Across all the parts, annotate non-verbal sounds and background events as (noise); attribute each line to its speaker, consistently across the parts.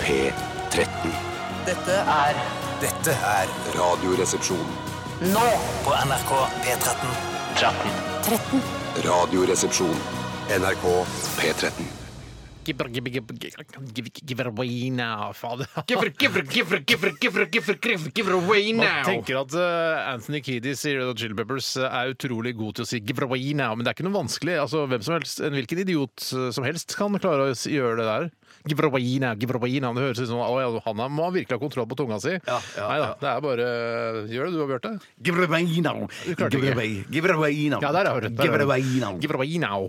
Speaker 1: P13.
Speaker 2: Dette er
Speaker 3: Dette er
Speaker 1: Radioresepsjon.
Speaker 2: nå
Speaker 3: på NRK P13.
Speaker 1: Radioresepsjon. NRK P13.
Speaker 4: Gibber, gibber, gibber, gibber, gibber, gibber away now, fader. Man tenker at eh, Anthony Kiedis i Red Hot Chili Peppers eh, er utrolig god til å si give away now, men det er ikke noe vanskelig. Altså, hvem som helst, en hvilken idiot eh, som helst kan klare å s- gjøre det der. Give away now, give away now. Det høres ut som å, ja, han er- må ha virkelig ha kontroll på tunga si.
Speaker 5: Ja, ja,
Speaker 4: Nei da, det er bare Gjør det du, Bjarte.
Speaker 5: Give it away now.
Speaker 4: klarte
Speaker 5: Give it
Speaker 4: ikke.
Speaker 5: away. Give it away now.
Speaker 4: Ja, der har du det.
Speaker 5: Give it away now.
Speaker 4: Give it away now.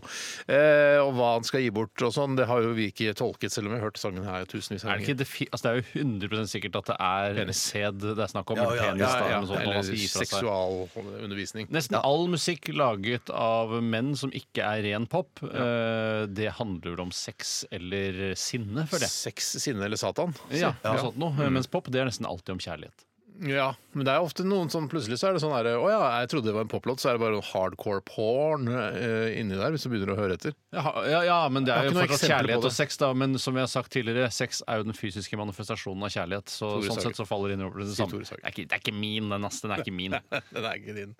Speaker 4: Eh, og hva han skal gi bort og sånn, det har jo vi ikke tolket, selv om vi har hørt sangen her tusenvis av
Speaker 6: Er det, ikke, det, fi- altså det er jo 100 sikkert at det er sæd det er snakk om.
Speaker 5: Ja, ja,
Speaker 6: eller penis,
Speaker 5: ja,
Speaker 6: da,
Speaker 4: Ja,
Speaker 6: eller noe sånt, man
Speaker 4: eller
Speaker 6: skal gi fra seg.
Speaker 4: seksualundervisning.
Speaker 6: Nesten all musikk laget av menn som ikke er ren pop, eh, det handler vel om sex eller sinne, føler jeg.
Speaker 4: Sex, sinne eller Satan.
Speaker 6: Ja, Mm. noe sånt noe. Mens pop det er nesten alltid om kjærlighet.
Speaker 4: Ja, men det er ofte noen sånn plutselig så er det sånn her Å ja, jeg trodde det var en poplåt, så er det bare noen hardcore porn eh, inni der, hvis du begynner å høre etter.
Speaker 6: Ja, ja, men det
Speaker 4: Jeg har
Speaker 6: er
Speaker 4: ikke
Speaker 6: jo
Speaker 4: noe eksempler
Speaker 6: fortsatt
Speaker 4: på
Speaker 6: kjærlighet
Speaker 4: det.
Speaker 6: og sex, da. Men som vi har sagt tidligere, sex er jo den fysiske manifestasjonen av kjærlighet. Så
Speaker 4: Tore
Speaker 6: sånn
Speaker 4: Sagen.
Speaker 6: sett så faller det inn over det samme.
Speaker 4: Tore
Speaker 6: Det
Speaker 4: Sagen.
Speaker 6: er ikke, det er ikke min, den, ass. Den er (laughs) ikke min.
Speaker 4: Den er ikke din.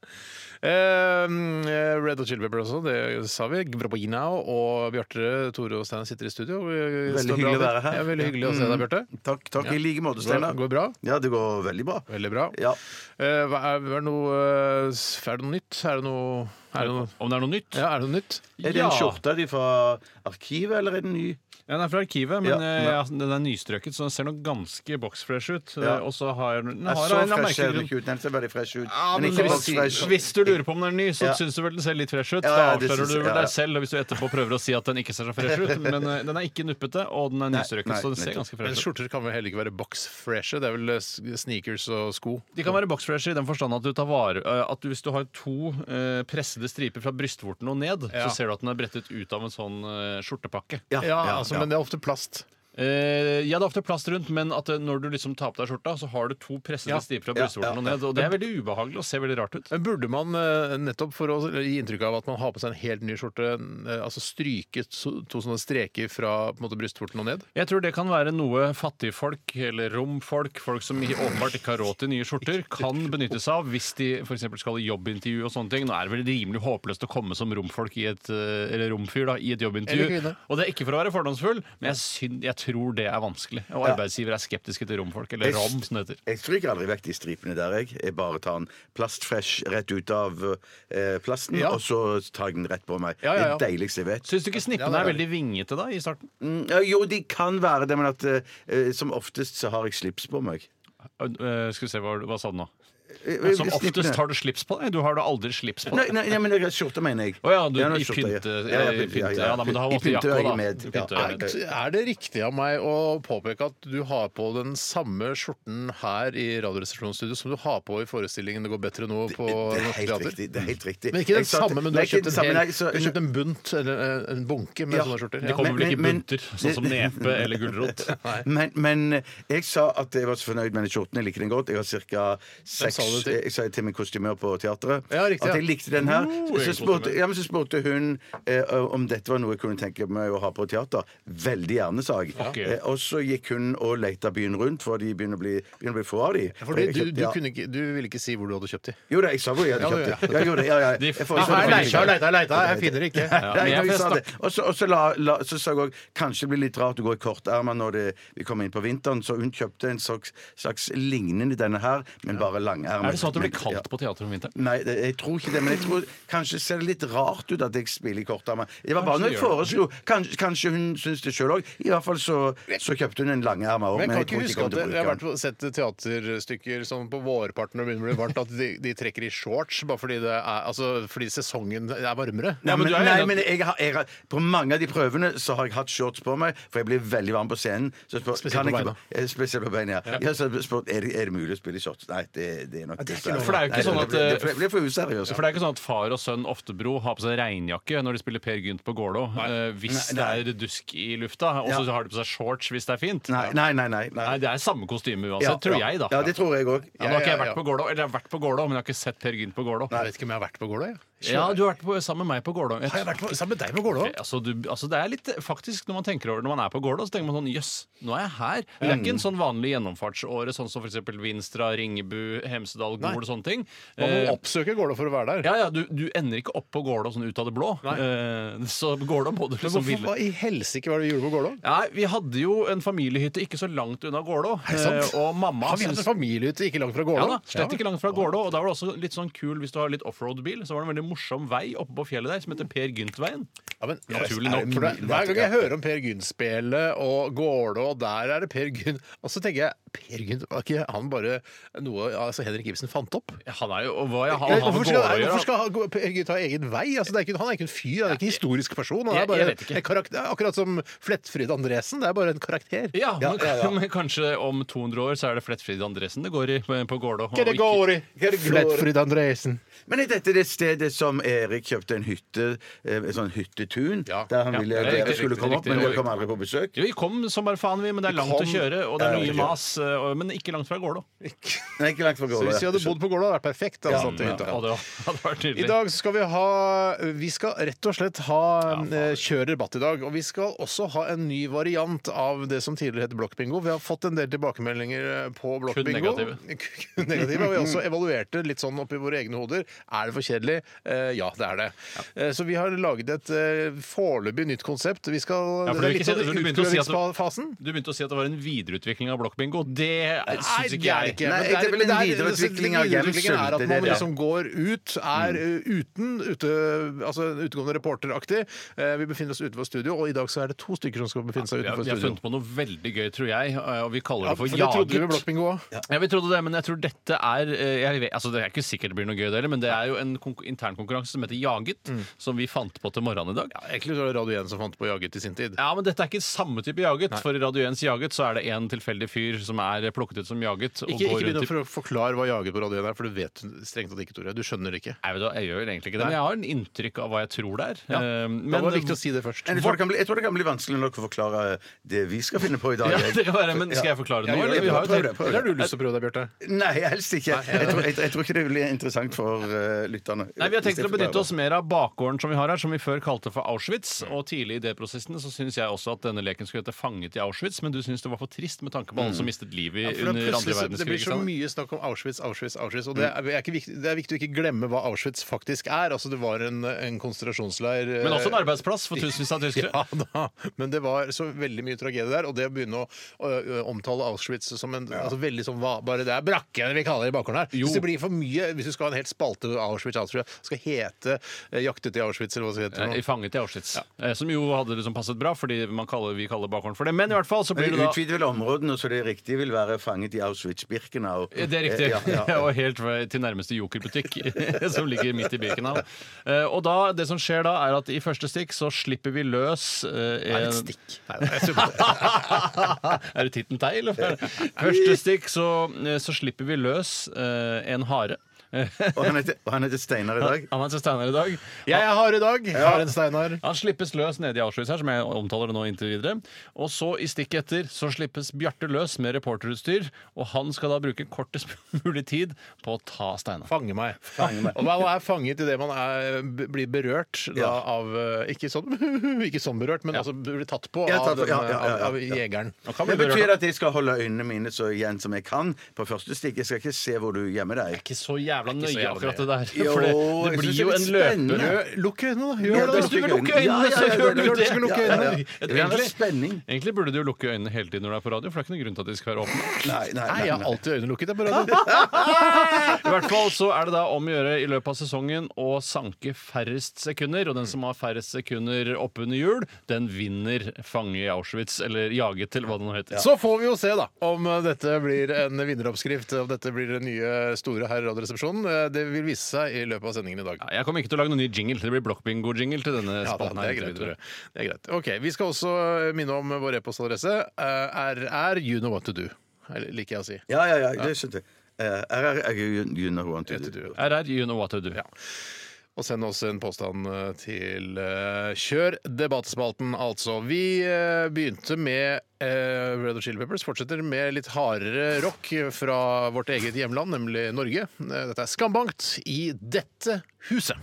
Speaker 4: Eh, Red og Chili Pepper også, det sa vi. Grabina og Bjarte, Tore og Stein sitter i studio. Vi
Speaker 5: Veldig
Speaker 4: står
Speaker 5: hyggelig
Speaker 4: bra
Speaker 5: å
Speaker 4: til.
Speaker 5: være her.
Speaker 4: Ja, veldig hyggelig å se
Speaker 6: Mm.
Speaker 4: deg, Bjarte.
Speaker 5: Takk, takk i like måte,
Speaker 4: Går,
Speaker 5: Steinar.
Speaker 4: går bra?
Speaker 5: Ja, det går veldig bra.
Speaker 4: Veldig bra.
Speaker 5: Ja.
Speaker 4: Eh, hva er, er, det noe, eh, er det noe nytt? Er det noe, er det noe,
Speaker 6: Om det er noe nytt?
Speaker 4: ja, er det noe nytt?
Speaker 5: Er det en skjorte de fra arkivet, eller er den ny?
Speaker 6: Ja, Den er fra arkivet, men
Speaker 5: Ja,
Speaker 6: eh,
Speaker 5: men-
Speaker 6: ja, den er nystrøket, så den ser nok ganske boxfresh ut.
Speaker 5: Ja.
Speaker 6: Eh, Og så har den den
Speaker 5: Jeg
Speaker 6: har
Speaker 5: så
Speaker 6: en eller annen
Speaker 5: fresh ser den
Speaker 6: merkelig grunn-
Speaker 5: ikke ut. Den ser veldig fresh ut.
Speaker 6: Ja, men
Speaker 5: men ikke
Speaker 6: hvis,
Speaker 5: boksfresh.
Speaker 6: hvis du lurer på om den er ny, så
Speaker 5: Ja.
Speaker 6: syns du vel den ser litt fresh ut.
Speaker 5: Ja, ja,
Speaker 6: Da
Speaker 5: det
Speaker 6: avslører
Speaker 5: syns
Speaker 6: du
Speaker 5: jeg,
Speaker 6: vel
Speaker 5: ja, ja.
Speaker 6: deg selv hvis du etterpå prøver å si at den ikke ser så fresh
Speaker 5: (laughs)
Speaker 6: ut. Men eh, den er ikke nuppete, og den er nystrøket,
Speaker 5: nei,
Speaker 6: så den
Speaker 5: nettopp.
Speaker 6: ser ganske
Speaker 4: Men
Speaker 6: fresh ut.
Speaker 4: skjorter kan vel heller ikke være boxfreshe? Det er vel eh, s- sneakers og sko?
Speaker 6: De kan være boxfresher i den forstand at du tar vare eh, At du, hvis du har to eh, pressede striper fra brystvorten og ned,
Speaker 4: Ja.
Speaker 6: så ser du at den er brettet ut av en sånn eh, skjortepakke.
Speaker 5: Ja,
Speaker 4: Ja, altså, men det er ofte plast.
Speaker 6: Eh, ja, det er ofte plast rundt, men at eh, når du liksom tar på deg skjorta, så har du to pressede
Speaker 4: Ja.
Speaker 6: striper fra brystvorten og ned. Og det er veldig ubehagelig og ser veldig rart ut.
Speaker 4: Men burde man eh, nettopp for å gi inntrykk av at man har på seg en helt ny skjorte, eh, altså stryke to, to sånne streker fra på en måte, brystvorten og ned?
Speaker 6: Jeg tror det kan være noe fattigfolk eller romfolk, folk som i- åpenbart ikke har råd til nye skjorter, kan benytte seg av hvis de for eksempel skal i jobbintervju og sånne ting. Nå er det vel rimelig håpløst å komme som romfolk i et, eh, eller romfyr da, i et
Speaker 4: Eller
Speaker 6: jobbintervju.
Speaker 4: kvinne.
Speaker 6: Og det er ikke for å være fordomsfull, men jeg, syn- jeg tror det er vanskelig. Og arbeidsgivere er skeptiske til romfolk, eller
Speaker 5: Jeg-
Speaker 6: rom, som det heter.
Speaker 5: Jeg stryker aldri vekk de stripene der, jeg. Jeg bare tar den plastfresh rett ut av eh, plasten,
Speaker 4: Ja.
Speaker 5: og så tar jeg den rett på meg.
Speaker 4: Ja, ja, ja.
Speaker 5: Det er deiligste jeg vet.
Speaker 6: Syns du ikke
Speaker 4: Ja,
Speaker 6: snippene
Speaker 4: det er
Speaker 6: er veldig vingete da, i starten?
Speaker 5: Mm, ja, jo, de kan være det, men at eh, eh, som oftest så har jeg slips på meg.
Speaker 6: Eh, skal vi se, hva, hva sa du nå?
Speaker 5: Eh,
Speaker 6: Ja, Som
Speaker 5: eh, slippene.
Speaker 6: oftest har du slips på deg. Du har da aldri slips på
Speaker 5: Nei,
Speaker 6: deg.
Speaker 5: nei, nei, men jeg har skjorte, mener jeg.
Speaker 6: Å ja, du,
Speaker 5: Ja, nå
Speaker 6: i
Speaker 5: skjorte, ja.
Speaker 6: pynte...
Speaker 5: Ja, ja,
Speaker 6: i
Speaker 5: pynte, ja,
Speaker 6: pynte-
Speaker 5: ja.
Speaker 6: ja, da, men du har
Speaker 5: I
Speaker 6: alltid
Speaker 5: pynte
Speaker 6: jakka,
Speaker 5: er jeg
Speaker 6: da.
Speaker 5: med.
Speaker 6: I pynte
Speaker 5: Ja.
Speaker 6: er jeg med.
Speaker 4: Er det riktig av meg å påpeke at du har på den samme skjorten her i Radioresepsjonsstudio som du har på i forestillingen Det går bedre nå på
Speaker 5: Det er
Speaker 4: Norsk
Speaker 5: helt
Speaker 4: Teater?
Speaker 5: riktig. Det er helt riktig.
Speaker 4: Men ikke den
Speaker 5: Jeg satt-
Speaker 4: samme, men du
Speaker 5: Nei,
Speaker 4: har
Speaker 5: ikke
Speaker 4: kjøpt
Speaker 5: den
Speaker 4: en,
Speaker 5: samme,
Speaker 4: hel,
Speaker 5: nei, så-
Speaker 4: du har kjøpt en bunt, eller eh, en bunke med
Speaker 5: Ja.
Speaker 4: sånne skjorter.
Speaker 5: Det
Speaker 4: Ja.
Speaker 6: Det kommer vel ikke i
Speaker 5: Men- men-
Speaker 6: bunter,
Speaker 5: (laughs)
Speaker 6: sånn som nepe eller gulrot.
Speaker 5: Men, men jeg sa at jeg var så fornøyd med den skjorten. Jeg liker den godt. Jeg har cirka seks
Speaker 4: sa du det til?
Speaker 5: Jeg sa det til min kostymør på teatret
Speaker 4: Ja, riktig,
Speaker 5: at jeg
Speaker 4: ja.
Speaker 5: likte den her.
Speaker 4: Oh,
Speaker 5: Så
Speaker 4: jeg
Speaker 5: spurte,
Speaker 4: kostymør.
Speaker 5: ja, men så spurte hun eh, om dette var noe jeg kunne tenke meg å ha på teater. Veldig gjerne, sa jeg.
Speaker 6: Ok.
Speaker 5: Eh, og så gikk hun og leta byen rundt, for de begynner å bli, begynner å bli få av de.
Speaker 4: For du,
Speaker 5: Jeg
Speaker 4: du,
Speaker 5: kjøpte-
Speaker 4: du,
Speaker 5: ja.
Speaker 4: kunne ikke, du ville ikke si hvor du hadde kjøpt de.
Speaker 5: Jo da, jeg sa hvor jeg hadde
Speaker 4: Ja, du-
Speaker 5: kjøpt det.
Speaker 4: ja.
Speaker 5: Ja, jeg gjorde det. Ja, ja.
Speaker 6: De-
Speaker 5: Jeg får-
Speaker 6: Ja,
Speaker 4: Jeg
Speaker 6: her
Speaker 4: har
Speaker 6: leita,
Speaker 4: leita
Speaker 6: jeg
Speaker 4: og leita, jeg finner det ikke.
Speaker 5: Ja,
Speaker 6: Ja, men
Speaker 5: jeg
Speaker 6: jeg
Speaker 5: jeg sa
Speaker 6: snakke-
Speaker 5: det. Og så- og så la- la- så sa jeg òg kanskje det blir litt rart å gå i kortermer når det, vi kommer inn på vinteren, så hun kjøpte en slags, slags lignende denne her, men bare langermet.
Speaker 6: Er det sånn at det blir
Speaker 5: Men-
Speaker 6: kaldt på teatret om vinteren?
Speaker 5: Nei, det- jeg tror ikke det, men jeg tror kanskje ser det litt rart ut at jeg spiller i kortermer. Det var bare
Speaker 6: Kanskje
Speaker 5: noe jeg
Speaker 6: det gjør
Speaker 5: foreslo. Kanskje, kanskje hun syns det sjøl òg. I hvert fall så, så kjøpte hun en langermet òg,
Speaker 4: Men
Speaker 5: men
Speaker 4: jeg
Speaker 5: jeg
Speaker 4: kan
Speaker 5: tror
Speaker 4: ikke
Speaker 5: ikke jeg
Speaker 4: huske
Speaker 5: kommer
Speaker 4: at
Speaker 5: til å
Speaker 4: jeg, jeg
Speaker 5: bruke
Speaker 4: har vært
Speaker 5: den.
Speaker 4: på, sett teaterstykker sånn på vårparten når det begynner å bli varmt, at de, de trekker i shorts bare fordi, det er, altså, fordi sesongen er varmere.
Speaker 5: Nei,
Speaker 6: Ja, men
Speaker 5: men,
Speaker 6: du er jo
Speaker 5: nei,
Speaker 6: enig
Speaker 5: men jeg har, jeg har, på mange av de prøvene så har jeg hatt shorts på meg, for jeg blir veldig varm på scenen. Så spør,
Speaker 4: Spesielt
Speaker 5: kan
Speaker 4: på
Speaker 5: jeg-
Speaker 4: beina.
Speaker 5: eh, Spesielt på beina. Ja. Ja, så spør, er, det, er det mulig å spille i shorts? Nei, det, det er nok
Speaker 4: det er
Speaker 5: dessverre.
Speaker 4: ikke lov. For det
Speaker 6: er jo ikke
Speaker 5: Nei,
Speaker 6: sånn at,
Speaker 5: blir- det,
Speaker 6: eh,
Speaker 5: blir for useriøst.
Speaker 6: For det er ikke sånn at far og sønn Oftebro har på seg regnjakke når de spiller Per Gynt på Gålå, eh, hvis
Speaker 5: Nei,
Speaker 6: det er dusk i lufta, og så
Speaker 5: Ja.
Speaker 6: har de på seg shorts hvis det er fint.
Speaker 5: Nei, nei, nei. nei, nei.
Speaker 6: Nei, det er samme kostyme uansett,
Speaker 5: Ja,
Speaker 6: tror
Speaker 5: ja.
Speaker 6: jeg, da.
Speaker 5: Ja, det tror jeg òg.
Speaker 6: Ja, nå har ikke jeg
Speaker 4: Ja, ja,
Speaker 6: vært på Gålå, eller jeg har vært på Gålå, men jeg har ikke sett Per Gynt på Gålå.
Speaker 4: Jeg vet ikke om jeg har vært på Gåløy. jeg.
Speaker 6: Ja, du har vært på, sammen med meg på Gålå.
Speaker 4: Har jeg vært på, sammen med deg på Gålå?
Speaker 6: Altså, du, altså det er litt, faktisk Når man tenker over det, når man er på Gålå, så tenker man sånn Jøss, nå er jeg her. Det er ikke
Speaker 4: Mm.
Speaker 6: en sånn vanlig gjennomfartsåre, sånn som f.eks. Vinstra, Ringebu, Hemsedal, Gol og sånne ting.
Speaker 4: Man
Speaker 6: Eh,
Speaker 4: må oppsøke Gålå for å være der.
Speaker 6: ja, ja, du, du ender ikke opp på Gålå sånn ut av det blå. Eh, så Gålå må du
Speaker 4: Men
Speaker 6: liksom
Speaker 4: hvorfor
Speaker 6: ville.
Speaker 4: hva i helsike var det vi gjorde på Gålå?
Speaker 6: Nei, Vi hadde jo en familiehytte ikke så langt unna Gålå.
Speaker 4: sant?
Speaker 6: eh, Og mamma
Speaker 4: Har vi hatt en familiehytte ikke langt fra Gålå?
Speaker 6: Ja da, slett ikke langt fra Gålå. Og da var det også litt sånn kul hvis du har litt offroad-bil. Så var det en veldig morsom vei oppe på fjellet der som heter Per Gynt-veien.
Speaker 4: Ja, men,
Speaker 6: Naturlig
Speaker 4: er det
Speaker 6: nok.
Speaker 4: mulig? hver gang jeg hører om Per Gynt-spelet og Gålå, og der er det Per Gynt Og så tenker jeg Per Gynt, var ikke han bare noe altså Henrik Ibsen fant opp?
Speaker 6: Han er jo og Hva jeg har
Speaker 4: Eh,
Speaker 6: han med
Speaker 4: Hvorfor
Speaker 6: Gålå
Speaker 4: skal,
Speaker 6: å gjøre?
Speaker 4: hvorfor skal han- Per Gynt ha egen vei? Altså, det er ikke, han er ikke en fyr, han er ikke en historisk person. Han
Speaker 6: jeg-
Speaker 4: er
Speaker 6: jeg
Speaker 4: bare
Speaker 6: vet ikke.
Speaker 4: en karakter, akkurat som Flettfrid Andresen. Det er bare en karakter.
Speaker 6: Ja, men,
Speaker 4: ja, ja.
Speaker 6: (laughs) men kanskje om 200 år så er det Flettfrid Andresen det går i på på Gålå. og
Speaker 4: Hva det
Speaker 6: ikke-
Speaker 4: går i?
Speaker 7: Hva det går i?
Speaker 4: Flettfrid Andresen.
Speaker 7: Men er dette det stedet som Erik kjøpte en hytte, eh, et sånn hyttetun,
Speaker 4: Ja.
Speaker 7: der han
Speaker 6: Ja,
Speaker 7: ville
Speaker 6: det er
Speaker 7: dere
Speaker 6: riktig,
Speaker 7: skulle
Speaker 6: riktig,
Speaker 7: komme opp, men
Speaker 6: riktig.
Speaker 7: dere kom aldri på besøk?
Speaker 6: Jo, vi kom som bare faen, vi, men det er
Speaker 7: Vi
Speaker 6: langt
Speaker 7: kom-
Speaker 6: å kjøre, og det er
Speaker 7: Ja,
Speaker 6: mye
Speaker 7: ja.
Speaker 6: mas, eh, og- men ikke langt fra Gålå.
Speaker 7: Nei, ikke langt fra
Speaker 4: Så
Speaker 7: Gålå.
Speaker 4: hvis vi hadde bodd på Gålå, hadde det vært perfekt. da, satt i
Speaker 6: Ja,
Speaker 4: hytta.
Speaker 6: og det hadde vært
Speaker 4: I
Speaker 6: nydelig.
Speaker 4: dag skal vi ha Vi skal rett og slett ha eh, kjør debatt i dag. Og vi skal også ha en ny variant av det som tidligere het blokkbingo. Vi har fått en del tilbakemeldinger eh, på blokkbingo.
Speaker 6: negative.
Speaker 4: (laughs) Kun negative. Og vi har også evaluert det litt sånn oppi våre egne hoder. Er det for kjedelig? Eh, ja, det er det. Eh, så vi har laget et eh, foreløpig nytt konsept. Vi skal
Speaker 6: Ja,
Speaker 4: Det er
Speaker 6: for du vil
Speaker 4: litt
Speaker 6: ikke si-
Speaker 4: sånn
Speaker 6: du begynte å si at du-
Speaker 4: utprøvingsfasen.
Speaker 6: Du begynte å si at det var en videreutvikling av blokkbingo. Det syns
Speaker 4: er
Speaker 6: ikke jeg.
Speaker 4: det ikke.
Speaker 7: Nei,
Speaker 4: Men
Speaker 7: det er vel en
Speaker 4: men
Speaker 7: videreutvikling av
Speaker 4: videreutviklingen
Speaker 7: Gemsel,
Speaker 4: er at
Speaker 7: det er
Speaker 4: man
Speaker 7: det, ja.
Speaker 4: liksom går ut, er eh, uten, ute, altså utegående reporteraktig. Eh, Vi befinner oss utenfor studio, og i dag så er det to stykker som skal befinne seg
Speaker 6: Vi har,
Speaker 4: utenfor
Speaker 6: vi har
Speaker 4: studio.
Speaker 6: funnet på noe veldig gøy, tror jeg, eh, og vi kaller
Speaker 4: Ja,
Speaker 6: det
Speaker 4: for
Speaker 6: for,
Speaker 4: det trodde vi med
Speaker 6: Jaget.
Speaker 4: blokkbingo òg.
Speaker 6: Ja, vi trodde det, men jeg tror dette er eh, jeg vet, altså Det er ikke sikkert det blir noe gøy, det heller, men det er jo en konkur- internkonkurranse som heter Jaget,
Speaker 4: Mm.
Speaker 6: som vi fant på til morgenen i dag. Ja,
Speaker 4: Egentlig var det Radio 1 som fant på Jaget i sin tid.
Speaker 6: men dette er ikke samme type jaget. For i Radio 1s Jaget så er det en tilfeldig fyr som er plukket ut som jaget. Og
Speaker 4: Ikke,
Speaker 6: går
Speaker 4: ikke begynn
Speaker 6: rundt i...
Speaker 4: å for- forklare hva Jaget på Radio 1 er, for du vet strengt tatt ikke, Tore. Du skjønner det ikke.
Speaker 6: Nei, vet du, hva, jeg gjør egentlig ikke det, men jeg har en inntrykk av hva jeg tror det er. Eh,
Speaker 4: Men,
Speaker 6: Men
Speaker 4: det var viktig å si det først.
Speaker 7: Men jeg tror, det kan bli, jeg tror det kan bli vanskelig nok å forklare
Speaker 5: eh,
Speaker 7: det vi skal finne på i dag.
Speaker 6: (laughs) ja,
Speaker 7: jeg.
Speaker 6: det kan være, men Skal jeg forklare det nå?
Speaker 7: Ja, gjør det.
Speaker 6: eller? Vi har jo
Speaker 7: Prøv
Speaker 6: tid.
Speaker 7: det, prøv
Speaker 4: Eller har du lyst til å prøve deg, Bjarte?
Speaker 7: Nei, helst ikke. Jeg tror, jeg, jeg tror ikke det blir interessant for eh, lytterne.
Speaker 6: Nei, Vi har tenkt
Speaker 7: Hvis
Speaker 6: å
Speaker 7: jeg
Speaker 6: benytte
Speaker 7: forklarer.
Speaker 6: oss mer av bakgården som vi har her, som vi før kalte for Auschwitz. Og tidlig i det prosessen så syns jeg også at denne leken skulle hete Fanget i Auschwitz, men du syns det var for trist med tanke på alle som mistet livet
Speaker 4: For det, er
Speaker 6: under andre
Speaker 4: plutselig så- det
Speaker 6: verdenskrig.
Speaker 4: blir
Speaker 6: ikke
Speaker 4: så
Speaker 6: sant? Mm.
Speaker 4: mye snakk om Auschwitz, Auschwitz, Auschwitz. Og det er, er ikke viktig, det er viktig å ikke glemme hva Auschwitz faktisk er. Altså, det var en, en konsentrasjonsleir eh,
Speaker 6: Men også en arbeidsplass for tusenvis av tyskere.
Speaker 4: (laughs) Ja da, men det var så veldig mye tragedie der. Og det å begynne å, å, å omtale Auschwitz som en altså, veldig sånn hva, Bare det er brakke vi kaller det i bakgården her.
Speaker 6: Jo.
Speaker 4: Hvis det blir for mye, hvis du skal ha en helt spalte Auschwitz, Auschwitz, skal hete eh, 'Jaktet i Auschwitz' eller hva det heter.
Speaker 6: Eh,
Speaker 4: nå.
Speaker 6: i Fanget i Auschwitz. Eh, Som jo hadde liksom passet bra, fordi man kaller, vi kaller bakgården for det. Men i hvert fall så blir
Speaker 7: Men
Speaker 6: det
Speaker 7: de
Speaker 6: da
Speaker 7: utvider vel områdene, så det riktige vil være fanget i Auschwitz-Birkenau.
Speaker 6: Ja, Eh, Det er
Speaker 4: Eh,
Speaker 6: riktig.
Speaker 7: Ja, ja.
Speaker 6: (laughs) og helt fra- til nærmeste jokerbutikk, (laughs) som ligger midt i Birkenau. Eh, Og da, det som skjer da, er at i første stikk så slipper vi løs eh,
Speaker 4: Er det
Speaker 6: en-
Speaker 4: et stikk? Nei, det er super-
Speaker 6: (laughs)
Speaker 4: (laughs)
Speaker 6: er det titten tei, eller? Første stikk så, eh, så slipper vi løs eh, en hare. Eh,
Speaker 7: Og han heter, og han heter Steinar i dag.
Speaker 6: Han heter Steinar i dag.
Speaker 4: Jeg er hard i dag. Jeg har en Steinar.
Speaker 6: Han slippes løs nede i Auschwitz her, som jeg omtaler det nå inntil videre. Og så, i stikket etter, så slippes Bjarte løs med reporterutstyr, og han skal da bruke kortest (laughs) mulig tid på å ta Steinar.
Speaker 4: Fange meg. Og man er fanget i det man er, b- blir berørt da,
Speaker 7: Ja.
Speaker 4: av eh, Ikke sånn, (laughs) ikke sånn berørt, men altså blir tatt på
Speaker 7: Ja,
Speaker 4: av,
Speaker 7: tatt på.
Speaker 4: den,
Speaker 7: Ja, ja, ja,
Speaker 4: av- av
Speaker 7: ja.
Speaker 4: jegeren.
Speaker 6: Han kan bli
Speaker 7: Det betyr
Speaker 6: berørt.
Speaker 7: at jeg skal holde øynene mine så igjen som jeg kan på første stikk. Jeg skal ikke se hvor du gjemmer deg.
Speaker 6: Ikke så jævla
Speaker 4: så
Speaker 6: nøye
Speaker 4: jævla
Speaker 6: akkurat det
Speaker 4: nøye.
Speaker 6: der. (laughs)
Speaker 7: Jo,
Speaker 6: For det,
Speaker 7: jeg
Speaker 6: det
Speaker 7: synes det
Speaker 6: blir
Speaker 7: er
Speaker 6: jo en
Speaker 7: litt spennende.
Speaker 6: løper.
Speaker 4: Gjør- Lukk øynene, da!
Speaker 7: Ja, da
Speaker 4: Gjør det!
Speaker 6: Hvis du
Speaker 7: lukker jeg
Speaker 6: skal lukke
Speaker 7: øynene.
Speaker 6: øynene,
Speaker 7: Ja,
Speaker 6: så
Speaker 7: ja, ja,
Speaker 6: gjør du
Speaker 7: ja, ja, ja, ja, ja, ja.
Speaker 6: det! Jeg tror
Speaker 7: Det er
Speaker 6: egentlig-
Speaker 7: spenning.
Speaker 6: Egentlig burde du jo lukke øynene hele tiden når du er på radio, for det er ikke noen grunn til at de skal være åpne.
Speaker 7: Nei, nei,
Speaker 4: Nei,
Speaker 7: nei,
Speaker 4: jeg har
Speaker 7: nei.
Speaker 4: alltid øynene lukket. Jeg (laughs) bare,
Speaker 6: I hvert fall så er det da om å gjøre i løpet av sesongen å sanke færrest sekunder, og den som har færrest sekunder oppunder jul, den vinner fange i Auschwitz, eller jaget til hva det nå heter. Så,
Speaker 4: så får vi jo se da om eh, dette blir en vinneroppskrift, om dette blir den nye store her i Radioresepsjonen. Eh, Det vil vise seg i løpet av sendingen i dag.
Speaker 6: ja, jeg kommer ikke til å lage noen ny jingle. Det blir blokkbingo-jingle til denne
Speaker 4: Ja, da,
Speaker 6: spalten.
Speaker 4: det, er
Speaker 6: her,
Speaker 4: greit,
Speaker 6: Tore.
Speaker 4: Tore. det er greit. Ok, Vi skal også eh, minne om vår e-postadresse. Eh, RR, you know what to do. Eller, liker jeg å si.
Speaker 7: Ja, ja, ja, det skjønte jeg. Eh, Her er jeg you- you know what to do.
Speaker 6: RR, you know what to do.
Speaker 4: Og send oss en påstand eh, til eh, Kjør debattspalten, altså. Vi eh, begynte med eh, Red og Chili Peppers, fortsetter med litt hardere rock fra vårt eget hjemland, nemlig Norge. Eh, Dette er Skambankt i dette huset.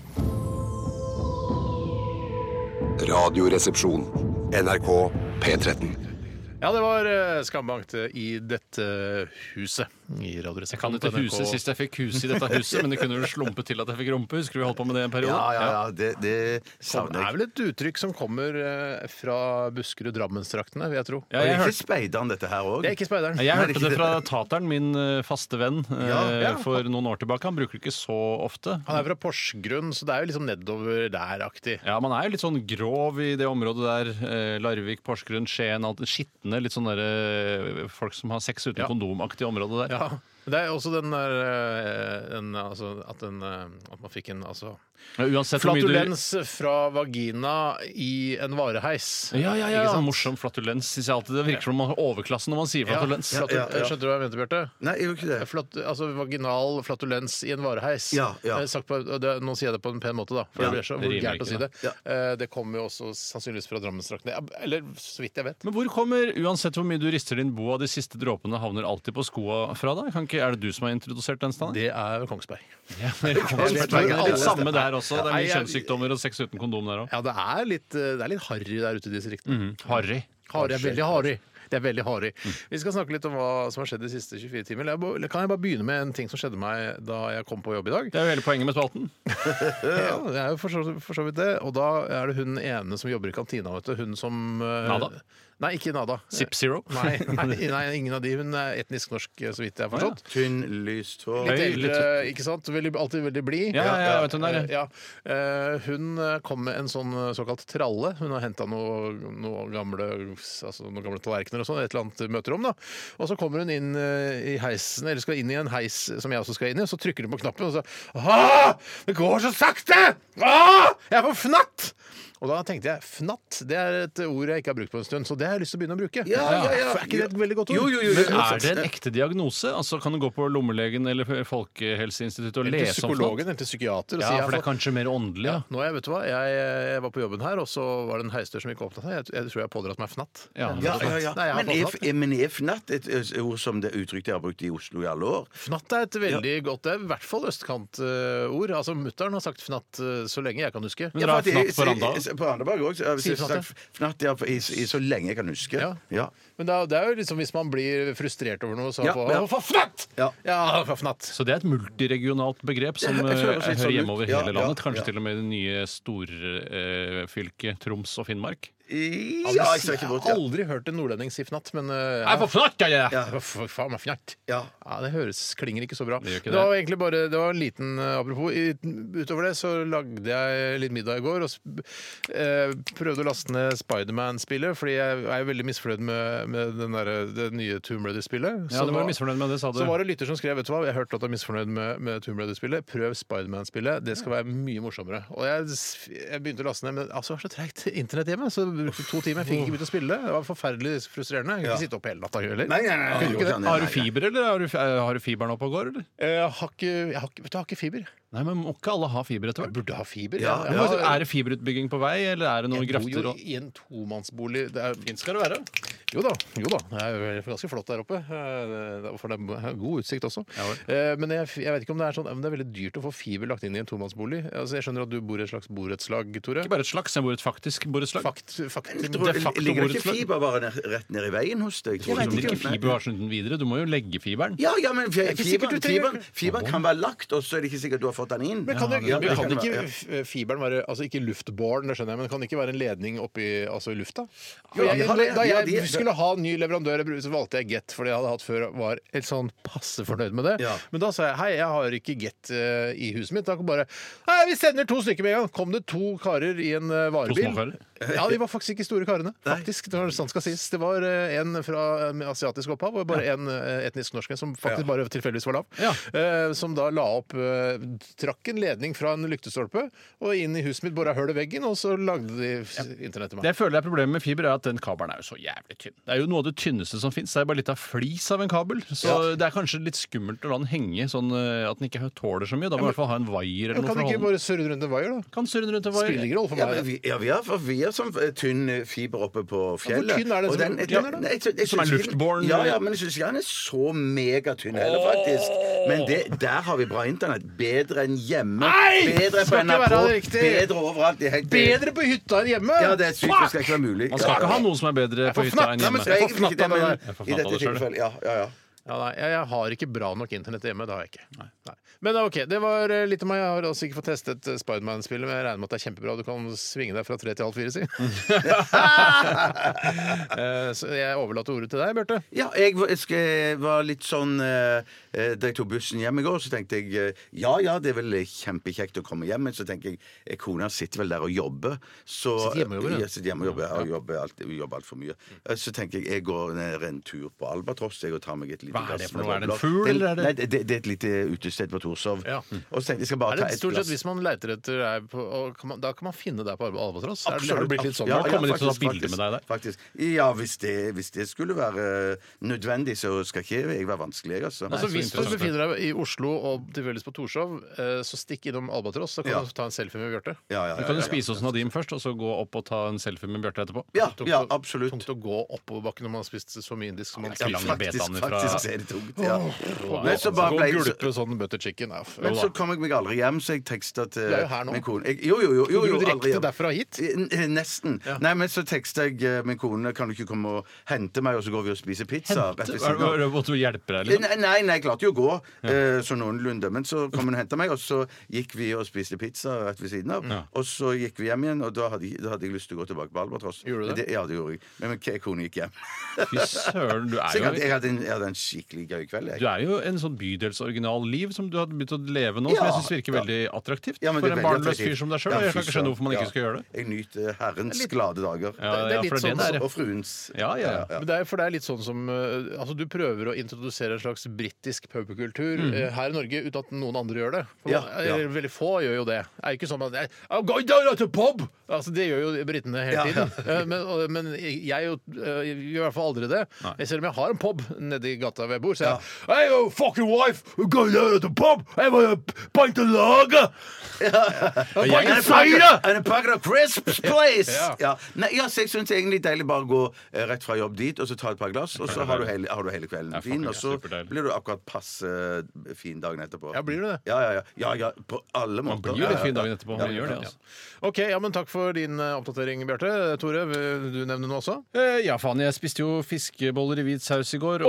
Speaker 1: Radioresepsjon. NRK P13.
Speaker 4: Ja, det var eh, skambankt i dette huset. I Radioresepsjonen.
Speaker 6: Jeg kan ikke
Speaker 4: på NRK.
Speaker 6: huset sist jeg fikk hus i dette huset, men det kunne jo slumpe til at jeg fikk rumpe. Husker du vi holdt på med det en periode?
Speaker 7: Ja, ja, ja, det, det
Speaker 4: Det
Speaker 7: savner
Speaker 4: er
Speaker 7: jeg.
Speaker 4: vel et uttrykk som kommer eh, fra Buskerud-Drammenstraktene, vil jeg tro.
Speaker 6: Ja,
Speaker 7: Er
Speaker 6: jeg
Speaker 7: det
Speaker 6: hørte
Speaker 7: ikke speideren, dette her òg?
Speaker 4: Det er ikke speideren.
Speaker 6: Jeg
Speaker 7: det er
Speaker 6: hørte
Speaker 7: ikke
Speaker 6: det fra tateren, min eh, faste venn, eh,
Speaker 4: ja.
Speaker 6: for noen år tilbake. Han bruker det ikke så ofte.
Speaker 4: Han er fra Porsgrunn, så det er jo liksom nedover der-aktig.
Speaker 6: Ja, Man er jo litt sånn grov i det området der. eh, Larvik, Porsgrunn, Skien. alt det Skitne, litt sånn derre folk som har sex uten
Speaker 4: Ja.
Speaker 6: kondomaktig område der.
Speaker 4: Ja. Det er også den der eh, den, altså, at, den, eh, at man fikk en altså,
Speaker 6: Ja, Uansett hvor mye du
Speaker 4: Flatulens fra vagina i en vareheis.
Speaker 6: Ja, ja,
Speaker 4: Ikke
Speaker 6: ja.
Speaker 4: sant?
Speaker 6: Morsom flatulens. Synes jeg alltid. Det virker som om man har overklassen når man sier
Speaker 4: Ja,
Speaker 6: flatulens.
Speaker 4: flatu-
Speaker 7: Ja, ja, ja.
Speaker 4: Skjønte du hva jeg mente, Bjarte?
Speaker 7: Nei, jeg gjør ikke det.
Speaker 4: Flat, altså vaginal flatulens i en vareheis.
Speaker 7: Ja, ja.
Speaker 4: Eh, Sagt på, og det, nå sier jeg det på en pen måte, da. For
Speaker 7: Ja,
Speaker 4: det blir så
Speaker 6: det rimer
Speaker 4: vulgært å
Speaker 6: ikke,
Speaker 4: si det.
Speaker 7: da.
Speaker 4: Eh, Det kommer jo også sannsynligvis fra Drammensdraktene. Ja, Eller så vidt jeg vet.
Speaker 6: Men hvor kommer, uansett hvor mye du rister din boa, de siste dråpene havner alltid på skoa fra deg? Kan ikke, er det du som har introdusert den standen?
Speaker 4: Det er Kongsberg.
Speaker 6: Ja, men det kommer
Speaker 4: det
Speaker 6: fra deg. Det er
Speaker 4: alle
Speaker 6: litt
Speaker 4: steder.
Speaker 6: samme der også. Det
Speaker 4: Nei,
Speaker 6: er mye
Speaker 4: jeg-
Speaker 6: kjønnssykdommer og sex uten kondom der òg.
Speaker 4: Ja, det er litt, eh, det er litt harry der ute i distriktene.
Speaker 6: Mhm. Harry.
Speaker 4: Harry er veldig harry.
Speaker 6: altså.
Speaker 4: Det er veldig harry.
Speaker 6: Mm.
Speaker 4: Vi skal snakke litt om hva som har skjedd de siste 24 timer. Eller jeg bare- eller Kan jeg bare begynne med en ting som skjedde meg da jeg kom på jobb i dag?
Speaker 6: Det er jo hele poenget med spalten.
Speaker 4: Ja, det er jo for så, for så vidt det. Og da er det hun ene som jobber i kantina, vet du. Hun som eh,
Speaker 6: Nada?
Speaker 4: Nei, ikke Nada. Eh,
Speaker 6: Zip Zero.
Speaker 4: Nei,
Speaker 6: (laughs)
Speaker 4: nei, nei, ingen av de. Hun er etnisk norsk, eh, så vidt jeg har forstått.
Speaker 7: Tynn, lyst hår
Speaker 4: Litt
Speaker 6: Høy,
Speaker 4: eldre, ikke sant? Veldig, alltid veldig blid.
Speaker 6: Ja, ja, ja, jeg vet hun Sånn er,
Speaker 4: ja. Eh, Hun eh, kom med en sånn eh, såkalt tralle. Hun har henta noe, noe gamle, altså noen gamle tallerkener og sånn, i et eller annet møterom. da. Og så kommer hun inn eh, i heisen, eller skal inn i en heis som jeg også skal inn i, og så trykker hun på knappen og så Åh! Det går så sakte! Åh! Jeg er på fnatt! Og da tenkte jeg fnatt det er et ord jeg ikke har brukt på en stund, så det har jeg lyst til å begynne å bruke.
Speaker 7: Ja, ja, ja.
Speaker 4: For Er ikke det et veldig godt ord?
Speaker 7: Jo, jo, jo, jo.
Speaker 6: Men er det en ekte diagnose? Altså Kan du gå på lommelegen eller Folkehelseinstituttet og
Speaker 4: Eller til
Speaker 6: lese om
Speaker 4: psykologen
Speaker 6: det?
Speaker 4: eller til psykiater. og si,
Speaker 6: Ja,
Speaker 4: jeg har
Speaker 6: for det er
Speaker 4: fått-
Speaker 6: kanskje mer åndelig.
Speaker 4: Ja.
Speaker 6: Ja.
Speaker 4: Nå er jeg, vet du hva, jeg, jeg var på jobben her, og så var det en heisdør som gikk åpna seg. Jeg, jeg tror jeg har pådratt meg fnatt.
Speaker 6: Ja,
Speaker 7: Ja, ja, ja.
Speaker 4: Nei, jeg har
Speaker 7: Men, er,
Speaker 4: fått fnatt.
Speaker 7: er- men er fnatt et ø, ord som det uttrykket jeg har brukt i Oslo i alle år?
Speaker 4: Fnatt er et veldig godt det er i hvert fall østkantord. altså, mutter'n har sagt fnatt eh, så lenge jeg kan huske.
Speaker 6: Men dere har
Speaker 7: Fordi-
Speaker 6: fnatt på Randa?
Speaker 7: i- i- På Randaberg
Speaker 4: Sier fnatt,
Speaker 7: òg. Fnatt ja, for i, i så lenge jeg kan huske.
Speaker 4: Ja.
Speaker 7: Ja.
Speaker 4: Men det er, det er jo liksom hvis man blir frustrert over noe, så
Speaker 7: Ja,
Speaker 4: får
Speaker 7: ja.
Speaker 4: man for fnatt!
Speaker 7: Ja.
Speaker 4: for fnatt.
Speaker 6: Så det er et multiregionalt begrep som
Speaker 7: Ja, jeg føler
Speaker 6: eh,
Speaker 7: det
Speaker 6: hører
Speaker 7: litt sånn
Speaker 6: hjemme
Speaker 7: ut.
Speaker 6: over
Speaker 7: Ja,
Speaker 6: hele
Speaker 7: ja,
Speaker 6: landet. Kanskje
Speaker 7: ja.
Speaker 6: til og med i det nye storfylket Troms og Finnmark.
Speaker 7: I,
Speaker 4: Altså,
Speaker 7: ja, jeg ser ikke bort,
Speaker 4: Jeg
Speaker 7: ja.
Speaker 4: har aldri hørt en nordlending si fnatt, men eh,
Speaker 6: Nei, for fnatt, ja, ja.
Speaker 7: Ja.
Speaker 4: Ja, for faen meg fnatt.
Speaker 7: Ja.
Speaker 4: Ja, det høres, klinger ikke så bra.
Speaker 6: Det gjør ikke
Speaker 4: det.
Speaker 6: det.
Speaker 4: var egentlig bare, det var en liten eh, apropos. I, utover det så lagde jeg litt middag i går og sp- eh, prøvde å laste ned Spiderman-spillet, fordi jeg er jo veldig misfornøyd med, med den der, det nye Tomb Raider-spillet.
Speaker 6: Ja,
Speaker 4: Så
Speaker 6: du var
Speaker 4: da-
Speaker 6: misfornøyd med det, sa du.
Speaker 4: Så var det lytter som skrev vet du hva, jeg hørte at du er misfornøyd med, med Tomb Raider-spillet. Prøv Spiderman-spillet. Det skal være mye morsommere. Og jeg, s- jeg begynte å laste ned, men altså, det var så treigt internett hjemme. Så jeg brukte to timer. Jeg fikk ikke begynt å spille. Det var forferdelig frustrerende. Jeg kunne ikke sitte opp hele natta heller.
Speaker 7: Nei, nei, nei, nei, nei, nei,
Speaker 6: Har du
Speaker 7: nei.
Speaker 6: fiber, eller har du, fi- eh, har du fiberen oppe og går, eller?
Speaker 4: Eh, Jeg har ikke, jeg har, ikke- vet du, jeg har ikke fiber.
Speaker 6: Nei, men må ikke alle ha fiber etter
Speaker 4: Jeg
Speaker 6: hvert?
Speaker 4: burde ha fiber.
Speaker 7: Ja,
Speaker 4: jeg,
Speaker 7: ja.
Speaker 4: jeg,
Speaker 6: Er det fiberutbygging på vei, eller er det noen
Speaker 4: jeg bor
Speaker 6: grafter?
Speaker 4: jo
Speaker 6: Og...
Speaker 4: i en tomannsbolig. Det er,
Speaker 6: Fint skal det være.
Speaker 4: jo da, jo da. Det er jo ganske flott der oppe. Eh, det- For det er god utsikt også. Eh, Men jeg, jeg vet ikke om det er sånn Men det er veldig dyrt å få fiber lagt inn i en tomannsbolig. Altså, jeg skjønner at du bor i et slags borettslag, Tore.
Speaker 6: Ikke bare et slags, jeg bor i et faktisk borettslag.
Speaker 4: Fakt, fakt,
Speaker 7: Jeg tror-
Speaker 4: de facto
Speaker 7: Ligger det ikke
Speaker 4: borettslag.
Speaker 7: fiber bare ned- rett ned i veien hos deg?
Speaker 6: Du finner ikke fiber bare sånn uten videre, du må jo legge fiberen.
Speaker 7: Ja, ja, men fi-
Speaker 4: ikke sikkert du
Speaker 7: fiberen,
Speaker 4: trenger-
Speaker 7: fiberen, fiberen kan være lagt, og så er det ikke sikkert du har fått den inn.
Speaker 4: Men kan, det,
Speaker 7: Mm. Ja,
Speaker 4: men kan
Speaker 7: kan være,
Speaker 4: ikke
Speaker 7: ja.
Speaker 4: eh, f- fiberen være altså ikke luftbåren, det skjønner jeg, men kan det ikke være en ledning oppi altså i lufta?
Speaker 7: Jo,
Speaker 4: Jeg,
Speaker 7: de har det,
Speaker 4: da
Speaker 7: de har
Speaker 4: jeg
Speaker 7: det.
Speaker 4: skulle ha ny leverandør, så valgte jeg Get, for det jeg hadde hatt før var helt sånn passe fornøyd med det.
Speaker 7: Ja.
Speaker 4: Men da sa jeg hei, jeg har ikke Get eh, i huset mitt. Da kom bare Nei, vi sender to stykker med en gang. Kom det to karer i en eh, varebil?
Speaker 6: små karer?
Speaker 4: (laughs) Ja, de var faktisk ikke store karene. Faktisk, det var, sånn skal sies. det var eh, en fra eh, med asiatisk opphav og bare en eh, etnisk norsk en som faktisk bare tilfeldigvis var lav. Eh, som da la opp eh, Trakk en ledning fra en lyktestolpe og inn i huset mitt, bora hull i veggen, og så lagde de f- internett til meg.
Speaker 6: Det jeg føler er problemet med fiber, er at den kabelen er jo så jævlig tynn. Det er jo noe av det tynneste som fins. Det er bare litt av flis av en kabel. Så det er kanskje litt skummelt å la den henge sånn eh, at den ikke tåler så mye. Da må du i hvert fall ha en vaier eller
Speaker 4: Men kan
Speaker 6: noe for
Speaker 4: du
Speaker 6: å
Speaker 4: ikke
Speaker 6: holde den.
Speaker 4: bare surre rundt en vaier, da?
Speaker 6: Kan surre den rundt en
Speaker 4: Spiller
Speaker 6: vaier.
Speaker 4: ingen rolle for
Speaker 7: Ja,
Speaker 4: meg.
Speaker 7: men vi, ja, vi har, for vi har
Speaker 5: er sånn eh, tynn eh, fiber oppe på fjellet.
Speaker 4: tynn er det
Speaker 5: og
Speaker 4: som-
Speaker 5: den- jeg
Speaker 4: ja,
Speaker 5: tror- nei, jeg tror- jeg
Speaker 6: som er
Speaker 5: synes ikke den-
Speaker 6: luftbåren,
Speaker 5: Ja, ja,
Speaker 6: eller?
Speaker 5: men jeg syns ikke den er så megatynn heller, faktisk. Men det, der har vi bra internett. Bedre enn hjemme.
Speaker 4: Nei!
Speaker 5: Bedre på
Speaker 4: Skal ikke
Speaker 5: NRK.
Speaker 4: være det riktig.
Speaker 5: Bedre overalt. Det er helt
Speaker 4: Bedre på hytta enn hjemme!
Speaker 5: Ja, det er sykt. Det skal ikke være mulig.
Speaker 6: Man skal ikke ha noe som er bedre på hytta
Speaker 5: Nei,
Speaker 6: enn
Speaker 5: men
Speaker 6: hjemme.
Speaker 5: jeg,
Speaker 4: Jeg får fnatt
Speaker 5: men
Speaker 4: av det
Speaker 6: der.
Speaker 5: I
Speaker 6: Jeg får fnatt av
Speaker 5: dette
Speaker 6: det selv.
Speaker 5: tilfellet. Ja, ja, ja.
Speaker 4: Ja, nei, jeg, jeg har ikke bra nok internett hjemme. Det har jeg ikke. Nei. Men OK, det var eh, litt av meg. Jeg har altså ikke fått testet eh, Spiderman-spillet, men jeg regner med at det er kjempebra. Du kan svinge deg fra tre til halv
Speaker 5: (laughs)
Speaker 4: fire, si. Eh, Så jeg overlater ordet til deg, Bjarte.
Speaker 5: Ja, jeg var, jeg skal- var litt sånn eh, eh, Da jeg tok bussen hjem i går, så tenkte jeg eh, ja ja, det er vel eh, kjempekjekt å komme hjem, men så tenker jeg eh, kona sitter vel der og jobber. Så,
Speaker 4: Sitter hjemme og jobber, ja.
Speaker 5: ja. Sitter hjemme og jobber, ja, jobber, alt, jobber alt for mye. Eh, Så tenker jeg jeg går ned en tur på Albatross jeg, og tar meg et lite
Speaker 6: Hva er det
Speaker 5: glass
Speaker 6: for
Speaker 5: med
Speaker 6: noe? Er det en
Speaker 5: bobler.
Speaker 6: fugl, eller er det-
Speaker 5: Nei, det, det, det er et lite utested på Torshov.
Speaker 4: Ja.
Speaker 5: Og så tenkte jeg, jeg skal bare
Speaker 4: Er
Speaker 5: ta
Speaker 4: det
Speaker 5: et
Speaker 4: stort sett
Speaker 5: glass.
Speaker 4: hvis man leiter etter deg på, og kan man, Da kan man finne deg på Alba- Albatross? Er det- Har
Speaker 5: Absolutt,
Speaker 4: det blitt litt sånn?
Speaker 5: absolutt.
Speaker 6: Har det kommet litt sånn
Speaker 5: faktisk,
Speaker 6: bilder med deg der?
Speaker 5: faktisk, faktisk. Ja, hvis det, hvis det skulle være eh, nødvendig, så skal ikke jeg være vanskelig, jeg, altså.
Speaker 4: Altså,
Speaker 6: så
Speaker 4: hvis du
Speaker 6: interessant.
Speaker 4: befinner deg i Oslo og tilfeldigvis på Torshov, eh, så stikk innom Albatross, så kan
Speaker 5: Ja.
Speaker 4: du ta en selfie med Bjarte.
Speaker 5: ja, ja,
Speaker 6: Du kan jo spise hos Nadim først, og så gå opp og ta en selfie med Bjarte etterpå.
Speaker 5: Ja,
Speaker 4: Tungt
Speaker 5: ja,
Speaker 4: å-
Speaker 5: absolutt.
Speaker 4: Tungt å gå oppoverbakken når man har spist så mye indisk som man
Speaker 6: Ja,
Speaker 4: spiser.
Speaker 6: lange
Speaker 5: Faktisk,
Speaker 6: betaen ifra-
Speaker 5: faktisk er det tungt. Ja.
Speaker 4: Å,
Speaker 5: Men så
Speaker 4: altså,
Speaker 5: bare
Speaker 4: gå
Speaker 5: ble
Speaker 4: og
Speaker 5: jeg så-
Speaker 4: gulpe sånn butter chicken. Nei, uff.
Speaker 5: men så kom jeg meg aldri hjem, så jeg teksta til
Speaker 4: Du er jo her nå.
Speaker 5: min kone. Jeg, jo, jo, jo, jo,
Speaker 4: Dro
Speaker 5: jo,
Speaker 4: du
Speaker 5: aldri hjem.
Speaker 4: direkte derfra hit?
Speaker 5: N- eh, Nesten. Nei, men så teksta jeg eh, min kone Kan du ikke komme og hente meg, og så går vi og spiser pizza. rett ved siden av. Eh,
Speaker 6: Måtte du hjelpe deg, liksom?
Speaker 5: Nei, nei, nei, jeg klarte jo å gå, eh, så noenlunde. Men så kom hun og henta meg, og så gikk vi og spiste pizza rett ved siden av. Og så gikk vi hjem igjen, og da hadde, jeg- da hadde jeg lyst til å gå tilbake på Albatross.
Speaker 4: Gjorde du det?
Speaker 5: Ja, det gjorde jeg. Men min ke- kone gikk hjem.
Speaker 6: Fy søren, du
Speaker 5: Så jeg
Speaker 6: er
Speaker 5: hadde,
Speaker 6: jo
Speaker 5: jeg hadde, en, jeg hadde en skikkelig gøy kveld. Jeg.
Speaker 6: du er jo en sånn bydelsoriginal-liv som du har begynt å leve nå, som jeg
Speaker 5: Ja,
Speaker 6: syns virker veldig attraktivt
Speaker 5: Ja, men
Speaker 6: for
Speaker 5: det er
Speaker 6: en
Speaker 5: veldig
Speaker 6: barnløs fyr
Speaker 5: attraktivt.
Speaker 6: som deg sjøl.
Speaker 5: Ja,
Speaker 6: jeg kan
Speaker 5: fy
Speaker 6: ikke skjønne hvorfor man
Speaker 5: søren.
Speaker 6: ikke skal gjøre det.
Speaker 5: Jeg nyter eh, Herrens glade dager.
Speaker 6: Ja,
Speaker 4: Det- det er
Speaker 6: ja,
Speaker 4: litt
Speaker 6: for det er
Speaker 4: sånn
Speaker 6: det
Speaker 4: som-
Speaker 6: det er.
Speaker 5: Og fruens.
Speaker 6: Ja, ja, ja.
Speaker 4: Men det er, for det er litt sånn som eh, altså Du prøver å introdusere en slags britisk pubkultur eh, her i Norge uten at noen andre gjør det. For
Speaker 5: Ja,
Speaker 4: man-
Speaker 5: ja.
Speaker 4: eller Veldig få gjør jo det. Det er jo ikke sånn at I'm going down to pub! Altså, det gjør jo britene hele
Speaker 5: Ja.
Speaker 4: tiden. Eh, Men, og- men jeg jo, eh, gjør i hvert fall aldri det. Selv om jeg har en pub nedi gata hvor jeg bor, så jeg Hey, oh, fucking wife! I'm going down to pub! I'm a pint of lager! A pint of cider!
Speaker 5: And a packet of crisps, please!
Speaker 4: Ja.
Speaker 5: ja. Nei, ja, så jeg syns egentlig deilig bare å gå eh, rett fra jobb dit, og så ta et par glass, og så har du hele, har du hele kvelden
Speaker 6: Ja, fuck,
Speaker 5: fin,
Speaker 6: ja,
Speaker 5: og så
Speaker 6: superdeilig.
Speaker 5: blir du akkurat passe eh, fin dagen etterpå.
Speaker 4: Ja, blir du det?
Speaker 5: Ja, ja, ja. ja, ja på alle måter.
Speaker 6: Man blir jo litt fin dagen etterpå. Man gjør det, altså.
Speaker 4: OK, ja, men takk for din eh, oppdatering, Bjarte. Tore, vil du nevner noe også?
Speaker 6: Eh, Ja, faen, jeg spiste jo fiskeboller i hvit saus i går.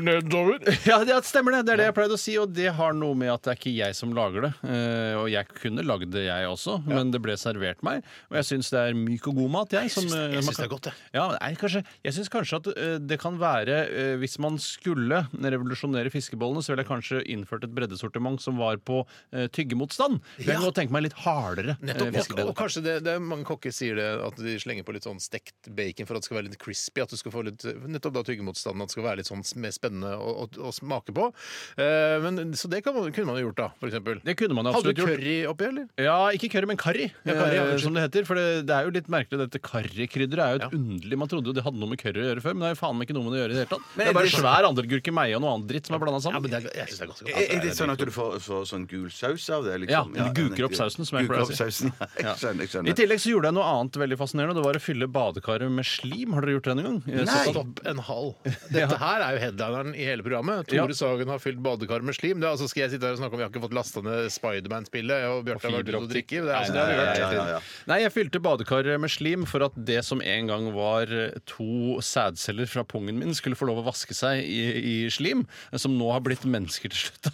Speaker 4: nedover!
Speaker 6: Ja, det stemmer det. Det er det jeg pleide å si, og det har noe med at det er ikke jeg som lager det. Eh, og jeg kunne lagd det, jeg også, men det ble servert meg. Og jeg syns det er myk og god mat, jeg. Som,
Speaker 4: syns det- jeg
Speaker 6: eh, man
Speaker 4: syns det er
Speaker 6: kan-
Speaker 4: godt, jeg.
Speaker 6: Ja, nei, kanskje, jeg syns kanskje at eh, det kan være eh, Hvis man skulle revolusjonere fiskebollene, så ville jeg kanskje innført et breddesortiment som var på eh, tyggemotstand. Men jeg kan godt tenke meg litt hardere eh,
Speaker 4: (laughs) Nettopp, og, og
Speaker 6: fiskeboller.
Speaker 4: kanskje det, det er Mange kokker sier det at de slenger på litt sånn stekt bacon for at det skal være litt crispy. At du skal få litt, nettopp da tyggemotstanden at det skal være litt sånn mer spennende å, å, å smake på. Eh, men, så det kan man, kunne man jo gjort, da. For eksempel.
Speaker 6: Det kunne man
Speaker 4: Hadde
Speaker 6: absolutt
Speaker 4: du
Speaker 6: gjort.
Speaker 4: curry oppi, eller?
Speaker 6: Ja, ikke curry, men karri,
Speaker 4: Ja, curry, ja,
Speaker 6: eh,
Speaker 4: unnskyld.
Speaker 6: som det heter. For det, det er jo litt merkelig, dette karrikrydderet er jo et
Speaker 4: Ja.
Speaker 6: underlig Man trodde jo det hadde noe med curry å gjøre før, men det er jo faen meg ikke noe med det å gjøre i det hele tatt. Det
Speaker 5: er
Speaker 6: er bare
Speaker 5: det-
Speaker 6: svær andelgurke, meie og noe annet dritt som er blanda sammen.
Speaker 4: men det er, jeg syns Eh, det er ganske
Speaker 5: Er, er det sånn at du får, får sånn gul saus av det? Liksom?
Speaker 6: Ja, du guker opp sausen, som jeg
Speaker 5: Guker
Speaker 6: pleier å
Speaker 5: opp
Speaker 6: si.
Speaker 5: sausen. (laughs) Jeg skjønner. Jeg
Speaker 6: I
Speaker 5: skjønner.
Speaker 6: tillegg så gjorde jeg noe annet veldig fascinerende. Det var å fylle badekaret med slim. Har dere gjort det en gang? Eh,
Speaker 5: Nei.
Speaker 6: sånn at-
Speaker 4: Stopp en
Speaker 6: (laughs)
Speaker 4: hal. Dette her er jo headlineren i hele programmet. Tore
Speaker 6: Ja.
Speaker 4: Sagen har fylt badekar med slim. Det er, altså, skal jeg sitte her og snakke om vi har ikke fått lasta ned Spiderman-spillet, og Bjarte har vært ute og
Speaker 6: fiberoptikk.
Speaker 4: drikke? Det er, altså, det
Speaker 6: Nei,
Speaker 4: har vi
Speaker 6: nei,
Speaker 4: vært.
Speaker 5: Ja, ja, ja.
Speaker 6: Nei, jeg fylte badekaret med slim for at det som en gang var to sædceller fra pungen min, skulle få lov å vaske seg i, i slim, som nå har blitt mennesker til slutt.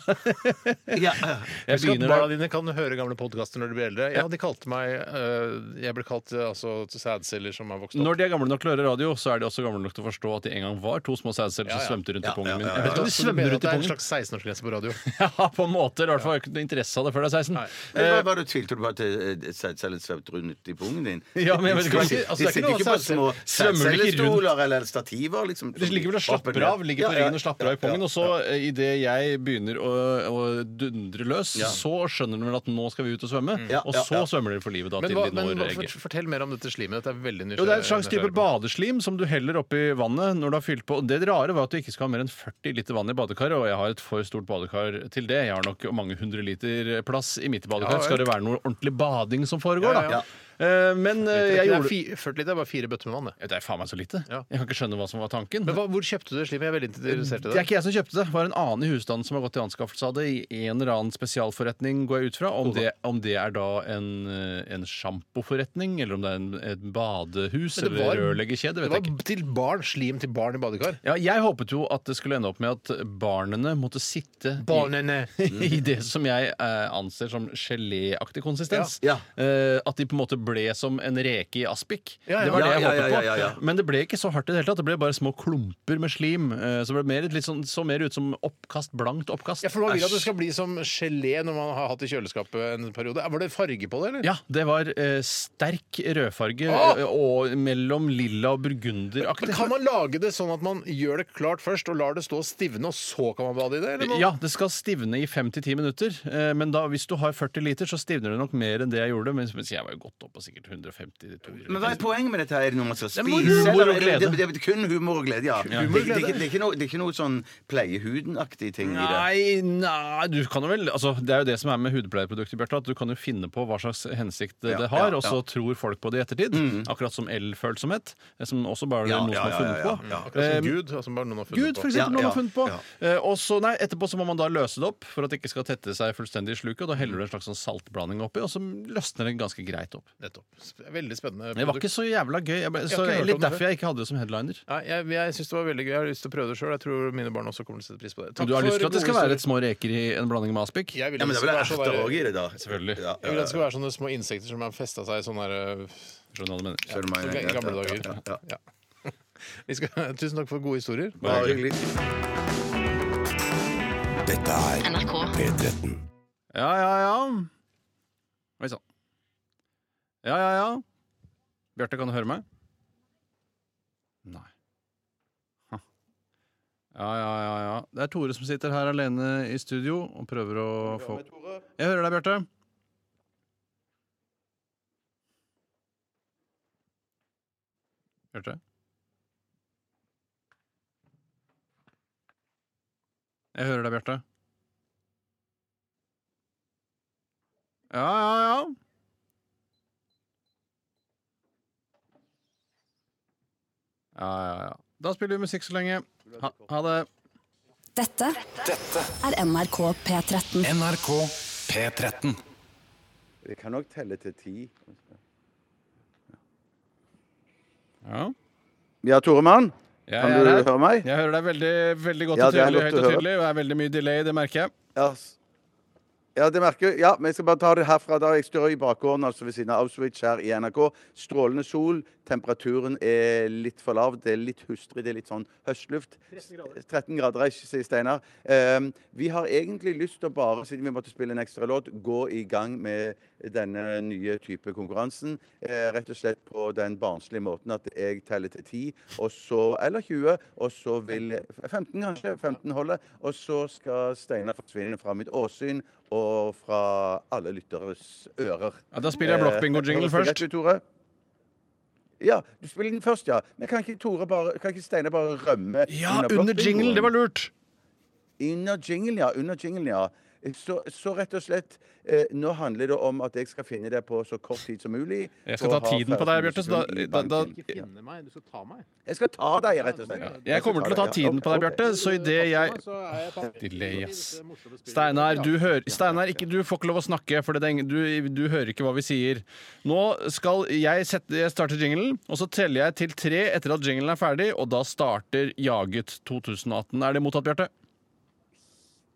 Speaker 6: (laughs)
Speaker 5: Ja, ja.
Speaker 6: Jeg
Speaker 4: Husk at
Speaker 6: begynner
Speaker 4: barna dine kan høre gamle podkaster når de blir eldre. Ja, de kalte meg eh, Jeg ble kalt eh, altså, sædceller som har vokst opp.
Speaker 6: Når de er gamle nok til å høre radio, så er de også gamle nok til å forstå at de en gang var to små sædceller som
Speaker 4: Ja, ja.
Speaker 6: svømte rundt i pungen min.
Speaker 5: ja, ja.
Speaker 6: Jeg vet ikke om de
Speaker 4: Så du mener at
Speaker 6: svømmer rundt i
Speaker 4: det er en
Speaker 6: pungen.
Speaker 4: slags 16-årsgrense på radio?
Speaker 6: Ja, på en måte. I hvert fall har jeg ikke noe interesse av det før det er 16.
Speaker 5: Men hva var det du tvilte du på at eh, sædcellen svevde rundt i pungen din?
Speaker 6: (laughs) Ja, men jeg vet ikke-
Speaker 5: De sitter-
Speaker 6: altså, det er
Speaker 5: de
Speaker 6: ikke
Speaker 5: sitter jo ikke på små
Speaker 6: noe sædcell- svømmer de ikke rundt?
Speaker 5: sædcellestoler eller stativer, liksom.
Speaker 6: De ligger vel og slapper av ligger på
Speaker 5: Ja, ja.
Speaker 6: ryggen og slapper av i pungen. Og så, eh, idet jeg begynner å, å dundre løs,
Speaker 5: Ja.
Speaker 6: så skjønner de vel at nå skal vi ut og svømme.
Speaker 5: Ja,
Speaker 6: Og
Speaker 5: ja,
Speaker 6: så
Speaker 5: ja.
Speaker 6: svømmer de for livet da
Speaker 4: Men,
Speaker 6: til
Speaker 4: hva,
Speaker 6: de
Speaker 4: men
Speaker 6: når
Speaker 4: hva,
Speaker 6: egget.
Speaker 4: fort- fortell mer om dette slimet. Dette Eh, er veldig nysgjerrig.
Speaker 6: Jo, det er et slags type
Speaker 4: nysgjerrig på.
Speaker 6: badeslim som du heller oppi vannet når du har fylt på. Det rare var at du ikke skal ha mer enn 40 liter vann i badekaret, og jeg har et for stort badekar til det. Jeg har nok mange hundre liter plass i mitt badekar.
Speaker 4: Ja, ja.
Speaker 6: Skal det være noe ordentlig bading som foregår,
Speaker 4: Ja,
Speaker 6: da?
Speaker 4: ja.
Speaker 6: Eh, Men eh,
Speaker 4: Jeg gjorde...
Speaker 6: jeg gjorde
Speaker 4: Det er 40 liter, det er bare fire bøtter med vann. det.
Speaker 6: Ja, Det er faen meg så lite.
Speaker 4: Ja.
Speaker 6: Jeg kan ikke skjønne hva som var tanken.
Speaker 4: Men hva, hvor kjøpte du det? Slim? Jeg er veldig interessert i
Speaker 6: Det
Speaker 4: det.
Speaker 6: er ikke jeg som kjøpte det. Det var en annen i husstanden som har gått til anskaffelse av det i en eller annen spesialforretning, går jeg ut fra. Om det, om det er da en, eh, en sjampoforretning, eller om det er en, et badehus
Speaker 4: Men det
Speaker 6: eller
Speaker 4: var-
Speaker 6: rørleggerkjede,
Speaker 4: Det
Speaker 6: vet jeg ikke.
Speaker 4: var til barn, slim til barn i badekar.
Speaker 6: Ja, jeg håpet jo at det skulle ende opp med at barnene måtte sitte i- (laughs) i det som jeg eh, anser som geléaktig konsistens.
Speaker 5: Ja.
Speaker 6: Eh, at de på en måte ble som en reke i aspik.
Speaker 4: Ja, ja.
Speaker 6: Det var det jeg
Speaker 5: Ja, ja,
Speaker 6: håpet
Speaker 5: ja, ja, ja.
Speaker 6: på. Men det ble ikke så hardt i det hele tatt. Det ble bare små klumper med slim. eh, så det ble mer, litt sånn, så mer ut som oppkast, blankt oppkast.
Speaker 4: Ja, for Man vil at det
Speaker 6: Æsj.
Speaker 4: skal bli som gelé når man har hatt det i kjøleskapet en periode. Var det farge på det, eller?
Speaker 6: Ja, det var eh, sterk rødfarge
Speaker 4: Åh!
Speaker 6: eh, og mellom lilla og burgunderaktig.
Speaker 4: Men Kan man lage det sånn at man gjør det klart først og lar det stå og stivne, og så kan man bade i det? Eller må-
Speaker 6: Ja, det skal stivne i 5-10 minutter. eh, Men da, hvis du har 40 liter, så stivner det nok mer enn det jeg gjorde. Men mens jeg var jo godt oppe på sikkert 150-200
Speaker 5: Men hva er poenget med dette? her? Er det noe man skal spise?
Speaker 6: er moro og
Speaker 5: eller er
Speaker 6: glede.
Speaker 5: det, det, det er kun humor og glede, ja. Det, det, det, det, er ikke noe, det er ikke noe sånn pleiehuden-aktig ting i det.
Speaker 6: Nei, nei du kan jo vel altså, Det er jo det som er med hudpleieprodukter, Bjarte. At du kan jo finne på hva slags hensikt det
Speaker 5: Ja,
Speaker 6: har,
Speaker 5: ja, Mm.
Speaker 6: og så tror folk på det i ettertid. Akkurat som elfølsomhet, eh, som også bare
Speaker 5: Ja,
Speaker 6: er noe
Speaker 5: ja,
Speaker 6: som har
Speaker 5: ja,
Speaker 6: funnet
Speaker 5: ja,
Speaker 6: på.
Speaker 5: ja,
Speaker 4: Akkurat som Gud. Altså bare noen har funnet
Speaker 6: ehm, Gud,
Speaker 4: på.
Speaker 6: for eksempel,
Speaker 5: Ja,
Speaker 6: noen
Speaker 5: ja,
Speaker 6: har funnet på.
Speaker 5: ja.
Speaker 6: Eh, og så, nei, etterpå så må man da løse det opp for at det ikke skal tette seg fullstendig i sluket. Og da heller du en slags sånn saltblanding oppi, og så løsner det ganske greit opp.
Speaker 4: Nettopp. Sp- Veldig spennende.
Speaker 6: Det var
Speaker 4: produkt.
Speaker 6: ikke så jævla gøy. Jeg ble,
Speaker 4: har
Speaker 6: så,
Speaker 4: ikke hørt om
Speaker 6: litt
Speaker 4: det før.
Speaker 6: derfor jeg ikke hadde det som headliner.
Speaker 4: Nei, jeg jeg syns det var veldig gøy. Jeg har lyst til å prøve det sjøl. Jeg tror mine barn også kommer til å sette pris på det. Takk
Speaker 6: du har lyst
Speaker 4: for
Speaker 6: til at det skal
Speaker 4: gode
Speaker 6: være et
Speaker 4: historier.
Speaker 6: små reker i en blanding med aspik?
Speaker 4: Jeg vil
Speaker 5: Ja,
Speaker 4: at
Speaker 5: men
Speaker 4: det
Speaker 5: det
Speaker 4: skal
Speaker 5: blir
Speaker 4: være sånn
Speaker 5: erter
Speaker 4: der-
Speaker 5: òg i det, da.
Speaker 6: Selvfølgelig.
Speaker 5: Ja,
Speaker 4: jeg vil at det skal være sånne små insekter som har festa seg i sånne der, øh, (laughs)
Speaker 6: Skjønner hva du mener.
Speaker 5: Skjønner du hva jeg
Speaker 4: Som
Speaker 5: mener?
Speaker 4: i gamle
Speaker 5: Ja,
Speaker 4: dager.
Speaker 5: ja, ja.
Speaker 4: Ja. Vi skal, tusen takk for gode historier.
Speaker 5: Bare hyggelig.
Speaker 1: Dette er
Speaker 8: NRK.
Speaker 1: P13.
Speaker 6: Ja, ja, ja. Oi sann. Ja, ja, ja. Bjarte, kan du høre meg? Nei. Ha. Ja, ja, ja, ja. Det er Tore som sitter her alene i studio og prøver å få Jeg hører deg, Bjarte. Bjarte? Jeg hører deg, Bjarte. Ja, ja, ja. Ja, ja, ja. Da spiller vi musikk så lenge. Ha, ha det.
Speaker 9: Dette er NRK P13.
Speaker 10: NRK P13.
Speaker 5: Vi kan nok telle til ti.
Speaker 6: Ja.
Speaker 5: Ja, Toremann?
Speaker 6: Jeg,
Speaker 5: Kan
Speaker 6: er
Speaker 5: du
Speaker 6: her.
Speaker 5: høre meg?
Speaker 6: Jeg hører deg veldig, veldig godt
Speaker 5: Ja,
Speaker 6: og
Speaker 5: det er
Speaker 6: tydelig.
Speaker 5: godt
Speaker 6: Høyt
Speaker 5: å
Speaker 6: og
Speaker 5: høre.
Speaker 6: tydelig. og Det er veldig mye delay, det merker jeg.
Speaker 5: Ja, s- ja, det merker jeg. Ja, men jeg skal bare ta det herfra. da. Jeg står i bakgården altså ved siden av Auschwitz her i NRK. Strålende sol. Temperaturen er litt for lav. Det er litt hustrig. Det er litt sånn høstluft. 13 grader, er ikke, sier Steinar. Ehm, vi har egentlig lyst til å bare, siden vi måtte spille en ekstra låt, gå i gang med denne nye type konkurransen. Eh, rett og slett på den barnslige måten at jeg teller til 10, og så, eller 20, og så vil 15 kanskje, 15 holder, og så skal Steinar forsvinne fra mitt åsyn og fra alle lytteres ører.
Speaker 6: Ja, da spiller jeg blokkbingo-jingle
Speaker 5: Eh, høres det
Speaker 6: først.
Speaker 5: greit ut, Tore? Ja, du spiller den først, ja. Men kan ikke, Tore bare, kan ikke Steinar bare rømme
Speaker 6: Ja, under jingle! Det var lurt.
Speaker 5: under jingle, ja. Under jingle, ja. Eh, Så, så rett og slett eh, Nå handler det om at jeg skal finne det på så kort tid som mulig.
Speaker 6: Jeg skal
Speaker 5: og
Speaker 6: ta
Speaker 5: ha
Speaker 6: tiden på deg,
Speaker 5: 15
Speaker 6: Bjarte, så da-
Speaker 5: sekunder i
Speaker 6: da- da-
Speaker 5: banken.
Speaker 4: Ikke finne meg, du skal ta meg.
Speaker 5: Jeg skal ta deg, rett og slett.
Speaker 6: Jeg kommer til å ta tiden på deg, Bjarte, så idet jeg Delay,
Speaker 4: Delay,
Speaker 6: ass. Steinar, du, hører, Steinar ikke, du får ikke lov å snakke, for det er ingen, du, du hører ikke hva vi sier. Nå skal jeg, sette, jeg starter jinglen, og så teller jeg til tre etter at jinglen er ferdig, og da starter Jaget 2018. Er det mottatt, Bjarte?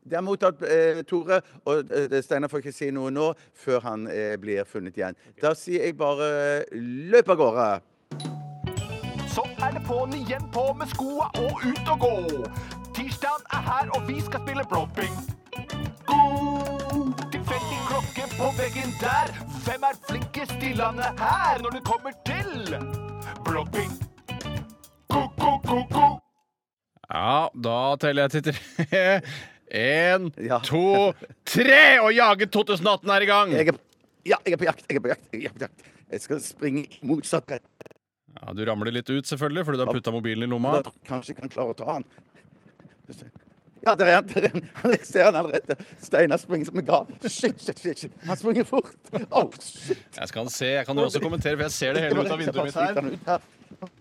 Speaker 5: Det er mottatt, eh, Tore. Og eh, Steinar får ikke si noe nå før han eh, blir funnet igjen. Da sier jeg bare eh, løp av gårde.
Speaker 11: Så er det på'n igjen på med skoa og ut og gå. Tirsdagen er her, og vi skal spille blåping. God tilfeldig klokke på veggen der. Hvem er flinkest i landet her når det kommer til blåping? Ko-ko-ko-ko.
Speaker 6: Ja, da teller jeg til tre. Én,
Speaker 5: Ja.
Speaker 6: to, tre! Og Jaget 2018 er i gang!
Speaker 5: Jeg er, ja, jeg er på jakt. Jeg er på jakt. Jeg, er på jakt. jeg skal springe i motsatt rett.
Speaker 6: Ja, du ramler litt ut, selvfølgelig, fordi du har putta mobilen i lomma.
Speaker 5: Kanskje jeg kan klare å ta han.
Speaker 7: Ja, der er han. Der er han. Jeg ser han allerede. Steinar springer som en gal. Shit, shit, shit. shit. Han springer fort. Oh, shit.
Speaker 6: Jeg skal se, jeg kan jo også kommentere, for jeg ser det hele ut av vinduet mitt
Speaker 7: Bare
Speaker 6: her.
Speaker 7: hiver han ut her.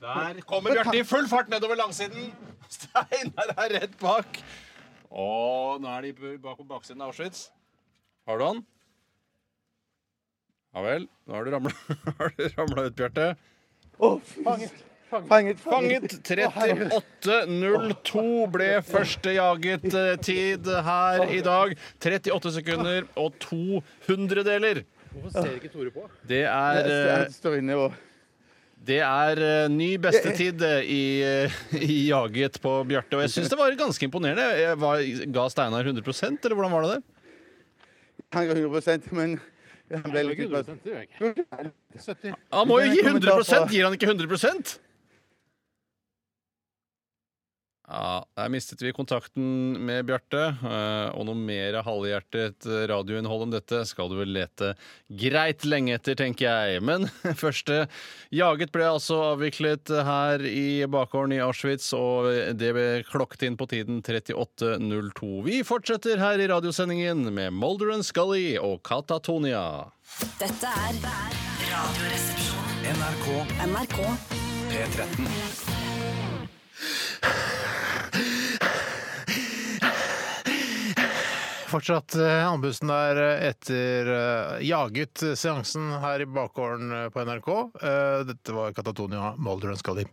Speaker 6: Der kommer Bjarte i full fart nedover langsiden. (laughs) Steinar er rett bak. Å, nå er de b- bak på baksiden av Auschwitz. Har du han? Ja vel. (laughs) Nå har du ramla- har du ramla ut, Bjarte.
Speaker 7: Å, fy. Fanget.
Speaker 6: Fanget 38.02 ble første jaget eh, tid her i dag. 38 sekunder og to hundredeler. Det er, eh,
Speaker 7: Jeg står inne og
Speaker 6: det er eh, ny bestetid eh, i, eh, i jaget på Bjarte. Og jeg syns det var ganske imponerende. Jeg var, ga Steinar 100 eller hvordan var det der?
Speaker 7: Han ga 100 men han ble litt utpå.
Speaker 6: Han må jo gi 100 Gir han ikke 100 Ja, Der mistet vi kontakten med Bjarte. eh, Og noe mer halvhjertet radioinnhold om dette skal du vel lete greit lenge etter, tenker jeg. Men (laughs) første jaget ble altså avviklet her i bakgården i Auschwitz, og det ble klokket inn på tiden 38.02. Vi fortsetter her i radiosendingen med Molder and Scully og Katatonia.
Speaker 9: Dette er Radioresepsjonen.
Speaker 3: NRK
Speaker 9: NRK
Speaker 3: P13.
Speaker 4: Fortsatt eh, andpusten der eh, etter eh, jaget seansen her i bakgården eh, på NRK. Eh, dette var Katatonia Molder and Scully.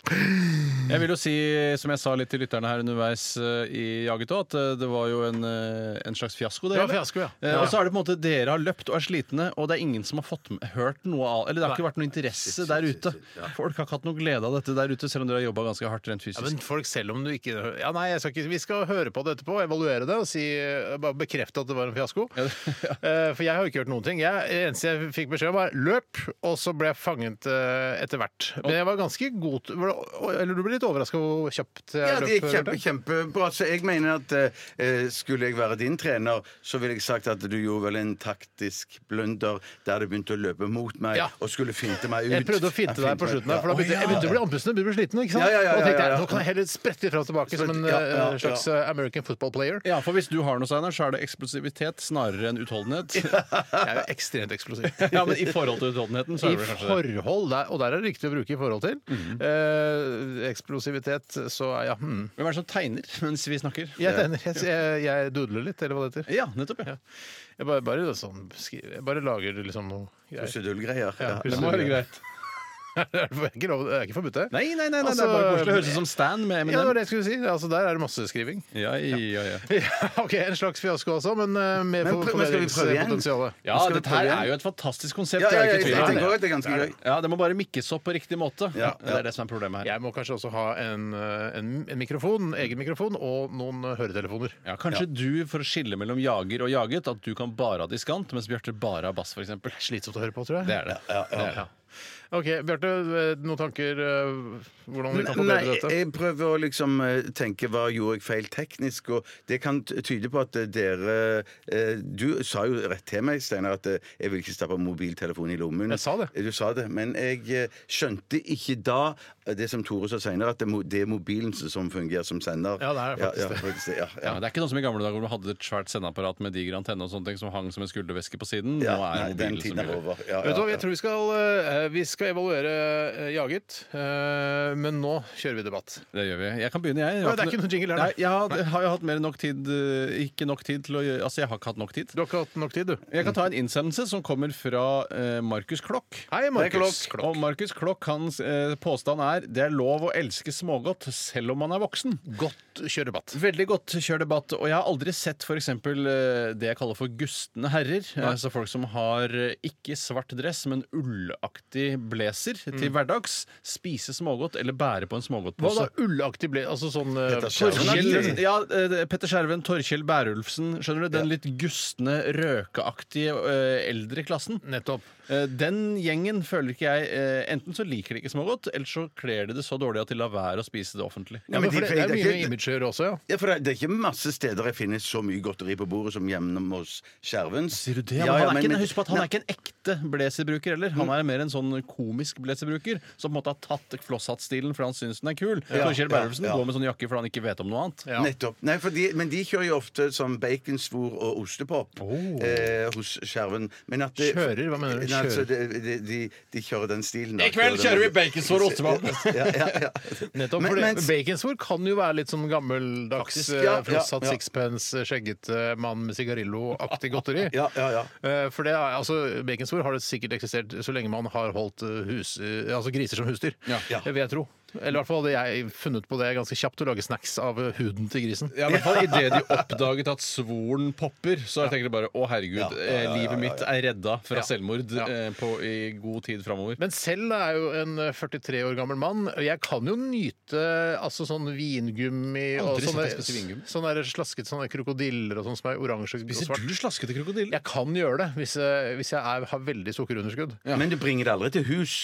Speaker 6: Jeg vil jo si, som jeg sa litt til lytterne her underveis eh, i Jaget òg, at eh, det var jo en, eh, en slags fiasko.
Speaker 4: Det var
Speaker 6: hele.
Speaker 4: fiasko, ja.
Speaker 6: Eh, Og så er det på en måte dere har løpt og er slitne, og det er ingen som har fått m- hørt noe av Eller det har ikke vært noe interesse der ute. Folk har ikke hatt noe glede av dette der ute, selv om dere har jobba ganske hardt rent
Speaker 4: Ja,
Speaker 6: fysisk.
Speaker 4: men folk selv om du ikke Ja, nei, jeg skal ikke Vi skal høre på det etterpå, evaluere det og si, eh, bare bekrefte at det var en fiasko.
Speaker 5: (laughs)
Speaker 4: Eh, For jeg har jo ikke hørt noen ting. Jeg, det eneste jeg fikk beskjed om, var løp, og så ble jeg fanget eh, etter hvert. Men jeg var ganske god til- var det- Eller du ble litt overraska hvor kjapt jeg
Speaker 5: Ja,
Speaker 4: løp?
Speaker 5: det gikk kjempe,
Speaker 4: Bjarte?
Speaker 5: kjempebra. Så jeg mener at eh, skulle jeg være din trener, så ville jeg sagt at du gjorde vel en taktisk blunder der du begynte å løpe mot meg
Speaker 4: Ja.
Speaker 5: og skulle finte meg ut.
Speaker 4: Jeg prøvde å finte deg på slutten, der, for da begynte jeg begynte å bli andpusten og begynte å bli sliten. ikke sant?
Speaker 5: Ja, ja, ja,
Speaker 4: Og da tenkte
Speaker 5: ja,
Speaker 4: jeg,
Speaker 5: ja.
Speaker 4: Nå kan jeg heller sprette fram og tilbake som en
Speaker 5: Sprette, ja, ja,
Speaker 4: eh, slags eh, American football player.
Speaker 6: Ja, for hvis du har noe, Steinar, så er det eksplosivitet snarere enn utholdenhet.
Speaker 4: Jeg er jo ekstremt eksplosiv.
Speaker 6: (laughs) Ja, men i forhold til utholdenheten, så
Speaker 4: I
Speaker 6: er det vel kanskje det. Mhm.
Speaker 4: forhold, der, og der er det riktig å bruke i forhold til. Eh, eksplosivitet, så er- ja hmm.
Speaker 6: Hvem er det som tegner mens vi snakker?
Speaker 4: Jeg tegner. Jeg, jeg, jeg dudler litt, eller hva det heter.
Speaker 6: Ja, nettopp. ja.
Speaker 4: Jeg bare, bare, sånn, skriver, jeg bare lager liksom noe greier.
Speaker 5: Pussedullgreier.
Speaker 4: Ja,
Speaker 5: Ja.
Speaker 4: pusse-
Speaker 6: Det må være greit.
Speaker 4: (laughs) Det er ikke lov- det er ikke forbudt, det.
Speaker 6: Nei, nei, nei, nei, det
Speaker 4: Altså,
Speaker 6: er bare koselig. Høres ut som Stan med
Speaker 4: Ja, det var
Speaker 6: Eminem.
Speaker 4: det jeg skulle si. Altså, der er det masseskriving.
Speaker 6: Ja, ja, ja.
Speaker 4: (laughs) Ja, OK, en slags fiasko også, men eh,
Speaker 5: Men
Speaker 4: med for- eh,
Speaker 5: pr- men skal vi prøve igjen?
Speaker 4: forbedringspotensial.
Speaker 6: Ja,
Speaker 5: Skal vi
Speaker 6: dette
Speaker 5: prøve
Speaker 6: her
Speaker 5: igjen?
Speaker 6: er jo et fantastisk konsept.
Speaker 5: Ja,
Speaker 6: det
Speaker 5: ja,
Speaker 6: er
Speaker 5: ja, jeg
Speaker 6: ikke tvil om.
Speaker 5: tenker også at det er ganske gøy.
Speaker 6: Ja, det må bare mikkes opp på riktig måte.
Speaker 5: Ja,
Speaker 6: Det er det som er problemet her.
Speaker 4: Jeg må kanskje også ha en, eh, en, en mikrofon, egen mikrofon, og noen eh, høretelefoner.
Speaker 6: Ja, kanskje du, for å skille mellom jager og jaget, at du kan bare ha diskant, mens Bjarte bare har bass, f.eks.
Speaker 4: Slitsomt å høre på, tror jeg.
Speaker 6: Det er det.
Speaker 4: OK, Bjarte, eh, noen tanker eh, hvordan vi kan
Speaker 5: Nei, eh,
Speaker 4: forbedre dette?
Speaker 5: jeg prøver å liksom eh, tenke hva gjorde jeg feil teknisk, og det kan t- tyde på at eh, dere eh, Du sa jo rett til meg, Steinar, at eh, jeg vil ikke stappe mobiltelefonen i lommen. Eh,
Speaker 4: Jeg sa det.
Speaker 5: Du sa det, men jeg eh, skjønte ikke da eh, det som Tore sa seinere, at det mo- det er mobilen som- som fungerer som sender.
Speaker 4: Ja, det er faktisk
Speaker 5: ja,
Speaker 4: det.
Speaker 5: ja, faktisk det. Ja,
Speaker 6: Ja,
Speaker 5: ja.
Speaker 6: det er ikke noe som i gamle dager hvor du hadde et svært sendeapparat med diger antenne og sånne ting som hang som en skulderveske på siden.
Speaker 5: Ja,
Speaker 6: Nå er
Speaker 5: nei, den
Speaker 6: mobilen
Speaker 5: tiden
Speaker 6: som
Speaker 5: er
Speaker 6: gjør det.
Speaker 5: over. Ja,
Speaker 4: Vet du hva,
Speaker 5: ja,
Speaker 4: jeg tror vi skal, eh, vi skal evaluere eh, Jaget, eh, men nå kjører vi debatt.
Speaker 6: Det gjør vi. Jeg kan begynne, jeg. jeg.
Speaker 4: Nei,
Speaker 6: har
Speaker 4: det er ikke noe jingle her,
Speaker 6: Nei,
Speaker 4: nei.
Speaker 6: jeg har, har jo hatt mer enn nok tid eh, Ikke nok tid til å gjøre Altså, jeg har ikke hatt nok tid.
Speaker 4: Du har ikke hatt nok tid, du.
Speaker 6: Jeg kan ta en innsendelse som kommer fra eh, Markus Klokk.
Speaker 4: Hei, Markus.
Speaker 6: Klokk. Og Markus Klokk, hans eh, påstand er det er lov å elske smågodt selv om man er voksen.
Speaker 4: Godt kjør debatt.
Speaker 6: Veldig godt kjør debatt. Og jeg har aldri sett f.eks. det jeg kaller for gustne herrer. Altså folk som har eh, ikke svart dress, men ullaktig blazer til hverdags. Spise smågodt eller bære på en
Speaker 4: Mm. Hva da?
Speaker 6: smågodtpose.
Speaker 4: Ullaktig ble Altså sånn eh,
Speaker 5: Dette skjer.
Speaker 4: Torkjell-
Speaker 6: Torkjell- Ja, eh, Petter Skjerven, Torkjell Bærulfsen. Skjønner du? Den litt gustne, røkeaktige eh, eldre klassen.
Speaker 4: Nettopp.
Speaker 6: Eh, Den gjengen føler ikke jeg eh, Enten så liker de ikke smågodt, eller så kler de det så dårlig at de lar være å spise det offentlig.
Speaker 5: Ja, men
Speaker 4: for
Speaker 5: de-
Speaker 4: det, det er
Speaker 5: det er
Speaker 4: mye
Speaker 5: ikke-
Speaker 4: med image å gjøre også, ja.
Speaker 5: Ja, for det, det er ikke masse steder jeg finner så mye godteri på bordet som hjemme hos Skjerven.
Speaker 6: Sier du det?
Speaker 5: Ja, ja,
Speaker 6: han er
Speaker 5: men-
Speaker 6: ikke, en-
Speaker 5: men-
Speaker 6: husk på at han er ikke en ekte blazerbruker heller. Han er mer en sånn komisk blazerbruker som på en måte har tatt flosshattstilen fordi han syns den er kul. Så Kjell Berlefsen
Speaker 5: ja, ja.
Speaker 6: går med sånn jakke fordi han ikke vet om noe annet.
Speaker 5: Nettopp. Nei, for de, men de kjører jo ofte som baconsvor og ostepop
Speaker 6: Oh.
Speaker 5: eh, hos Skjerven. Men at det-
Speaker 4: Kjører? Hva mener du?
Speaker 5: Nei, altså,
Speaker 4: Kjører?
Speaker 5: de, de, de, de kjører den stilen. da.
Speaker 6: I kveld kjører vi baconsvor og ostepop.
Speaker 5: Ja, ja, ja.
Speaker 4: Nettopp,
Speaker 5: Men-
Speaker 4: for det-
Speaker 5: men-
Speaker 4: Baconsvor kan jo være litt sånn gammeldags
Speaker 5: Faktisk,
Speaker 4: eh,
Speaker 5: ja, ja,
Speaker 4: frossatt
Speaker 5: ja.
Speaker 4: sixpence, skjeggete mann med sigarillo-aktig godteri.
Speaker 5: (laughs) Ja, ja, ja.
Speaker 4: Eh, For det er, altså, Baconsvor har det sikkert eksistert så lenge man har holdt eh, hus, eh, altså griser som husdyr,
Speaker 6: Ja.
Speaker 5: Ja.
Speaker 4: Det vil jeg tro. Eller i hvert fall hadde jeg funnet på det ganske kjapt, å lage snacks av eh, huden til grisen.
Speaker 6: (laughs) Ja, i hvert fall Idet de oppdaget at svoren popper, så tenker de bare å herregud, eh, livet mitt er redda fra selvmord eh, på, i god tid framover.
Speaker 4: Men selv er jeg jo en eh, 43 år gammel mann. og Jeg kan jo nyte altså sånn vingummi og
Speaker 6: Aldri sett
Speaker 4: sånne,
Speaker 6: deg spise vingummi.
Speaker 4: sånne der slasket sånne krokodiller og sånn som er oransje og
Speaker 6: Spiser
Speaker 4: svart.
Speaker 6: du slaskete krokodille?
Speaker 4: Jeg kan gjøre det hvis jeg, hvis jeg er, har veldig sukkerunderskudd.
Speaker 5: Men du bringer det aldri til hus.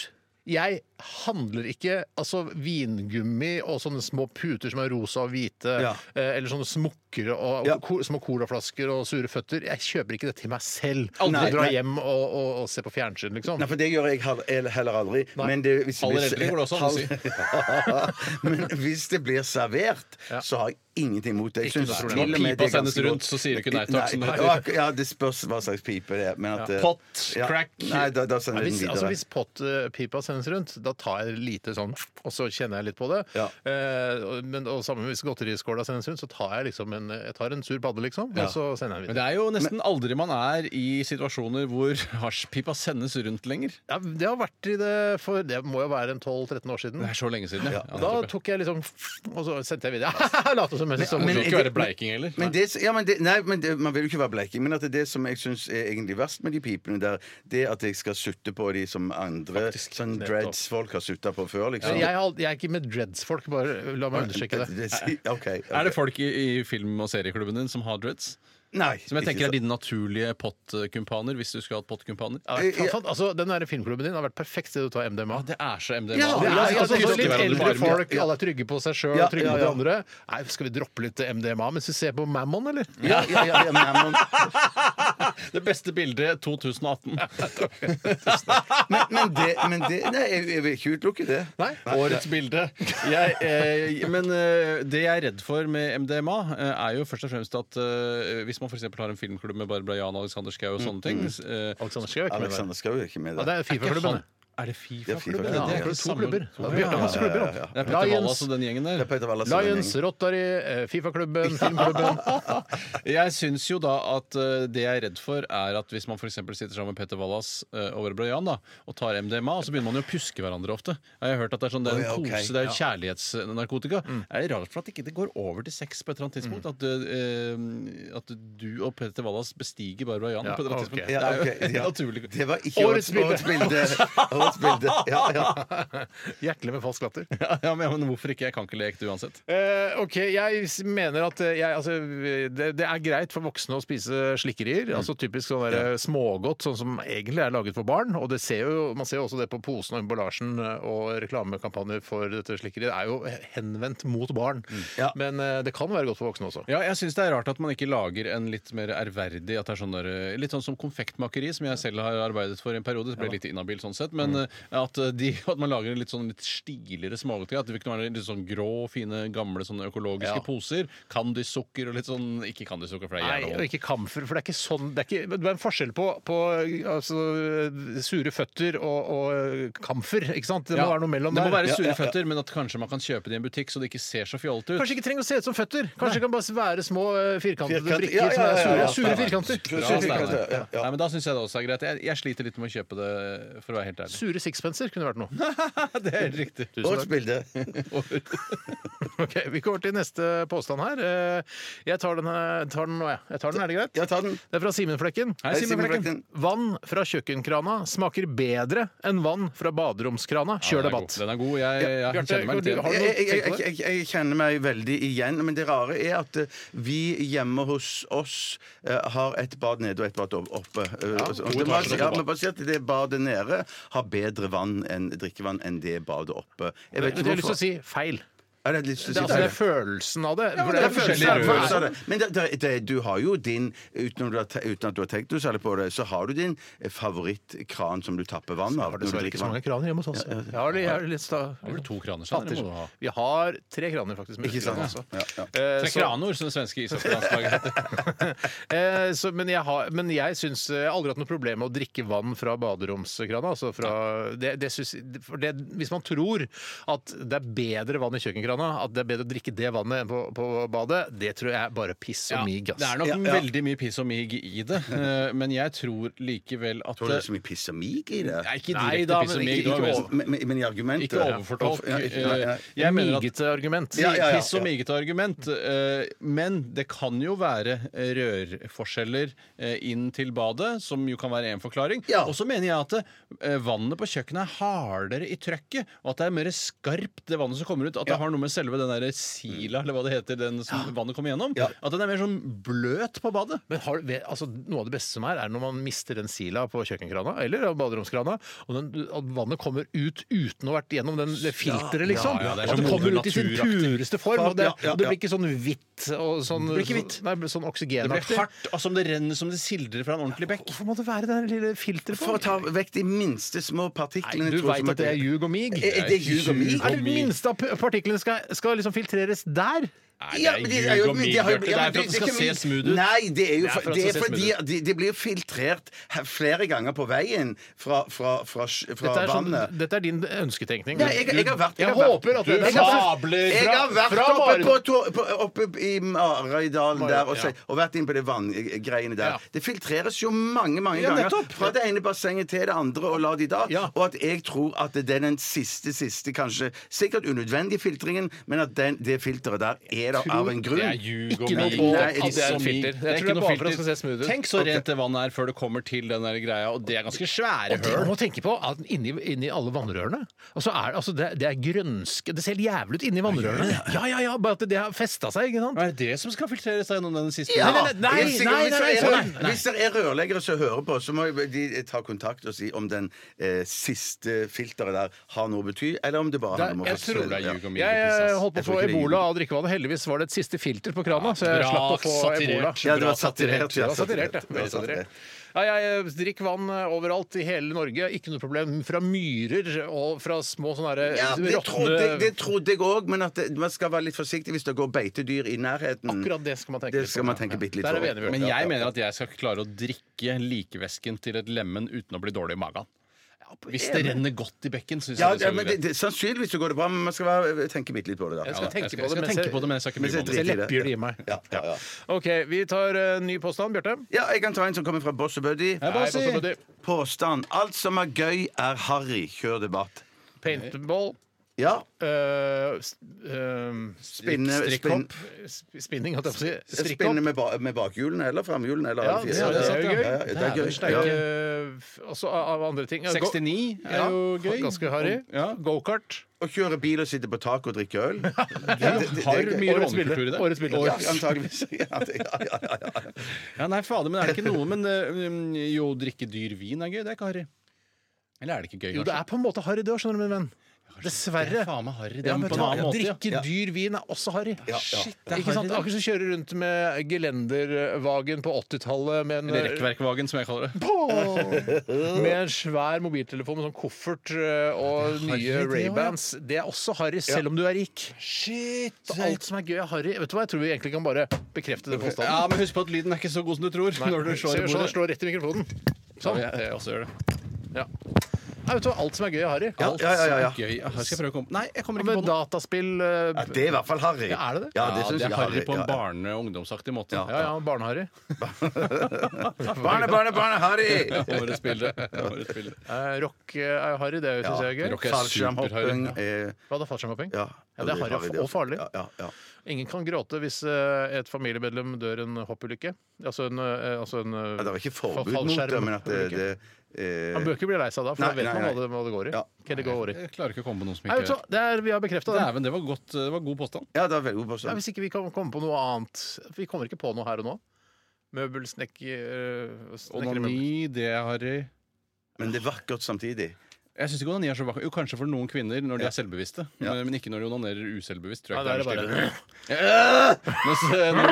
Speaker 4: Jeg handler ikke altså vingummi og sånne små puter som er rosa og hvite,
Speaker 5: Ja.
Speaker 4: eh, eller sånne smukker og, og
Speaker 5: Ja.
Speaker 4: ko, små colaflasker og sure føtter. Jeg kjøper ikke det til meg selv.
Speaker 5: Aldri.
Speaker 4: Aldri dra
Speaker 5: Nei.
Speaker 4: hjem og, og, og se på fjernsyn, liksom.
Speaker 5: Nei, for det gjør jeg hal- el- heller aldri. Men det, hvis,
Speaker 6: Halv
Speaker 5: hvis-
Speaker 6: eldre går det også an å si.
Speaker 5: Ja, (laughs) men hvis det blir servert, så har jeg ingenting mot det. Jeg
Speaker 4: Ikke
Speaker 5: synes
Speaker 4: noe
Speaker 5: til
Speaker 4: problem.
Speaker 5: og
Speaker 6: Når
Speaker 5: med det er
Speaker 6: pipa sendes
Speaker 5: ganske
Speaker 6: rundt,
Speaker 5: godt.
Speaker 6: så sier du ikke nei takk, som det
Speaker 5: Nei,
Speaker 6: heter.
Speaker 5: ak- Ja, det spørs hva slags pipe det er. Men at, eh,
Speaker 6: Pott, crack.
Speaker 5: Nei, da, da sender
Speaker 4: Nei,
Speaker 5: jeg den
Speaker 4: hvis,
Speaker 5: videre.
Speaker 4: altså, hvis pottpipa sendes rundt, da tar jeg lite sånn, og så kjenner jeg litt på det.
Speaker 5: Ja.
Speaker 4: Eh, og- men og sammen hvis godteriskåla sendes rundt, så tar jeg liksom en, jeg tar en sur padde, liksom, og så sender jeg den
Speaker 6: Men det
Speaker 4: videre.
Speaker 6: er jo nesten aldri man er i situasjoner hvor hasjpipa sendes rundt lenger.
Speaker 4: Ja, det har vært i det for Det må jo være en 12-13 år siden.
Speaker 6: Det er så lenge siden, ja.
Speaker 4: Og da tok jeg liksom Og så sendte jeg videre. (laughs) Late som jeg
Speaker 6: Men,
Speaker 4: som
Speaker 6: det
Speaker 5: men-
Speaker 6: skal ikke være bleiking heller.
Speaker 5: Men det, ja, men det, nei, men det, Man vil jo ikke være bleiking, men at det, er det som jeg syns er egentlig verst med de pipene der, det er at jeg skal sutte på de som andre sånn dreads-folk har sutta på før. liksom.
Speaker 4: jeg, har ald- jeg er ikke med dreads-folk, bare la meg understreke det.
Speaker 5: Ok, ok.
Speaker 6: Er det folk i, i film- og serieklubben din som har dreads?
Speaker 5: Nei.
Speaker 6: Som jeg
Speaker 5: ikke
Speaker 6: tenker
Speaker 5: så-
Speaker 6: er dine naturlige pottkumpaner, hvis du skulle hatt pottkumpaner?
Speaker 4: Ja, det er fan- fan- altså, den der filmklubben din har vært perfekt sted å ta MDMA.
Speaker 6: Det er så MDMA.
Speaker 5: Ja,
Speaker 4: Det er,
Speaker 5: la oss-
Speaker 4: altså,
Speaker 5: la oss-
Speaker 4: litt eldre folk, alle er trygge på seg sjøl
Speaker 5: Ja,
Speaker 4: og trygge
Speaker 5: ja,
Speaker 4: på de
Speaker 5: ja.
Speaker 4: andre. Nei, skal vi droppe litt MDMA mens vi ser på Mammon, eller?
Speaker 5: Ja, ja, ja, ja, men, men,
Speaker 6: Det beste bildet 2018.
Speaker 5: men, men det, men det Nei, jeg, jeg vil ikke utelukke det.
Speaker 6: Nei, årets bilde. Jeg, eh, men eh, det jeg er redd for med MDMA, eh, er jo først og fremst at eh, hvis man f.eks. har en filmklubb med Barbara Jan, Alexander Schou og sånne ting eh,
Speaker 4: Alexander Schou er ikke med der.
Speaker 5: Alexander Schou er ikke med
Speaker 4: Ja, det
Speaker 5: der.
Speaker 4: er Fifa-klubben, det.
Speaker 6: Er det
Speaker 5: FIFA-klubben?
Speaker 6: Fifa-klubben?
Speaker 5: Ja,
Speaker 4: det er
Speaker 6: ikke
Speaker 4: to klubber.
Speaker 6: To
Speaker 4: Bjarte har masse klubber, han.
Speaker 5: Ja, ja,
Speaker 6: Det er Petter Wallas
Speaker 4: Lions.
Speaker 6: og den gjengen der.
Speaker 5: Det er Peter Wallas og
Speaker 4: Lions,
Speaker 5: den gjengen.
Speaker 4: Rotary, eh, Fifa-klubben, filmklubben.
Speaker 6: Jeg syns jo da at eh, det jeg er redd for, er at hvis man for eksempel sitter sammen med Petter Wallas eh, og Barbara Jan da, og tar MDMA, og så begynner man jo å pjuske hverandre ofte. Jeg har hørt at det er sånn, det er
Speaker 5: Å,
Speaker 6: en
Speaker 5: ja, Mm. ok.
Speaker 6: kose, det er kjærlighetsnarkotika. Er det rart for at ikke det går over til sex på et eller annet
Speaker 5: Mm.
Speaker 6: tidspunkt? At, eh, at du og Petter Wallas bestiger Barbara Jan
Speaker 4: Ja,
Speaker 6: på et eller
Speaker 4: ok.
Speaker 6: annet tidspunkt?
Speaker 5: Ja, ok,
Speaker 6: Det (laughs) er jo
Speaker 5: ja.
Speaker 6: naturlig.
Speaker 5: Det var ikke årets
Speaker 4: Årets
Speaker 5: bilde. Årets bilde. Årets bilde. Ja, ja.
Speaker 4: (laughs) Hjertelig med falsk latter.
Speaker 6: Ja, ja, men, men hvorfor ikke? Jeg kan ikke leke det uansett.
Speaker 4: Eh, ok, jeg s- mener at eh, jeg, altså, det, det er greit for voksne å spise slikkerier. Altså Typisk sånn der, eh, smågodt, sånn som egentlig er laget for barn. Og det ser jo, Man ser jo også det på posen og emballasjen eh, og reklamekampanjer for dette slikkeriet. Det er jo henvendt mot barn.
Speaker 5: Ja.
Speaker 4: Men eh, det kan være godt for voksne også.
Speaker 6: Ja, jeg syns det er rart at man ikke lager en litt mer ærverdig at det er sånn der, eh, Litt sånn som konfektmakeri, som jeg selv har arbeidet for i en periode. Det ble litt inhabil sånn sett. Men
Speaker 4: Mm.
Speaker 6: eh, at, eh, de, (laughs) at man lager en litt sånn litt stiligere smågodteri. At det ikke være litt sånn grå, fine, gamle sånne økologiske poser. Candysukker og litt sånn Ikke candysukker, for det er
Speaker 4: Nei, og
Speaker 6: jævla
Speaker 4: ikke kamfer, for det er ikke sånn Det er, ikke, det er en forskjell på, på altså, sure føtter og, og kamfer, ikke sant? Det må være noe mellom
Speaker 6: det må
Speaker 4: der.
Speaker 6: være sure føtter, men at kanskje man kan kjøpe det i en butikk så det ikke ser så fjollete ut.
Speaker 4: Kanskje ikke trenger å se ut som føtter. Kanskje det kan bare være små eh, firkantede
Speaker 5: Firkant-
Speaker 4: brikker
Speaker 5: ja, ja, ja, ja, ja.
Speaker 4: som er sure, sure firkanter.
Speaker 6: Bra,
Speaker 5: Sure
Speaker 6: Steinar.
Speaker 5: firkanter, ja, ja.
Speaker 6: Nei, men Da syns jeg det også er greit. Jeg, jeg sliter litt med å kjøpe det, for å være helt
Speaker 4: (laughs)
Speaker 6: ærlig.
Speaker 4: Sure sixpencer kunne vært noe.
Speaker 6: Det er riktig.
Speaker 5: Årets bilde.
Speaker 4: (laughs) Ok, Vi går til neste påstand her. Eh, Jeg tar den, her- tar den nå, jeg. jeg tar den, er det greit?
Speaker 5: Ja, ta den.
Speaker 4: Det er fra Simenflekken.
Speaker 5: Hei, Simen Flekken.
Speaker 4: Vann fra kjøkkenkrana smaker bedre enn vann fra baderomskrana. Kjør debatt.
Speaker 6: Den er god. Jeg, jeg,
Speaker 4: Bjarte,
Speaker 6: kjenner
Speaker 4: går
Speaker 6: meg litt
Speaker 4: du-
Speaker 6: igjen.
Speaker 4: har du-
Speaker 5: Jeg, jeg, jeg,
Speaker 4: tenkt på
Speaker 5: jeg, jeg kjenner meg veldig igjen, men det rare er at eh, vi hjemme hos oss eh, har et bad nede og et bad opp- oppe. Eh, og så- og det må
Speaker 6: etasjer,
Speaker 5: altså- ja,
Speaker 6: to bad.
Speaker 5: men bare si at det badet nede har bedre vann enn drikkevann enn det badet oppe. Jeg vet
Speaker 4: Jeg har
Speaker 5: ikke
Speaker 4: lyst til å
Speaker 5: hvorfor.
Speaker 4: si feil.
Speaker 5: Ja, det er lyst til
Speaker 4: Det
Speaker 5: å
Speaker 4: er,
Speaker 5: si
Speaker 4: altså, det er
Speaker 5: det.
Speaker 4: følelsen av det. For
Speaker 5: Det er
Speaker 4: forskjellige
Speaker 5: følelsen av-
Speaker 4: rør.
Speaker 5: følelsen av det. Men det, det, det, du har jo din, uten, om du har, te- uten at du har tenkt noe særlig på det, så har du din eh, favorittkran som du tapper vann av.
Speaker 4: Har
Speaker 5: når du
Speaker 4: dessverre
Speaker 5: drikker
Speaker 4: ikke så
Speaker 5: vann.
Speaker 4: mange kraner hjemme hos oss. Jeg har, jeg har litt sta-
Speaker 6: Har du to kraner, skjønner du, må du ha.
Speaker 4: Vi har tre kraner, faktisk. med
Speaker 5: Ikke sant?
Speaker 4: kraner også.
Speaker 5: Ja, ja.
Speaker 4: Eh,
Speaker 6: Tre
Speaker 4: så-
Speaker 6: kranor, som det svenske ishockeylandslaget heter.
Speaker 4: Eh, så, men jeg, har, men jeg, syns, eh, jeg har aldri hatt noe problem med å drikke vann fra baderomskrana. Altså fra, det, det syns, for det, hvis man tror at det er bedre vann i kjøkkenkrana, at det er bedre å drikke det vannet enn på, på badet, det tror jeg er bare piss (laughs) og mig.
Speaker 6: det er nok
Speaker 5: Ja, ja.
Speaker 6: veldig mye piss og mig i det, eh, men jeg tror likevel at
Speaker 5: Tror du det er så mye piss og mig i det?
Speaker 6: Nei, ikke
Speaker 4: Nei,
Speaker 6: direkte
Speaker 4: da,
Speaker 6: piss og
Speaker 4: men
Speaker 6: mig.
Speaker 4: ikke-
Speaker 6: det var
Speaker 4: ikke
Speaker 6: mest-
Speaker 4: over-
Speaker 5: Altså, Men, men- men i argumentet
Speaker 6: Ikke overfortolk.
Speaker 5: Ja, ikke- nei, nei.
Speaker 6: Eh, Jeg mener at
Speaker 4: Migete argument.
Speaker 5: Ja, ja, ja.
Speaker 6: Piss og migete argument. eh, Men det kan jo være eh, rørforskjeller eh, inn til badet, som jo kan være en forklaring.
Speaker 5: Ja.
Speaker 6: Og så mener jeg at eh, vannet på kjøkkenet er hardere i trøkket, og at det er mer skarpt, det vannet som kommer ut. At det har noe med selve den der sila, eller hva det heter, den som vannet kommer gjennom. At den er mer sånn bløt på badet.
Speaker 4: Men har, vet- altså, Noe av det beste som er, er når man mister den sila på kjøkkenkrana eller av baderomskrana, og den, at vannet kommer ut uten å ha vært gjennom den, det filteret, liksom.
Speaker 6: ja, ja, det er
Speaker 4: at
Speaker 6: så
Speaker 4: det kommer ut i sin
Speaker 6: moder
Speaker 4: pureste form. Og det,
Speaker 5: Ja, ja,
Speaker 4: og det
Speaker 5: ja.
Speaker 4: blir ikke sånn hvitt og sånn,
Speaker 6: Det blir ikke hvitt.
Speaker 4: Nei, sånn
Speaker 6: Det blir
Speaker 4: oksygenaktig.
Speaker 6: hardt, og som det renner som det sildrer fra en ordentlig bekk.
Speaker 4: Hvorfor må det være det der lille filteret
Speaker 5: For å ta vekk de minste små partiklene
Speaker 4: Du
Speaker 5: tror jeg,
Speaker 4: veit
Speaker 5: som
Speaker 4: at det er ljug og mig?
Speaker 5: Er- er eh, det ljug og mig?
Speaker 4: Er det minste av p- partiklene skal, skal liksom filtreres der?
Speaker 5: Ja, men de er jo- men de har jo-
Speaker 6: Bjarte.
Speaker 5: ja, men
Speaker 6: Det er for at det skal
Speaker 5: ikke
Speaker 6: se
Speaker 5: mig.
Speaker 6: smooth ut.
Speaker 5: Nei, det er jo
Speaker 6: Det er
Speaker 5: for,
Speaker 6: for at
Speaker 5: det
Speaker 6: det
Speaker 5: er
Speaker 6: skal se
Speaker 5: fordi
Speaker 6: smooth
Speaker 5: de, de blir jo filtrert he- flere ganger på veien fra, fra, fra, sj- fra
Speaker 4: Dette er, sånn,
Speaker 5: vannet.
Speaker 4: dette er din ønsketenkning.
Speaker 5: Nei, jeg, jeg har vært
Speaker 4: Jeg
Speaker 5: har vært-
Speaker 4: håper at
Speaker 5: jeg
Speaker 4: det- sånn-
Speaker 5: har-
Speaker 6: fabler
Speaker 5: Jeg
Speaker 6: fra-
Speaker 5: har vært
Speaker 4: fra
Speaker 5: oppe,
Speaker 4: Mare-
Speaker 5: på, to- på, oppe i Marøydalen der og, se, og vært inne på det vanngreiene der.
Speaker 4: Ja.
Speaker 5: Det filtreres jo mange mange
Speaker 6: Ja,
Speaker 5: ganger.
Speaker 6: nettopp.
Speaker 5: Fra det ene bassenget til det andre, og la de da.
Speaker 4: Ja.
Speaker 5: Og at jeg tror at det er den siste, siste, kanskje sikkert unødvendige filtringen, men at den, det filteret der er der av en grunn.
Speaker 4: Ikke noe på
Speaker 5: Nei,
Speaker 4: at det er et filter. Jeg tror det er bare for at det skal se smooth ut.
Speaker 6: Tenk så rent det vannet er før det kommer til den der greia, og det er ganske svære
Speaker 4: Og det
Speaker 6: høl.
Speaker 4: må tenke på at inni, inni alle vannrørene altså er, altså det, det er grønske Det ser helt jævlig ut inni vannrørene. Ja, ja, ja, bare at det har festa seg, ikke sant?
Speaker 6: Er det det som skal filtreres da gjennom den siste?
Speaker 5: Ja!
Speaker 6: Nei, nei, nei,
Speaker 5: Helt sikkert.
Speaker 4: nei, nei,
Speaker 5: Hvis det
Speaker 4: nei,
Speaker 5: er-
Speaker 4: nei, nei.
Speaker 5: Hvis det er rørleggere som hører på, så må jo de ta kontakt og si om den eh, siste filteret der har noe å bety, eller om det bare handler om å
Speaker 6: jeg
Speaker 5: få-
Speaker 6: tror det er ljug og mye
Speaker 4: Jeg eh, holdt
Speaker 5: Jeg
Speaker 4: på å
Speaker 5: tror
Speaker 4: få
Speaker 5: ikke det er
Speaker 4: ebola av drikkevannet. Heldigvis var det et siste filter på krana, så jeg
Speaker 6: bra
Speaker 4: slapp å få
Speaker 6: satirert.
Speaker 4: ebola.
Speaker 5: Ja, det var satirert.
Speaker 4: Det
Speaker 5: Ja,
Speaker 4: var satirert, ja. Veldig satirert. Ja, jeg drikker vann overalt i hele Norge. Ikke noe problem fra myrer og fra små sånne her,
Speaker 5: Ja, det trodde, jeg-
Speaker 4: råtne
Speaker 5: det trodde jeg òg, men at det, man skal være litt forsiktig hvis det går beitedyr i nærheten.
Speaker 4: Akkurat det skal man tenke
Speaker 5: Det
Speaker 4: litt
Speaker 5: skal
Speaker 4: på,
Speaker 5: man
Speaker 4: ja.
Speaker 5: tenke bitte litt
Speaker 4: Der er vi
Speaker 5: over.
Speaker 4: enige, Bjørn.
Speaker 6: Men jeg mener at jeg skal klare å drikke likevæsken til et lemen uten å bli dårlig i magen. Hvis det renner godt i bekken, syns
Speaker 5: Ja,
Speaker 6: jeg det
Speaker 5: ja,
Speaker 6: skal
Speaker 5: men
Speaker 6: gå
Speaker 5: det,
Speaker 6: greit.
Speaker 5: det, sannsynligvis så går det bra, men man skal være, eh, tenke bitte litt på det. da
Speaker 4: Jeg
Speaker 6: Ja,
Speaker 4: skal
Speaker 6: da.
Speaker 4: tenke
Speaker 6: Jeg
Speaker 4: på det
Speaker 6: skal
Speaker 4: mens jeg-
Speaker 6: tenke på det, men jeg skal ikke
Speaker 5: mens jeg
Speaker 6: bry
Speaker 4: Se
Speaker 6: meg om det.
Speaker 5: driter i det.
Speaker 4: lepper det i meg.
Speaker 5: Ja, ja, ja.
Speaker 4: OK, vi tar eh, ny påstand. Bjarte?
Speaker 5: ja, jeg kan ta en som kommer fra Boss og Buddy.
Speaker 6: Hei, Boss.
Speaker 4: Nei, Bosse Buddy.
Speaker 5: Påstand. Alt som er gøy, er harry. Kjør debatt.
Speaker 4: Paintball.
Speaker 5: Ja.
Speaker 4: øh, s- øh,
Speaker 5: Spinne, spinn-
Speaker 4: strikkhopp. Sp- Spinning, holdt jeg på å si.
Speaker 5: spinne
Speaker 4: Strikkhopp.
Speaker 5: med, ba, med bakhjulene eller framhjulene eller
Speaker 4: Ja,
Speaker 5: alle
Speaker 4: det
Speaker 5: fire.
Speaker 4: er det er jo
Speaker 5: Ja, ja,
Speaker 4: gøy.
Speaker 5: det er gøy. Ja.
Speaker 4: Øh, f- Også av av andre ting. Ja, go-
Speaker 6: 69 er
Speaker 4: Ja,
Speaker 6: jo gøy.
Speaker 4: Ganske harry.
Speaker 6: Ja.
Speaker 4: Gokart.
Speaker 5: Å kjøre bil og sitte på taket og drikke
Speaker 4: (laughs)
Speaker 5: øl. Det, det- det-
Speaker 6: Har
Speaker 5: det er gøy.
Speaker 6: mye
Speaker 4: Årets bilde.
Speaker 6: rånekultur i det.
Speaker 4: Årets bilde.
Speaker 5: Ja, antageligvis. (laughs) Ja, det- ja, ja, ja, ja.
Speaker 6: Ja, nei, fader, men er det ikke noe Men eh, mm, jo, drikke dyr vin er gøy. Det er ikke harry. Eller er det ikke gøy,
Speaker 4: Jo, det er på en måte harry, det òg, skjønner du, min venn.
Speaker 6: Det
Speaker 4: Dessverre.
Speaker 6: er faen meg harry. Det
Speaker 4: Ja,
Speaker 6: er
Speaker 4: men
Speaker 6: på en
Speaker 4: ta-
Speaker 6: annen måte. ja.
Speaker 4: drikke dyr vin er også harry.
Speaker 6: Shit, det er
Speaker 4: Ikke sant?
Speaker 6: harry, det.
Speaker 4: Akkurat som kjører rundt med gelendervagen på 80-tallet med en
Speaker 6: Eller rekkverkvagen, som jeg kaller det.
Speaker 4: Med en svær mobiltelefon med sånn koffert eh, og nye
Speaker 6: det også, ja.
Speaker 4: Ray-Bans. Det er også harry, selv om du er rik.
Speaker 6: Shit!
Speaker 4: Så alt som er gøy, er harry. Vet du hva, jeg tror vi egentlig kan bare bekrefte den påstanden.
Speaker 6: Ja, men husk på at lyden er ikke så god som du tror. når du
Speaker 4: Se,
Speaker 6: slår i
Speaker 4: sånn,
Speaker 6: bordet.
Speaker 4: slår rett i mikrofonen. Sånn.
Speaker 6: Ja, jeg også gjør det.
Speaker 4: Ja. er vet du hva, alt som er gøy, er harry.
Speaker 5: Ja, ja, ja, ja, ja.
Speaker 6: Alt som er Gøy. Ah, Skal jeg prøve å komme Nei, jeg kommer
Speaker 4: Ja,
Speaker 6: ikke
Speaker 4: Med
Speaker 6: på noe.
Speaker 4: dataspill eh,
Speaker 5: Ja, det er i hvert fall harry.
Speaker 4: Ja, er det det?
Speaker 5: Ja,
Speaker 6: Ja,
Speaker 5: det syns
Speaker 6: det er
Speaker 5: jeg
Speaker 6: harry på en
Speaker 5: ja.
Speaker 6: barne- og ungdomsaktig måte.
Speaker 4: Ja, ja, barneharry.
Speaker 5: Barne, barne, barne,
Speaker 4: (laughs)
Speaker 5: harry!
Speaker 6: Årets
Speaker 5: (laughs)
Speaker 6: bilde. Årets bilde.
Speaker 4: Eh, Rock eh, er jo harry, det syns jeg er gøy.
Speaker 6: rock er
Speaker 5: Fallskjermhopping
Speaker 6: superharry.
Speaker 5: er
Speaker 4: Hva da, fallskjermhopping?
Speaker 5: eh, ja,
Speaker 4: Ja, det er harry
Speaker 5: det
Speaker 4: og farlig.
Speaker 5: Ja, ja, ja.
Speaker 4: Ingen kan gråte hvis eh, et familiemedlem dør en hoppulykke. Altså en, eh, altså en
Speaker 5: Ja, Det er ikke forbud mot
Speaker 4: Fallskjerm.
Speaker 5: det, men at det, det eh,
Speaker 4: Man bør ikke bli lei seg da, for
Speaker 5: Nei,
Speaker 4: da vet
Speaker 5: nei,
Speaker 4: man
Speaker 5: nei.
Speaker 4: hva det, hva det går i.
Speaker 5: Ja.
Speaker 4: Hva det går i.
Speaker 6: Jeg klarer ikke å komme på noe som
Speaker 4: Nei, vet du
Speaker 6: ikke
Speaker 4: hva, det er, sånn. vi har bekrefta det.
Speaker 6: Dæven, det var godt. Det var god påstand.
Speaker 5: Ja, det er veldig god sånn.
Speaker 4: Ja,
Speaker 5: påstand.
Speaker 4: hvis ikke vi kan komme på noe annet Vi kommer ikke på noe her og nå. Møbelsnekker øh, snekker-
Speaker 6: Onani, det er harry.
Speaker 5: Men det er vakkert samtidig.
Speaker 6: Jeg syns ikke onani er så vakkert. Jo, kanskje for noen kvinner når de er selvbevisste. Men men ikke når de onanerer uselvbevisst. Tror
Speaker 4: Nei,
Speaker 6: jeg
Speaker 4: da er det
Speaker 6: ikke det er
Speaker 4: bare
Speaker 6: noe stil. Mens, eh, når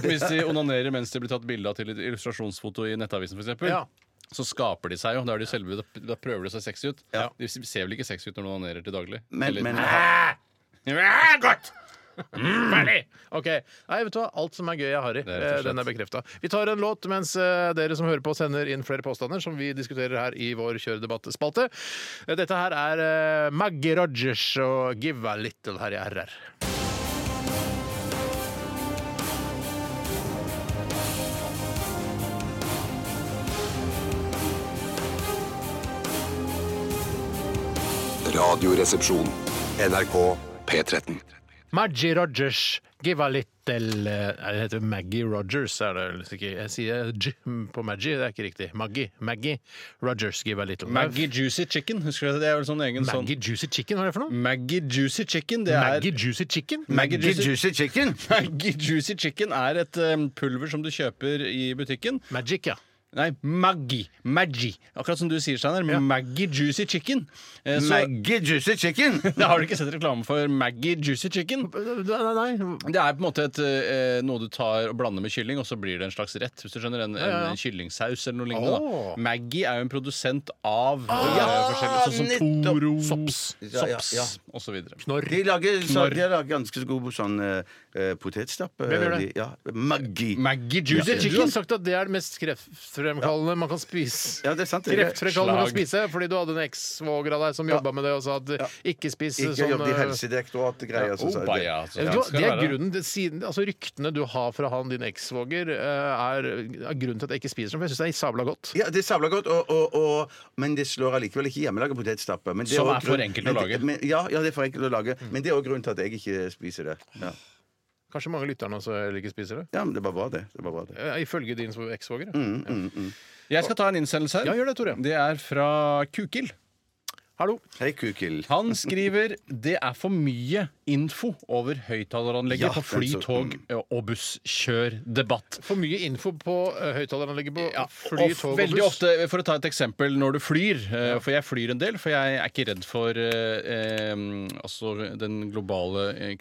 Speaker 6: de, (laughs) hvis de onanerer mens de blir tatt bilde av til et illustrasjonsfoto i Nettavisen, f.eks.,
Speaker 4: Ja.
Speaker 6: så skaper de seg jo. Da, er de selvbevisste, da prøver de seg sexy ut.
Speaker 5: Ja.
Speaker 6: De ser vel ikke sexy ut når de onanerer til daglig?
Speaker 5: Men,
Speaker 6: Eller-
Speaker 5: men
Speaker 4: Ja, Godt! Mm, ferdig! OK. Nei, vet du hva? Alt som er gøy, er harry.
Speaker 6: Det er rett og
Speaker 4: Eh, Den er bekrefta. Vi tar en låt mens eh, dere som hører på, sender inn flere påstander som vi diskuterer her i vår kjøredebattspalte. Eh, Dette her er eh, Maggie Rogers og Give a Little her i RR.
Speaker 1: Radioresepsjon. NRK P13.
Speaker 4: Maggie Rogers, give a little eh, Nei, det heter Maggie Rogers, er det vel ikke? Jeg sier eh, G på Maggie, det er ikke riktig. Maggie. Maggie Rogers, give a little.
Speaker 6: Maggie Juicy Chicken. Husker du det? Det er vel sånn egen sånn
Speaker 4: Maggie Juicy Chicken, hva er det for noe?
Speaker 6: Maggie Juicy Chicken, det er (laughs)
Speaker 4: Maggie Juicy Chicken?
Speaker 5: Maggie
Speaker 6: Maggie Juicy,
Speaker 5: Juicy Chicken!
Speaker 6: Maggie Juicy Chicken er et um, pulver som du kjøper i butikken.
Speaker 4: Magic, ja.
Speaker 6: Nei, Maggie. Maggie. Akkurat som du sier, Steinar. Maggie Juicy Chicken. Eh, så,
Speaker 5: Maggie Juicy
Speaker 4: (laughs)
Speaker 5: Chicken!
Speaker 6: (laughs) da har du ikke sett reklame for Maggie Juicy Chicken?
Speaker 4: Nei, nei, nei.
Speaker 6: Det er på en måte et, eh, noe du tar og blander med kylling, og så blir det en slags rett. Hvis du skjønner, En,
Speaker 4: ja.
Speaker 6: en kyllingsaus eller noe lignende.
Speaker 4: Åh.
Speaker 6: Da. Maggie er jo en produsent av eh,
Speaker 5: ja,
Speaker 6: forskjellige Sånn som
Speaker 5: nettopp.
Speaker 6: Toro,
Speaker 4: Sops.
Speaker 5: Ja, ja, ja.
Speaker 6: Sops og så videre
Speaker 5: De lager, så, de lager ganske så god sånn uh, potetstapp. eh,
Speaker 4: Hvem gjør det?
Speaker 5: de- Ja, Maggi.
Speaker 6: Maggie
Speaker 4: Du
Speaker 6: Juicy
Speaker 4: har
Speaker 6: Chicken.
Speaker 4: sagt at det er det mest kreftfremkallende man kan spise.
Speaker 5: Ja, det er sant. det.
Speaker 4: Kreftfremkallende man kan
Speaker 6: Slag.
Speaker 4: spise, fordi du hadde en ekssvoger av deg som jobba med det og sa at ikke spis
Speaker 5: Ikke
Speaker 4: sånn
Speaker 5: jobb i
Speaker 4: eh,
Speaker 5: Helsedirektoratet-greier. så sa jeg
Speaker 6: Opa,
Speaker 5: det.
Speaker 6: ja,
Speaker 4: Vet
Speaker 6: altså.
Speaker 4: du hva,
Speaker 6: skal
Speaker 4: Det er
Speaker 6: være.
Speaker 4: grunnen til, siden, altså Ryktene du har fra han, din ekssvoger, eh, er, er grunnen til at jeg ikke spiser den. For jeg syns det er sabla godt.
Speaker 5: Ja, det savler godt, og, og, og, men det slår allikevel ikke hjemmelaga potetstappe. Men det
Speaker 6: Som
Speaker 5: også
Speaker 6: er for
Speaker 5: grunn-
Speaker 6: enkelt å
Speaker 5: men det-
Speaker 6: lage.
Speaker 5: Men, ja, ja, det er for enkelt å lage. Men det er òg grunnen til at jeg ikke spiser det. Ja,
Speaker 4: Kanskje mange lytterne også heller ikke spiser det?
Speaker 5: ja men det var bra, det. det, var bra, det.
Speaker 4: Eh, Ifølge din svo- ekssvoger. ja.
Speaker 6: Jeg skal ta en innsendelse her.
Speaker 4: Ja, gjør det, Tore.
Speaker 6: Det er fra Kukil.
Speaker 4: Hallo.
Speaker 5: Hei, Kukil.
Speaker 6: Han skriver det er for mye info over
Speaker 5: Ja,
Speaker 6: høyttaleranlegget på fly,
Speaker 4: altså,
Speaker 5: den så-
Speaker 6: tog
Speaker 4: mm.
Speaker 6: og buss. Kjør debatt.
Speaker 4: For mye info på uh, høyttaleranlegget på fly,
Speaker 6: Og
Speaker 4: tog og buss.
Speaker 6: veldig ofte, For å ta et eksempel når du flyr, eh, for jeg flyr en del, for jeg er ikke redd for eh, eh, altså den globale eh,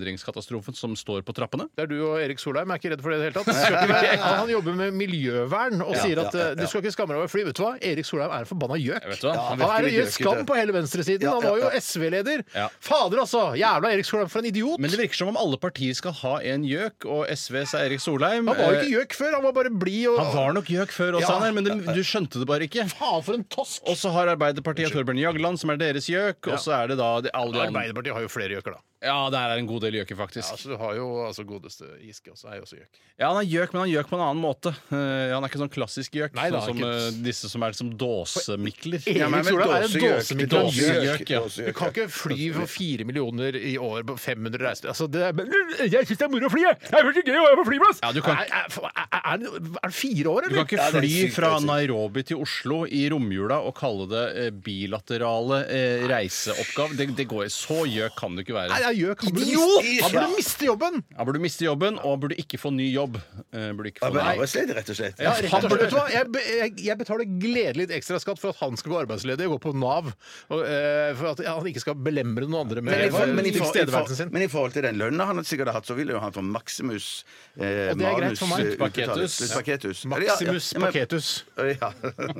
Speaker 6: klimaendringskatastrofen som står på trappene.
Speaker 4: Det er du og Erik Solheim er ikke redd for det i det hele tatt. Skal ikke være- Han han jobber med miljøvern og sier at eh, du skal ikke skamme deg over fly. Vet du hva? Erik Solheim er en forbanna gjøk.
Speaker 6: vet hva, han
Speaker 4: han er en
Speaker 5: virkelig
Speaker 4: gjøk
Speaker 5: gjøk,
Speaker 4: skam
Speaker 5: det.
Speaker 4: på hele venstresiden. Han var jo SV-leder.
Speaker 6: Ja.
Speaker 4: Fader, altså! Jævla Erik Solheim, for en idiot!
Speaker 6: Men det virker som om alle partier skal ha en gjøk, og SVs er Erik Solheim.
Speaker 4: han var jo
Speaker 6: Eh,
Speaker 4: ikke gjøk før, han var bare blid og
Speaker 6: Han var nok gjøk før også, Steinar, men det, du skjønte det bare ikke.
Speaker 4: Faen, for en tosk!
Speaker 6: Og så har Arbeiderpartiet Torbjørn Jagland, som er deres gjøk. Og så er det da de, alle de andre.
Speaker 4: Arbeiderpartiet har jo flere gjøker, da.
Speaker 6: Ja, det er en god del gjøker,
Speaker 4: Ja,
Speaker 6: faktisk.
Speaker 4: så du har jo altså, godeste Giske også, er jo også gjøk.
Speaker 6: Ja, Han er gjøk, men han er gjøk på en annen måte. Eh, han er ikke sånn klassisk gjøk,
Speaker 4: Nei, da,
Speaker 6: sånn som
Speaker 4: ikke-
Speaker 6: eh, disse som er som dåsemikler.
Speaker 4: Erik Solheim er en dåsemikkel.
Speaker 6: Dåsegjøk, ja.
Speaker 4: Du kan ikke fly
Speaker 6: (laughs)
Speaker 4: for fire millioner i år på 500 reiser. Altså, det er, jeg syns det er moro å fly, jeg! Det er veldig gøy å være på flyplass!
Speaker 6: Ja, du kan-
Speaker 4: er, er, er, er den- er den fire år,
Speaker 6: Du kan
Speaker 4: eller?
Speaker 6: ikke fly fra Nairobi til Oslo i romjula og kalle det eh, bilaterale eh, reiseoppgave. Det, det går Så gjøk kan du ikke
Speaker 4: Nei,
Speaker 6: være.
Speaker 4: jeg gjør Han burde
Speaker 5: Idiot!
Speaker 4: miste- Han burde miste jobben!
Speaker 6: Han burde miste jobben, og burde ikke få ny jobb. Eh, burde ikke få
Speaker 5: Arbe-
Speaker 6: ny-
Speaker 5: Arbeidsledig, rett og slett.
Speaker 4: Ja, rett og slett. Vet du hva? Jeg, be- jeg, jeg betaler gledelig litt ekstra skatt for at han skal gå arbeidsledig og gå på Nav. Og, eh, for at han ikke skal belemre noen andre med
Speaker 5: Men i, for, men, i for, i
Speaker 4: tilstedeværelsen
Speaker 5: for,
Speaker 4: sin.
Speaker 5: men i forhold til den lønna han sikkert har hatt, så vil jo han få Maximus eh,
Speaker 4: Og det er greit for meg.
Speaker 5: manus, eh,
Speaker 6: Paketus.
Speaker 5: utbetalt. Paketus.
Speaker 4: Maximus
Speaker 5: Ja, ja, ja,
Speaker 4: Paketus.
Speaker 5: men-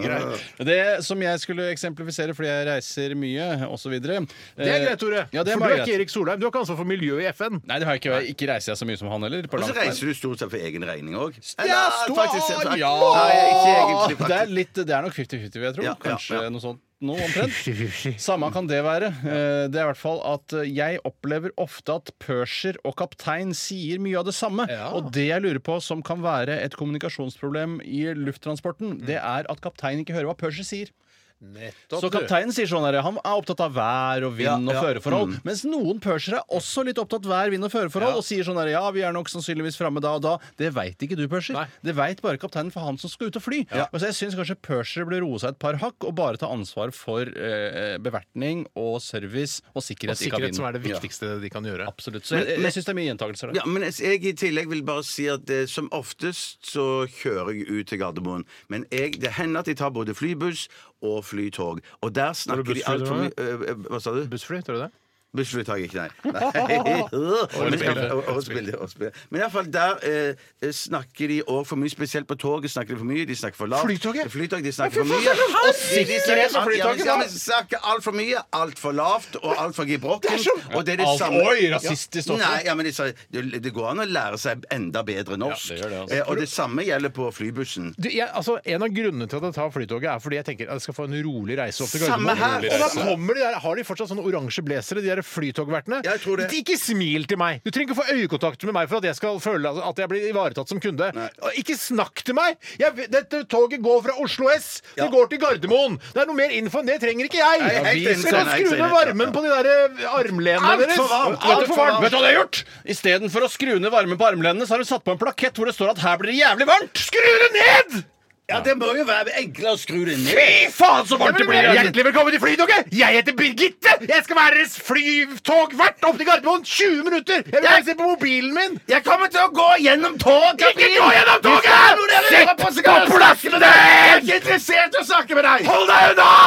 Speaker 5: Ja.
Speaker 6: Det som jeg skulle eksemplifisere fordi jeg reiser mye osv.
Speaker 4: Det er greit, Tore.
Speaker 6: eh, Ja, det er
Speaker 4: for du
Speaker 6: bare
Speaker 4: er ikke
Speaker 6: greit.
Speaker 4: Erik Solheim. Du har ikke ansvar for miljøet i FN.
Speaker 6: Nei, det har jeg ikke. Ikke reiser jeg så mye som han heller.
Speaker 5: (laughs)
Speaker 6: På
Speaker 5: Og så
Speaker 6: langt nær.
Speaker 5: reiser du stort sett for egen regning òg.
Speaker 6: Ja, stor-
Speaker 5: Nei,
Speaker 6: ja!
Speaker 5: ikke egentlig.
Speaker 6: det, er
Speaker 5: Faktisk.
Speaker 6: litt, det er nok 50-50, vil jeg tro.
Speaker 5: Ja, ja,
Speaker 6: Kanskje
Speaker 5: ja.
Speaker 6: noe sånt nå omtrent.
Speaker 4: Hushy-hushy.
Speaker 6: Samme kan det være. Eh, Det er i hvert fall at eh, jeg opplever ofte at pørser og kaptein sier mye av det samme.
Speaker 4: Ja.
Speaker 6: Og det jeg lurer på som kan være et kommunikasjonsproblem i lufttransporten,
Speaker 5: Mm.
Speaker 6: det er at kapteinen ikke hører hva pørser sier.
Speaker 4: Nettopp,
Speaker 6: Så kapteinen sier sånn her, han er opptatt av vær og vind og føreforhold.
Speaker 4: Mm.
Speaker 6: Mens noen pørsere er også litt opptatt av vær, vind og føreforhold og sier sånn her, ja, vi er nok sannsynligvis framme da og da. Det veit ikke du, pørser.
Speaker 4: Nei.
Speaker 6: Det veit bare kapteinen for han som skal ut og fly. Og så jeg syns kanskje pørsere burde roe seg et par hakk og bare ta ansvar for eh, bevertning og service
Speaker 4: du.
Speaker 6: og
Speaker 4: Og
Speaker 6: sikkerhet, i
Speaker 4: sikkerhet som
Speaker 6: kabinen.
Speaker 4: er det viktigste de kan gjøre.
Speaker 6: Absolutt. Så jeg, jeg syns det er mye gjentakelser der.
Speaker 5: Ja, men jeg i tillegg vil bare si at eh, som oftest så kjører jeg ut til Gardermoen. Men jeg, det hender at jeg tar både flybuss og flytog. Og der snakker de
Speaker 4: bussfly,
Speaker 5: altfor
Speaker 4: tror
Speaker 5: mye eh, eh, Hva sa du?
Speaker 4: Bussfly, tror du det?
Speaker 5: Bussfly tar jeg (laughs) ikke, nei. nei. Men, Årets bilde, årets bilde. Men i alle fall der eh, snakker de òg for mye, spesielt på toget. snakker De for mye, de snakker for lavt.
Speaker 4: Flytoget?
Speaker 5: Flytog, de snakker for mye. Og de- de snakker- ja, men- ja, men de snakker altfor mye, altfor lavt og altfor gebrokken. Og det er sånn- det
Speaker 6: Alt-
Speaker 5: samme
Speaker 6: Oi, rasistisk også.
Speaker 5: Nei, ja, men de sa- det, det går an å lære seg enda bedre norsk.
Speaker 6: Ja, det gjør det, altså.
Speaker 5: eh, og det samme gjelder på flybussen.
Speaker 4: Du, jeg, altså, en av grunnene til at jeg tar flytoget, er fordi jeg tenker at jeg skal få en rolig reise opp til
Speaker 5: Samme her.
Speaker 4: Gardermoen. Og da kommer de der, Har de fortsatt sånne oransje blazere, de der flytogvertene?
Speaker 5: Jeg tror det.
Speaker 4: Ikke smil til meg! Du trenger ikke få øyekontakt med meg for at jeg skal føle at jeg blir ivaretatt som kunde.
Speaker 5: Nei.
Speaker 4: Og ikke snakk til meg! Jeg, dette toget går fra Oslo S, det
Speaker 5: Ja.
Speaker 4: går til Gardermoen! Det er noe mer info enn det trenger ikke jeg!
Speaker 5: Nei, jeg er helt
Speaker 4: Vi
Speaker 5: enig,
Speaker 4: skal
Speaker 5: Steinar, jeg er
Speaker 4: skru
Speaker 5: helt
Speaker 4: ned
Speaker 5: enig.
Speaker 4: varmen på de der eh, armlenene
Speaker 6: Alt
Speaker 4: deres!
Speaker 6: for varmt!
Speaker 4: Alt for varmt!
Speaker 6: Vet du hva de har gjort? Istedenfor å skru ned varmen på armlenene, så har de satt på en plakett hvor det står at her blir det jævlig varmt!
Speaker 4: Skru det ned!
Speaker 5: Ja, Det må jo være enklere å skru det ned.
Speaker 4: Fy faen, så varmt
Speaker 6: det blir!
Speaker 4: Hjertelig velkommen til Flytoget! Jeg heter Birgitte! Jeg skal være deres flytogvert opp til Gardermoen 20 minutter! Jeg vil se på mobilen min!
Speaker 5: Jeg kommer til å gå gjennom toget!
Speaker 4: Ikke gå gjennom toget! Sitt på plassen din!
Speaker 5: er interessert i å snakke med deg!
Speaker 4: Hold deg unna!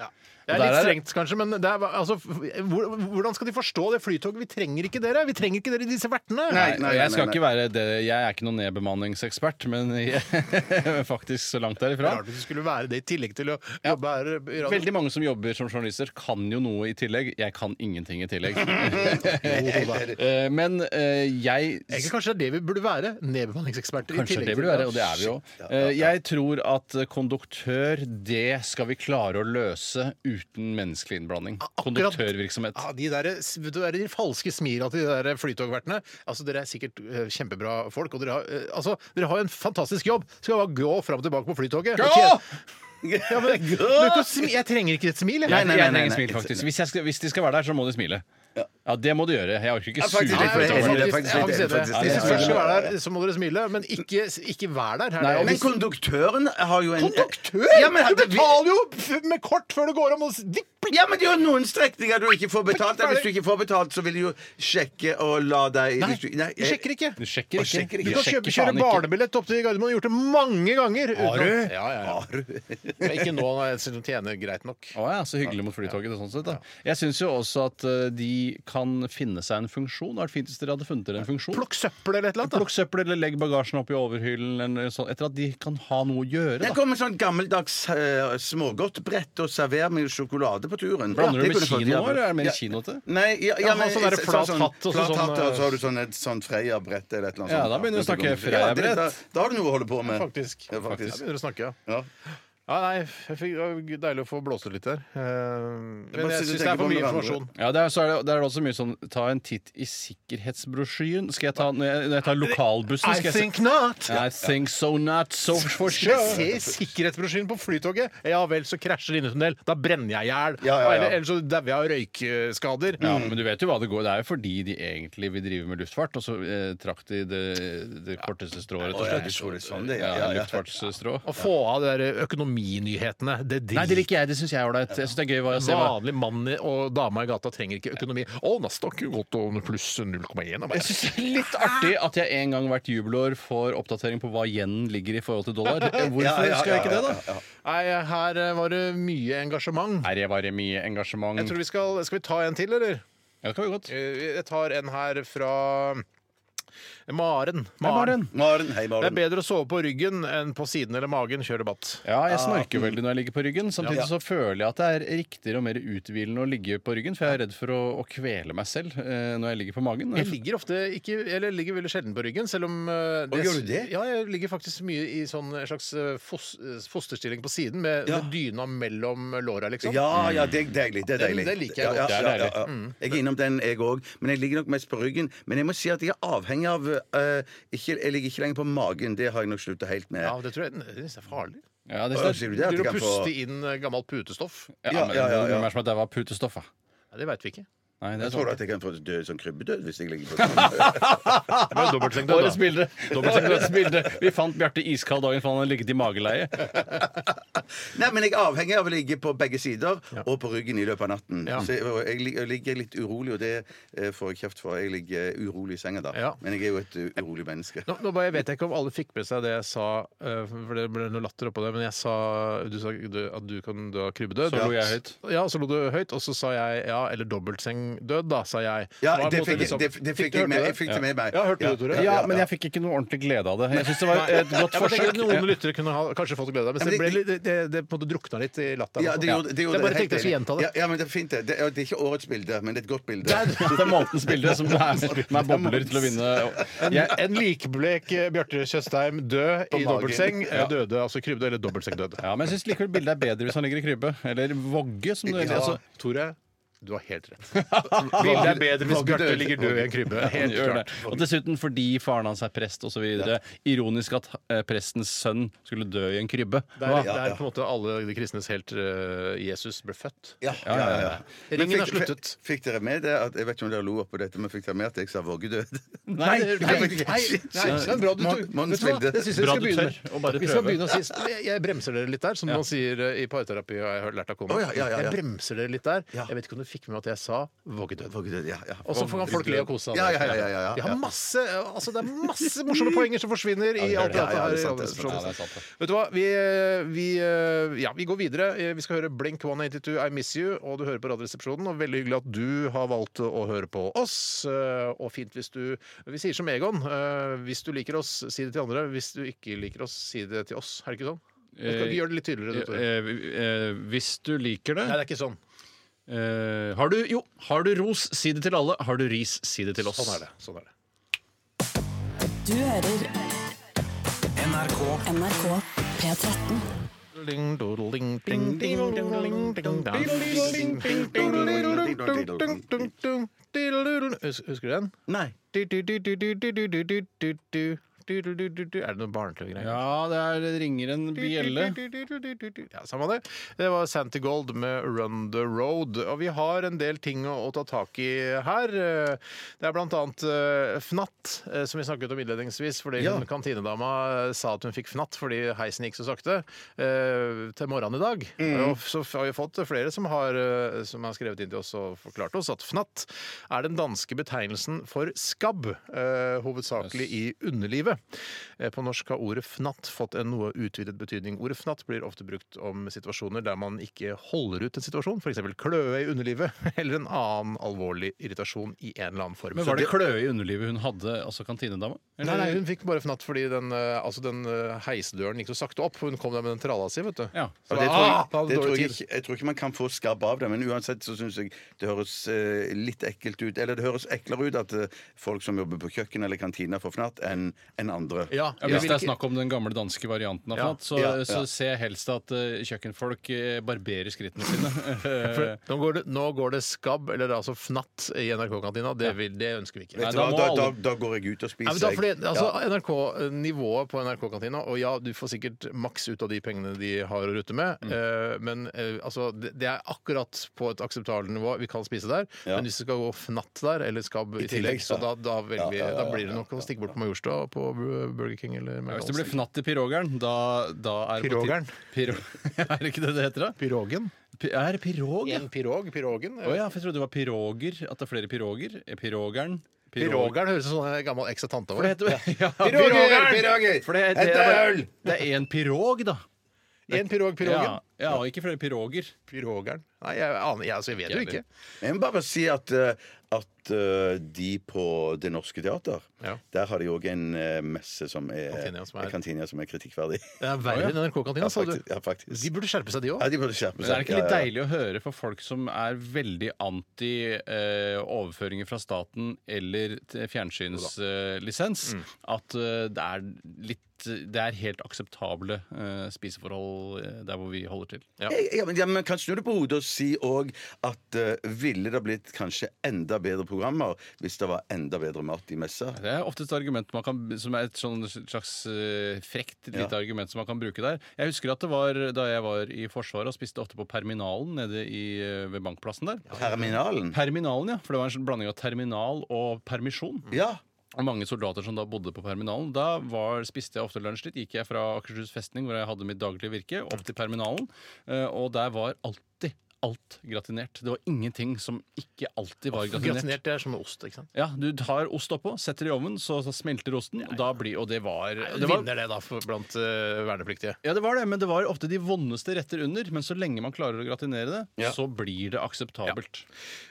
Speaker 4: Det er
Speaker 6: Der
Speaker 4: litt
Speaker 6: er-
Speaker 4: strengt, kanskje, men det er, altså, f- hvor- hvordan skal de forstå det flytoget? Vi trenger ikke dere. Vi trenger ikke dere i disse vertene.
Speaker 6: Nei,
Speaker 5: nei,
Speaker 6: og jeg
Speaker 5: nei,
Speaker 6: skal
Speaker 5: nei.
Speaker 6: ikke være det. Jeg er ikke noen nedbemanningsekspert, men jeg, (laughs) faktisk så langt derifra.
Speaker 4: Rart hvis det skulle være det i tillegg til å jobbe her i radio.
Speaker 6: Veldig mange som jobber som journalister, kan jo noe i tillegg. Jeg kan ingenting i
Speaker 5: (laughs)
Speaker 6: tillegg. Eh, Men eh, jeg
Speaker 4: Egentlig kanskje det er det vi burde være. Nedbemanningseksperter. i
Speaker 6: Kanskje
Speaker 4: tillegg
Speaker 6: det
Speaker 4: til-
Speaker 6: burde være, og det er vi jo. Eh, Jeg tror at konduktør, det skal vi klare å løse uten menneskelig innblanding.
Speaker 4: akkurat.
Speaker 6: Konduktørvirksomhet.
Speaker 4: Ja, de, der, vet du, det er de falske smila til de der flytogvertene. Altså, dere er sikkert eh, kjempebra folk, og dere har, eh, altså, dere har jo en fantastisk jobb. Skal bare gå fram og tilbake på flytoget. og tjene- Ja, men, du, er ikke å smi- jeg trenger ikke et smil. jeg.
Speaker 6: Nei,
Speaker 5: nei, nei,
Speaker 6: jeg trenger
Speaker 5: nei,
Speaker 6: smil,
Speaker 5: nei.
Speaker 6: faktisk. Hvis, jeg skal, hvis de skal være der, så må de smile. Ja, det må de gjøre. Jeg orker ikke
Speaker 5: faktisk
Speaker 6: sure
Speaker 5: litt, for
Speaker 6: folk
Speaker 5: jeg er enig
Speaker 6: over
Speaker 5: i
Speaker 6: det.
Speaker 5: det. faktisk litt-
Speaker 4: Jeg synes
Speaker 5: faktisk litt-
Speaker 4: først skal være der, så må dere smile, men ikke, ikke vær der. Her.
Speaker 6: Nei, og
Speaker 5: Men konduktøren har jo en
Speaker 4: Konduktør!
Speaker 5: Ja, men,
Speaker 4: du betaler jo f- med kort før du går om og s- vipp!
Speaker 5: ja, men det er jo noen strekninger du ikke får betalt. Hvis du ikke får betalt, så vil de jo sjekke og la deg
Speaker 4: Nei,
Speaker 5: hvis du-
Speaker 4: du sjekker ikke.
Speaker 6: Du sjekker
Speaker 5: sjekker
Speaker 6: ikke.
Speaker 5: ikke.
Speaker 4: Du kan kjøpe,
Speaker 6: sjekker
Speaker 4: kjøre
Speaker 6: faen ikke.
Speaker 4: barnebillett opp til Gardermoen. Jeg har Gjort det mange ganger. uten
Speaker 6: Har du?
Speaker 4: at- Ja, ja, ja. Men Ikke nå, når jeg synes de tjener greit nok.
Speaker 6: Å ja, så hyggelig mot Flytoget. sånn sett da. Jeg syns jo også at eh, de kan finne seg en funksjon. Det hadde vært fint hvis dere hadde funnet dere en funksjon.
Speaker 4: Plukk søppel eller et eller annet. da.
Speaker 6: Plukk søppel eller legg bagasjen opp i overhyllen. Eller sånn, etter at de kan ha noe å gjøre.
Speaker 5: Det
Speaker 6: Da.
Speaker 5: kommer sånn gammeldags uh, smågodtbrett og server med sjokolade på turen.
Speaker 6: Blander
Speaker 5: Det
Speaker 6: du med
Speaker 5: kunne folk
Speaker 6: kino nå,
Speaker 5: gjøre.
Speaker 6: eller er det mer
Speaker 5: Ja.
Speaker 6: kino til?
Speaker 5: Nei, ja, ja,
Speaker 4: Ja,
Speaker 5: men,
Speaker 4: ha sånn der
Speaker 5: så-
Speaker 4: flat
Speaker 5: sånn-
Speaker 4: hatt og så
Speaker 5: flat
Speaker 4: sånn,
Speaker 5: hatt, og så har
Speaker 4: eh,
Speaker 5: du sånn, et sånn Freia-brett eller et eller annet.
Speaker 6: Ja,
Speaker 5: sånt.
Speaker 6: da begynner du å snakke
Speaker 5: Ja, det-
Speaker 6: Freia-brett.
Speaker 5: Da, da har du noe å holde på med.
Speaker 4: Faktisk.
Speaker 5: Ja,
Speaker 4: Jeg
Speaker 5: faktisk.
Speaker 4: begynner å snakke, ja.
Speaker 5: Ja.
Speaker 4: ja nei, jeg fikk, det var deilig å få blåst ut litt der. Eh,
Speaker 5: bare
Speaker 4: Men jeg
Speaker 5: sitter og
Speaker 4: syns det er
Speaker 5: tenker på
Speaker 4: for mye
Speaker 5: hverandre.
Speaker 4: informasjon.
Speaker 6: Ja, det er, så er det, det er også mye sånn Ta en titt i sikkerhetsbrosjyren. Skal jeg ta, når jeg, når jeg tar lokalbussen skal jeg se-
Speaker 4: not!
Speaker 6: I think so not
Speaker 5: (laughs)
Speaker 6: so for
Speaker 4: Sure.
Speaker 6: sure.
Speaker 4: Se sikkerhetsbrosjyren på Flytoget. Ja vel, så krasjer det inn i tunnel. Da brenner jeg i hjel.
Speaker 5: Ja, ja, ja.
Speaker 4: Eller- Eller så dauer jeg av røykskader.
Speaker 6: Ja,
Speaker 5: Mm.
Speaker 6: men du vet jo hva det går. Det er jo fordi de egentlig vil drive med luftfart, og så eh, trakk de det, det korteste strået, rett og slett.
Speaker 5: jeg tror det er sånn det er. Ja, ja, ja.
Speaker 6: Luftfartsstrå.
Speaker 4: Å få av de der økonominyhetene, det
Speaker 6: Nei, det
Speaker 4: driter
Speaker 6: liker jeg. Det syns jeg er ålreit. Jeg synes det er gøy hva jeg ser. hva-
Speaker 4: Vanlig mann i- og dama i gata trenger ikke økonomi. Å, Nasdaq jo gått over pluss 0,1. av meg.
Speaker 6: Jeg synes det er litt artig at jeg en gang hvert jubelår får oppdatering på hva yenen ligger i forhold til dollar. Hvorfor
Speaker 5: (laughs) Ja, ja,
Speaker 6: skal jeg ikke
Speaker 5: ja,
Speaker 6: det, da?
Speaker 4: Nei, her eh, var det mye engasjement.
Speaker 6: Her var det mye engasjement.
Speaker 4: Jeg tror vi skal, skal vi ta en til, eller?
Speaker 6: Ja, det kan vi godt.
Speaker 4: Eh, Jeg tar en her fra Maren.
Speaker 6: Maren.
Speaker 5: Maren, hei,
Speaker 4: Det er
Speaker 5: Maren.
Speaker 4: bedre å sove på ryggen enn på siden eller magen. Kjør debatt.
Speaker 6: Ja, jeg snorker veldig når jeg ligger på ryggen. Samtidig så føler jeg at det er riktigere og mer uthvilende å ligge på ryggen, for jeg er redd for å, å kvele meg selv eh, når jeg ligger på magen.
Speaker 4: Jeg ligger ofte ikke, eller jeg ligger veldig sjelden på ryggen, selv om eh, det,
Speaker 5: gjør du det?
Speaker 4: Ja, jeg ligger faktisk mye i sånn en slags eh, fos, eh, fosterstilling på siden, med,
Speaker 5: Ja.
Speaker 4: med dyna mellom låra, liksom.
Speaker 5: Ja, ja, det er deilig. Det, er
Speaker 4: Den-
Speaker 5: deilig.
Speaker 4: den liker jeg
Speaker 5: Ja,
Speaker 4: godt.
Speaker 5: ja,
Speaker 6: Det
Speaker 5: ja,
Speaker 6: er
Speaker 5: ja, ja.
Speaker 4: Mm.
Speaker 5: Jeg er innom den, jeg òg. Men jeg ligger nok mest på ryggen. Men jeg må si at jeg er avhengig av eh, ikke, Jeg ligger ikke lenger på magen. Det har jeg nok slutta helt med.
Speaker 4: Ja, det tror jeg det synes jeg er farlig.
Speaker 6: Ja, det,
Speaker 5: Å, sier du det? at
Speaker 4: Du
Speaker 5: jeg
Speaker 4: å
Speaker 5: kan få-
Speaker 4: puste inn eh, gammelt putestoff.
Speaker 6: ja,
Speaker 5: Ja,
Speaker 6: men,
Speaker 5: ja, ja, ja.
Speaker 6: Hvem er det som har daua av putestoff? da?
Speaker 4: Ja, det veit vi
Speaker 5: (laughs)
Speaker 4: ikke.
Speaker 6: Nei, det
Speaker 5: Jeg tror
Speaker 6: er sånn.
Speaker 5: du at jeg kan få dø som krybbedød hvis jeg
Speaker 4: (laughs)
Speaker 5: ligger på ryggen?
Speaker 6: Årets (laughs) bilde. Årets bilde. Vi fant Bjarte iskald dagen før han hadde ligget i mageleie.
Speaker 5: Nei, men jeg er avhengig av å ligge på begge sider og på ryggen i løpet av natten.
Speaker 4: Ja.
Speaker 5: Så jeg, og jeg, lig- jeg ligger litt urolig, og det eh, får jeg kjeft for. Jeg ligger urolig i senga da.
Speaker 4: Ja.
Speaker 5: Men jeg er jo et uh, urolig menneske.
Speaker 4: Nå, nå bare, jeg vet ikke om alle fikk med seg det jeg sa, eh, for det ble noe latter oppå det, men jeg sa du sa du, at du kan dø av krybbedød.
Speaker 6: Så lo jeg høyt.
Speaker 4: Ja, så lo du høyt, og så sa jeg ja, eller dobbeltsengdød, da, sa jeg.
Speaker 5: Ja,
Speaker 4: Nå er
Speaker 5: det
Speaker 4: på en måte
Speaker 5: fikk, jeg-
Speaker 4: liksom-
Speaker 5: det, det fikk
Speaker 4: du
Speaker 5: jeg med.
Speaker 4: hørte
Speaker 5: Jeg fikk det med meg.
Speaker 4: Ja, hørte du det, Tore?
Speaker 5: Ja,
Speaker 6: Ja,
Speaker 5: ja,
Speaker 6: men
Speaker 5: ja.
Speaker 6: jeg fikk ikke noe ordentlig glede av det. Jeg syns det var et godt
Speaker 4: Jeg bare tenker
Speaker 6: forsøk.
Speaker 4: at Noen lyttere kunne ha, kanskje fått glede av det, men
Speaker 5: Ja,
Speaker 4: det,
Speaker 5: men
Speaker 4: ble,
Speaker 5: det-
Speaker 4: litt- det, det på en måte drukna litt i latteren.
Speaker 5: Ja, det gjorde, det gjorde
Speaker 4: jeg bare
Speaker 5: det helt
Speaker 4: tenkte jeg
Speaker 5: enig.
Speaker 4: skulle gjenta det.
Speaker 5: Ja, ja, men det er fint, det. Det er, det er ikke årets bilde, men det er et godt bilde.
Speaker 6: Det er månedens bilde som er, som er bobler til å vinne.
Speaker 4: En,
Speaker 6: Jeg,
Speaker 4: en likblek eh, Bjarte Tjøstheim død i
Speaker 5: magen.
Speaker 4: dobbeltseng. eh,
Speaker 6: Ja.
Speaker 4: Døde altså krybdød eller dobbeltsengdød.
Speaker 6: ja, men jeg syns likevel bildet er bedre hvis han ligger i krybbe. Eller vogge, som det altså,
Speaker 4: Tore, du har helt (laughs) rett. Bildet er bedre hvis Bjarte ligger død i en krybbe.
Speaker 6: han
Speaker 4: Helt
Speaker 6: gjør det.
Speaker 4: klart.
Speaker 6: Og dessuten fordi faren hans er prest osv. Ironisk at eh, prestens sønn skulle dø i en krybbe.
Speaker 4: Det er, det er på en måte alle de kristnes helt eh, Jesus ble født.
Speaker 5: Ja, ja, ja, ja. Men
Speaker 4: Ringen
Speaker 5: fikk-
Speaker 4: er sluttet.
Speaker 5: Fikk, fikk dere med det? At, jeg vet ikke om dere lo oppå dette, men fikk dere med at jeg sa våggedød? (laughs)
Speaker 4: Nei, nei, nei,
Speaker 5: nei,
Speaker 4: det er bra du tok.
Speaker 5: Mon- Mons
Speaker 4: Vet du hva?
Speaker 5: bilde.
Speaker 4: Det synes jeg vi
Speaker 6: Bra
Speaker 4: skal begynne
Speaker 6: du tør å bare
Speaker 4: med. Vi skal
Speaker 6: prøve.
Speaker 4: begynne å si, jeg, jeg bremser dere litt der, som man sier eh, i parterapi. Har jeg hørt- lært av Kåre.
Speaker 5: Å, ja, ja, ja, ja.
Speaker 4: Jeg bremser dere litt der.
Speaker 5: Ja.
Speaker 4: Jeg vet ikke om du fikk med at jeg sa våggedød.
Speaker 5: Våggedød, ja, ja.
Speaker 4: Og så kan folk le og kose seg.
Speaker 5: Ja, ja, ja, ja, ja, ja.
Speaker 4: De har masse, altså det er masse morsomme poenger som forsvinner i alt
Speaker 5: Ja, ja,
Speaker 4: dette her.
Speaker 5: det er
Speaker 4: i
Speaker 5: sant, det er sant,
Speaker 4: radioresepsjonen.
Speaker 6: ja, det er sant, det.
Speaker 4: Vet du hva, vi, eh, vi, ja, vi går videre. Eh, Vi skal høre Blink 182, I Miss You, og du hører på Radioresepsjonen. Og veldig hyggelig at du har valgt å høre på oss. eh, Og fint hvis du Vi sier som Egon. eh, Hvis du liker oss, si det til andre. Hvis du ikke liker oss, si det til oss. Er det ikke sånn? Jeg skal gjøre det litt tydeligere. Du, Tore.
Speaker 6: Eh, eh, hvis du liker det
Speaker 4: Nei, det er ikke sånn.
Speaker 6: eh, har du, Jo, har du ros, si det til alle. Har du ris, si det til oss.
Speaker 4: Sånn er det. Sånn er det.
Speaker 9: Du hører
Speaker 3: NRK
Speaker 9: NRK P13.
Speaker 4: Ding, doodling, ding, ding, doodling, ding, dang. Hus- Husker du den?
Speaker 5: Nei.
Speaker 4: Du, du, du, du, du, du, du, du, du, du, du. Du, du, du, du, du. Er det noe barne-tv-greier?
Speaker 6: Ja, det, er, det ringer en bjelle.
Speaker 4: Ja, samme det. Det var Santy Gold med Run the Road. Og vi har en del ting å, å ta tak i her. Eh, Det er blant annet eh, fnatt, eh, som vi snakket om innledningsvis. Fordi hun kantinedama eh, sa at hun fikk fnatt fordi heisen gikk så sakte. eh, Til morgenen i dag. Og så har vi fått flere som har, eh, som har skrevet inn til oss og forklart oss at fnatt er den danske betegnelsen for skabb, eh, hovedsakelig i underlivet. Eh, På norsk har ordet fnatt fått en noe utvidet betydning. Ordet fnatt blir ofte brukt om situasjoner der man ikke holder ut en situasjon, f.eks. kløe i underlivet, (laughs) eller en annen alvorlig irritasjon i en eller annen form.
Speaker 6: Men
Speaker 4: Så
Speaker 6: Var det kløe i underlivet hun hadde, altså kantinedama?
Speaker 4: Nei, nei, hun fikk bare fnatt fordi den, eh, altså den eh, heisdøren gikk så sakte opp. Hun kom der med den tralla si, vet du.
Speaker 6: Ja.
Speaker 4: Så,
Speaker 5: Det tror
Speaker 4: ah,
Speaker 5: jeg,
Speaker 4: da hadde
Speaker 5: det
Speaker 4: dårlig
Speaker 5: tror jeg,
Speaker 4: tid.
Speaker 5: ikke, jeg tror ikke man kan få skabb av det, men uansett så syns jeg det høres eh, litt ekkelt ut. Eller det høres eklere ut at eh, folk som jobber på kjøkken eller kantina får fnatt, enn enn andre.
Speaker 4: Ja,
Speaker 6: Ja,
Speaker 4: jeg
Speaker 6: hvis
Speaker 4: vil
Speaker 6: det er
Speaker 4: ikke-
Speaker 6: snakk om den gamle danske varianten av
Speaker 4: Ja.
Speaker 6: fnatt, så,
Speaker 5: Ja, ja.
Speaker 6: så ser jeg helst at eh, kjøkkenfolk eh, barberer skrittene sine.
Speaker 4: (laughs) For
Speaker 6: Eh,
Speaker 4: nå, går det, nå går det skabb, eller altså fnatt, i NRK-kantina. Det, vil- det ønsker vi ikke.
Speaker 6: Nei,
Speaker 5: Vet du
Speaker 6: da
Speaker 5: hva,
Speaker 6: må
Speaker 5: da, da,
Speaker 6: alle-
Speaker 5: da går jeg ut og
Speaker 4: Nei,
Speaker 5: spiser.
Speaker 4: men da,
Speaker 5: jeg.
Speaker 4: fordi, altså,
Speaker 5: Ja.
Speaker 4: NRK, Nivået på NRK-kantina Og ja, du får sikkert maks ut av de pengene de har å rutte med, eh, men eh, altså, det, det er akkurat på et akseptabelt nivå. Vi kan spise der. Men hvis det skal gå fnatt der, eller skabb i, tillegg,
Speaker 5: tillegg,
Speaker 4: så da,
Speaker 5: ja.
Speaker 4: da, velger vi,
Speaker 5: Ja, ja, ja,
Speaker 4: da blir det nok å stikke bort på Majorstua på Burger King eller
Speaker 6: Hvis det blir
Speaker 4: McDonald's.
Speaker 6: fnatt i pirogeren, da, da er det på tide- (laughs)
Speaker 4: Pirogeren?
Speaker 6: Piro- er det ikke det det heter, da?
Speaker 4: Pirogen?
Speaker 6: Pi- Er det pirog? ja?
Speaker 4: En pirog? Pirogen?
Speaker 6: Å ja, for jeg trodde det var piroger. At det er flere piroger. Eh, Pirogeren. pirog-
Speaker 4: Pirogeren høres ut som en sånn gammel eks av tante
Speaker 6: For det
Speaker 4: vår.
Speaker 6: heter (laughs) ja.
Speaker 5: Piroger! Piroger!
Speaker 6: For det, det,
Speaker 5: Etter
Speaker 6: det er en pirog, da.
Speaker 4: En pirog, pirogen.
Speaker 6: Ja. Ja, og ikke flere piroger.
Speaker 4: Pyrogeren? Nei, jeg aner jeg, altså, jeg vet jo
Speaker 6: Jævlig.
Speaker 4: ikke.
Speaker 5: Jeg må bare si at, eh, at eh, de på Det Norske Teater
Speaker 4: Ja.
Speaker 5: Der har de òg en eh, messe som er
Speaker 4: Kantina som er-
Speaker 5: en kantina som er kritikkverdig.
Speaker 4: Det er verre enn NRK-kantina,
Speaker 5: Ja,
Speaker 4: sa du.
Speaker 5: faktisk- ja, faktisk.
Speaker 4: De burde skjerpe seg, de
Speaker 5: Ja,
Speaker 4: òg.
Speaker 5: de burde skjerpe
Speaker 6: Men
Speaker 5: seg.
Speaker 6: er det ikke litt
Speaker 5: Ja, ja.
Speaker 6: deilig å høre for folk som er veldig anti eh, overføringer fra staten eller t- fjernsynslisens, at eh, det er litt det er helt akseptable eh, spiseforhold eh, der hvor vi holder til.
Speaker 4: Ja.
Speaker 5: Jeg- Ja, men, ja, men kan snu det på hodet og si òg at eh, ville det blitt kanskje enda bedre programmer hvis det var enda bedre mat i messa?
Speaker 6: Det er ofte et argument man kan, som er et sånn slags eh, frekt lite
Speaker 5: Ja.
Speaker 6: argument som man kan bruke der. Jeg husker at det var da jeg var i Forsvaret og spiste ofte på Perminalen nede i, eh, ved Bankplassen der.
Speaker 5: Terminalen?
Speaker 6: Perminalen, ja. For det var en sånn blanding av terminal og permisjon.
Speaker 5: Ja.
Speaker 6: Og mange soldater som da bodde på Perminalen. Da var, spiste jeg ofte lunsj litt. Gikk jeg fra Akershus festning, hvor jeg hadde mitt daglige virke, opp til Perminalen. eh, Og der var alltid alt gratinert. Det var ingenting som ikke alltid var gratinert.
Speaker 4: Gratinert det er som med ost, ikke sant?
Speaker 6: Ja, Du tar ost oppå, setter det i ovnen, så, så smelter osten. Og, da blir, og det var, det var
Speaker 4: Vinner det, da, for, blant eh, vernepliktige.
Speaker 6: ja, det var det, men det var ofte de vondeste retter under. Men så lenge man klarer å gratinere det,
Speaker 5: Ja.
Speaker 6: så blir det akseptabelt.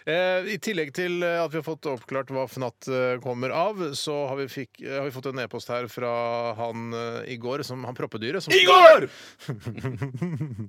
Speaker 4: Eh, I tillegg til eh, at vi har fått oppklart hva FNAT eh, kommer av, så har vi, fikk, eh, har vi fått en e-post her fra han eh, i går, som han proppedyret som,
Speaker 5: Igor!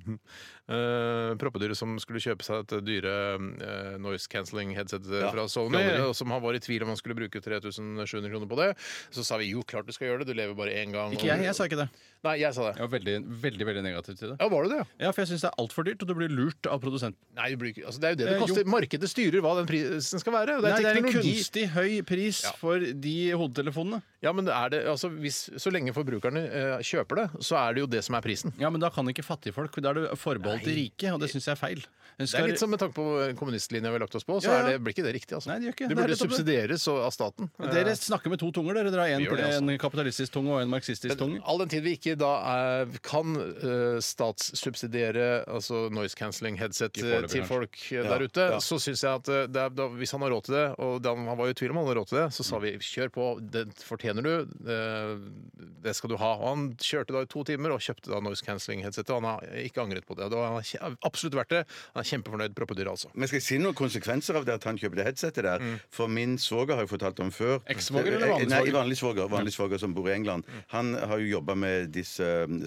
Speaker 4: (laughs) Eh, proppedyret som skulle kjøpe seg et dyre eh, noise cancelling headset eh,
Speaker 5: Ja,
Speaker 4: fra Sony,
Speaker 5: Sony.
Speaker 4: og som han var i tvil om han skulle bruke 3700 kroner på det. Så sa vi jo, klart du skal gjøre det, du lever bare én gang.
Speaker 6: Ikke jeg, jeg sa ikke det.
Speaker 4: Nei, jeg sa det.
Speaker 6: Jeg var veldig, veldig, veldig negativ til det.
Speaker 4: Ja, var du det? ja?
Speaker 6: Ja, for jeg syns det er altfor dyrt, og du blir lurt av produsenten.
Speaker 4: Nei, det, blir, ikke- altså, det er jo det det
Speaker 6: Eh,
Speaker 4: koster. Markedet styrer hva den prisen skal være. og
Speaker 6: Nei, det er en
Speaker 4: teknologi.
Speaker 6: kunstig høy pris for de hodetelefonene.
Speaker 4: Ja, men er det, altså, hvis, Så lenge forbrukerne eh, kjøper det, så er det jo det som er prisen.
Speaker 6: Ja, men da kan ikke fattigfolk. Da er det forbeholdt de rike, og det syns jeg er feil.
Speaker 4: Det er litt som med tanke på kommunistlinja vi har lagt oss på, så
Speaker 6: Ja, ja.
Speaker 4: Er det, blir ikke det riktig. altså.
Speaker 6: Nei, det gjør ikke
Speaker 4: det
Speaker 6: det. Det er
Speaker 4: burde
Speaker 6: litt opp-
Speaker 4: subsidieres og- av staten. Eh,
Speaker 6: Dere snakker med to tunger. Dere drar en,
Speaker 4: Vi gjør det, altså.
Speaker 6: en kapitalistisk tunge og en marxistisk tunge.
Speaker 4: All den tid vi ikke da er, kan eh, statssubsidiere altså noise cancelling headset
Speaker 6: Ikke foreløpig,
Speaker 4: til
Speaker 6: kanskje.
Speaker 4: folk eh, der ute, så syns jeg at eh, det er, da, hvis han har råd til det, og da, han var jo i tvil om han hadde råd til det, så sa
Speaker 6: Mm.
Speaker 4: vi kjør på, det fortjener du, eh, det skal du ha. Og han kjørte da i to timer og kjøpte da noise cancelling headsetet, og han har ikke angret på det. Det var kje- absolutt verdt det. Han er kjempefornøyd. Proppedyr, altså.
Speaker 5: Men skal jeg si noen konsekvenser av det at han kjøper det headsetet der?
Speaker 4: Mm.
Speaker 5: For min svoger har jeg fortalt om før. Eh,
Speaker 6: Ekssvoger eller vanlig
Speaker 5: Nei,
Speaker 6: svoger?
Speaker 5: vanlig svoger? Vanlig svoger som bor i England.
Speaker 4: Mm.
Speaker 5: Han har jo jobba med disse um,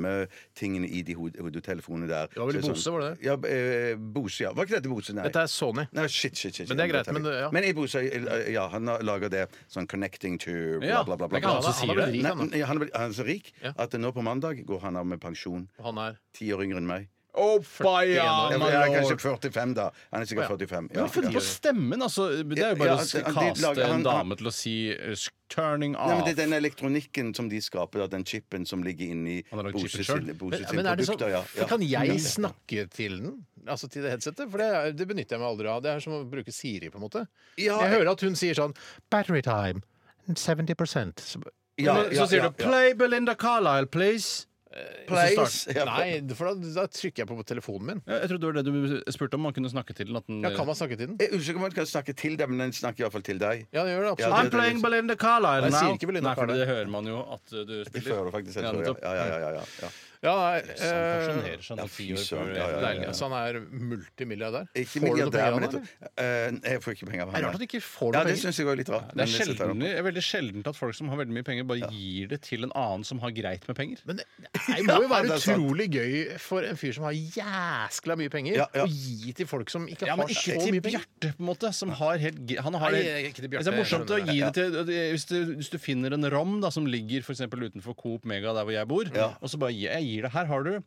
Speaker 5: stemmetingene i de hod- hodetelefonene der.
Speaker 4: var vel
Speaker 5: Så
Speaker 4: Bose, var det det?
Speaker 5: Ja, eh, Bose, ja. Var ikke dette Bose? Nei.
Speaker 4: Dette er Sony.
Speaker 5: Nei, shit, shit, shit.
Speaker 4: Men det er
Speaker 5: shit,
Speaker 4: greit, men
Speaker 5: tar jeg.
Speaker 4: det- ja.
Speaker 5: Men i Bose, eh, ja, han har lager det sånn connecting to bla,
Speaker 6: Ja,
Speaker 5: bla, bla.
Speaker 6: det
Speaker 5: bla,
Speaker 6: er ikke han som sier
Speaker 4: ble
Speaker 6: det.
Speaker 4: rik,
Speaker 5: Nei,
Speaker 4: han, da.
Speaker 5: nei, han, er blitt- han er så rik
Speaker 4: Ja.
Speaker 5: at nå på mandag går han av med pensjon.
Speaker 4: Og han er
Speaker 5: Ti år yngre enn meg.
Speaker 6: Oppa, ja!
Speaker 5: Jeg,
Speaker 6: my
Speaker 5: jeg er
Speaker 6: lord.
Speaker 5: kanskje 45, da. Han er sikkert 45.
Speaker 6: Men du har funnet på stemmen, altså. Det er jo bare
Speaker 5: Ja,
Speaker 6: å
Speaker 5: han- de lager-
Speaker 6: kaste
Speaker 5: han-
Speaker 6: en
Speaker 5: han-
Speaker 6: dame til å si eh, sk- 'turning
Speaker 5: Nei, men
Speaker 6: off'.
Speaker 5: det er den elektronikken som de skaper, da, den chipen som ligger inni
Speaker 6: Han har lagd
Speaker 5: Bose
Speaker 6: chipen
Speaker 5: sin,
Speaker 6: selv?
Speaker 5: Bose sin
Speaker 4: Men er det sånn,
Speaker 5: produkter. Ja, ja.
Speaker 4: Kan jeg snakke til den? Altså til det headsetet? For det, er- det benytter jeg meg aldri av. Det er som å bruke Siri, på en måte.
Speaker 5: Ja,
Speaker 4: jeg hører at hun sier sånn Battery time 70 Så ba-
Speaker 5: ja,
Speaker 6: Men
Speaker 5: ja,
Speaker 6: så sier
Speaker 5: ja,
Speaker 6: du 'play Belinda Carlisle, please'.
Speaker 5: ja. Place. Ja.
Speaker 4: Nei, for da, da trykker jeg på telefonen min.
Speaker 6: Ja, jeg trodde det var det du spurte om. Man kunne snakke til den. At den
Speaker 4: Ja, kan man snakke til den?
Speaker 5: Jeg er usikker på om jeg kan snakke til deg, men den snakker iallfall til deg.
Speaker 4: Ja, det gjør det
Speaker 5: Ja,
Speaker 4: absolutt.
Speaker 5: det- playing
Speaker 6: Belinda
Speaker 4: Nei,
Speaker 6: Carlisle
Speaker 4: jeg now. sier ikke Belinda
Speaker 6: Nei, for
Speaker 4: Carlisle.
Speaker 6: det hører man jo at uh, du
Speaker 5: Det
Speaker 6: spiller.
Speaker 5: fører faktisk jeg
Speaker 6: Ja,
Speaker 5: tror,
Speaker 6: nettopp.
Speaker 5: ja, ja, ja, ja, ja, ja.
Speaker 4: Ja, nei,
Speaker 6: Så han
Speaker 4: eh,
Speaker 6: pensjonerer
Speaker 5: ja,
Speaker 6: seg nå ti
Speaker 5: fy
Speaker 6: år
Speaker 5: søren,
Speaker 6: før.
Speaker 5: ja, ja, ja,
Speaker 6: Deilig,
Speaker 5: ja.
Speaker 6: altså.
Speaker 4: Så han er multimilliardær?
Speaker 5: Ikke
Speaker 4: Får du noe
Speaker 5: milliardær,
Speaker 4: penger av
Speaker 5: men
Speaker 4: han,
Speaker 5: jeg,
Speaker 4: eller?
Speaker 5: tror- eh, jeg får ikke penger av
Speaker 4: Det er
Speaker 5: han.
Speaker 4: rart at du ikke får
Speaker 5: Ja,
Speaker 4: noe
Speaker 5: det
Speaker 4: penger.
Speaker 5: syns jeg var litt rart.
Speaker 6: Det
Speaker 5: men
Speaker 6: er,
Speaker 5: jeg setter
Speaker 6: sjelden,
Speaker 5: den opp.
Speaker 6: det er veldig sjeldent at folk som har veldig mye penger, bare gir det til en annen som har greit med penger.
Speaker 4: Men det det må jo
Speaker 5: (laughs) Ja,
Speaker 4: være
Speaker 5: det er sant.
Speaker 4: utrolig gøy for en fyr som har jæskla mye penger,
Speaker 5: Ja, ja.
Speaker 4: å gi til folk som ikke har
Speaker 6: Ja, men ikke
Speaker 4: så
Speaker 6: til
Speaker 4: mye penger.
Speaker 6: Bjarte, på en måte. Som har helt, ge- han har
Speaker 4: Nei,
Speaker 6: det,
Speaker 4: ikke til Bjarte,
Speaker 6: det er morsomt å
Speaker 4: jeg skjønner
Speaker 6: gi det til hvis du, hvis du finner en ram da, som ligger for eksempel utenfor Coop Mega, der hvor jeg bor,
Speaker 5: Ja.
Speaker 6: og så bare gi- jeg gir det Her har du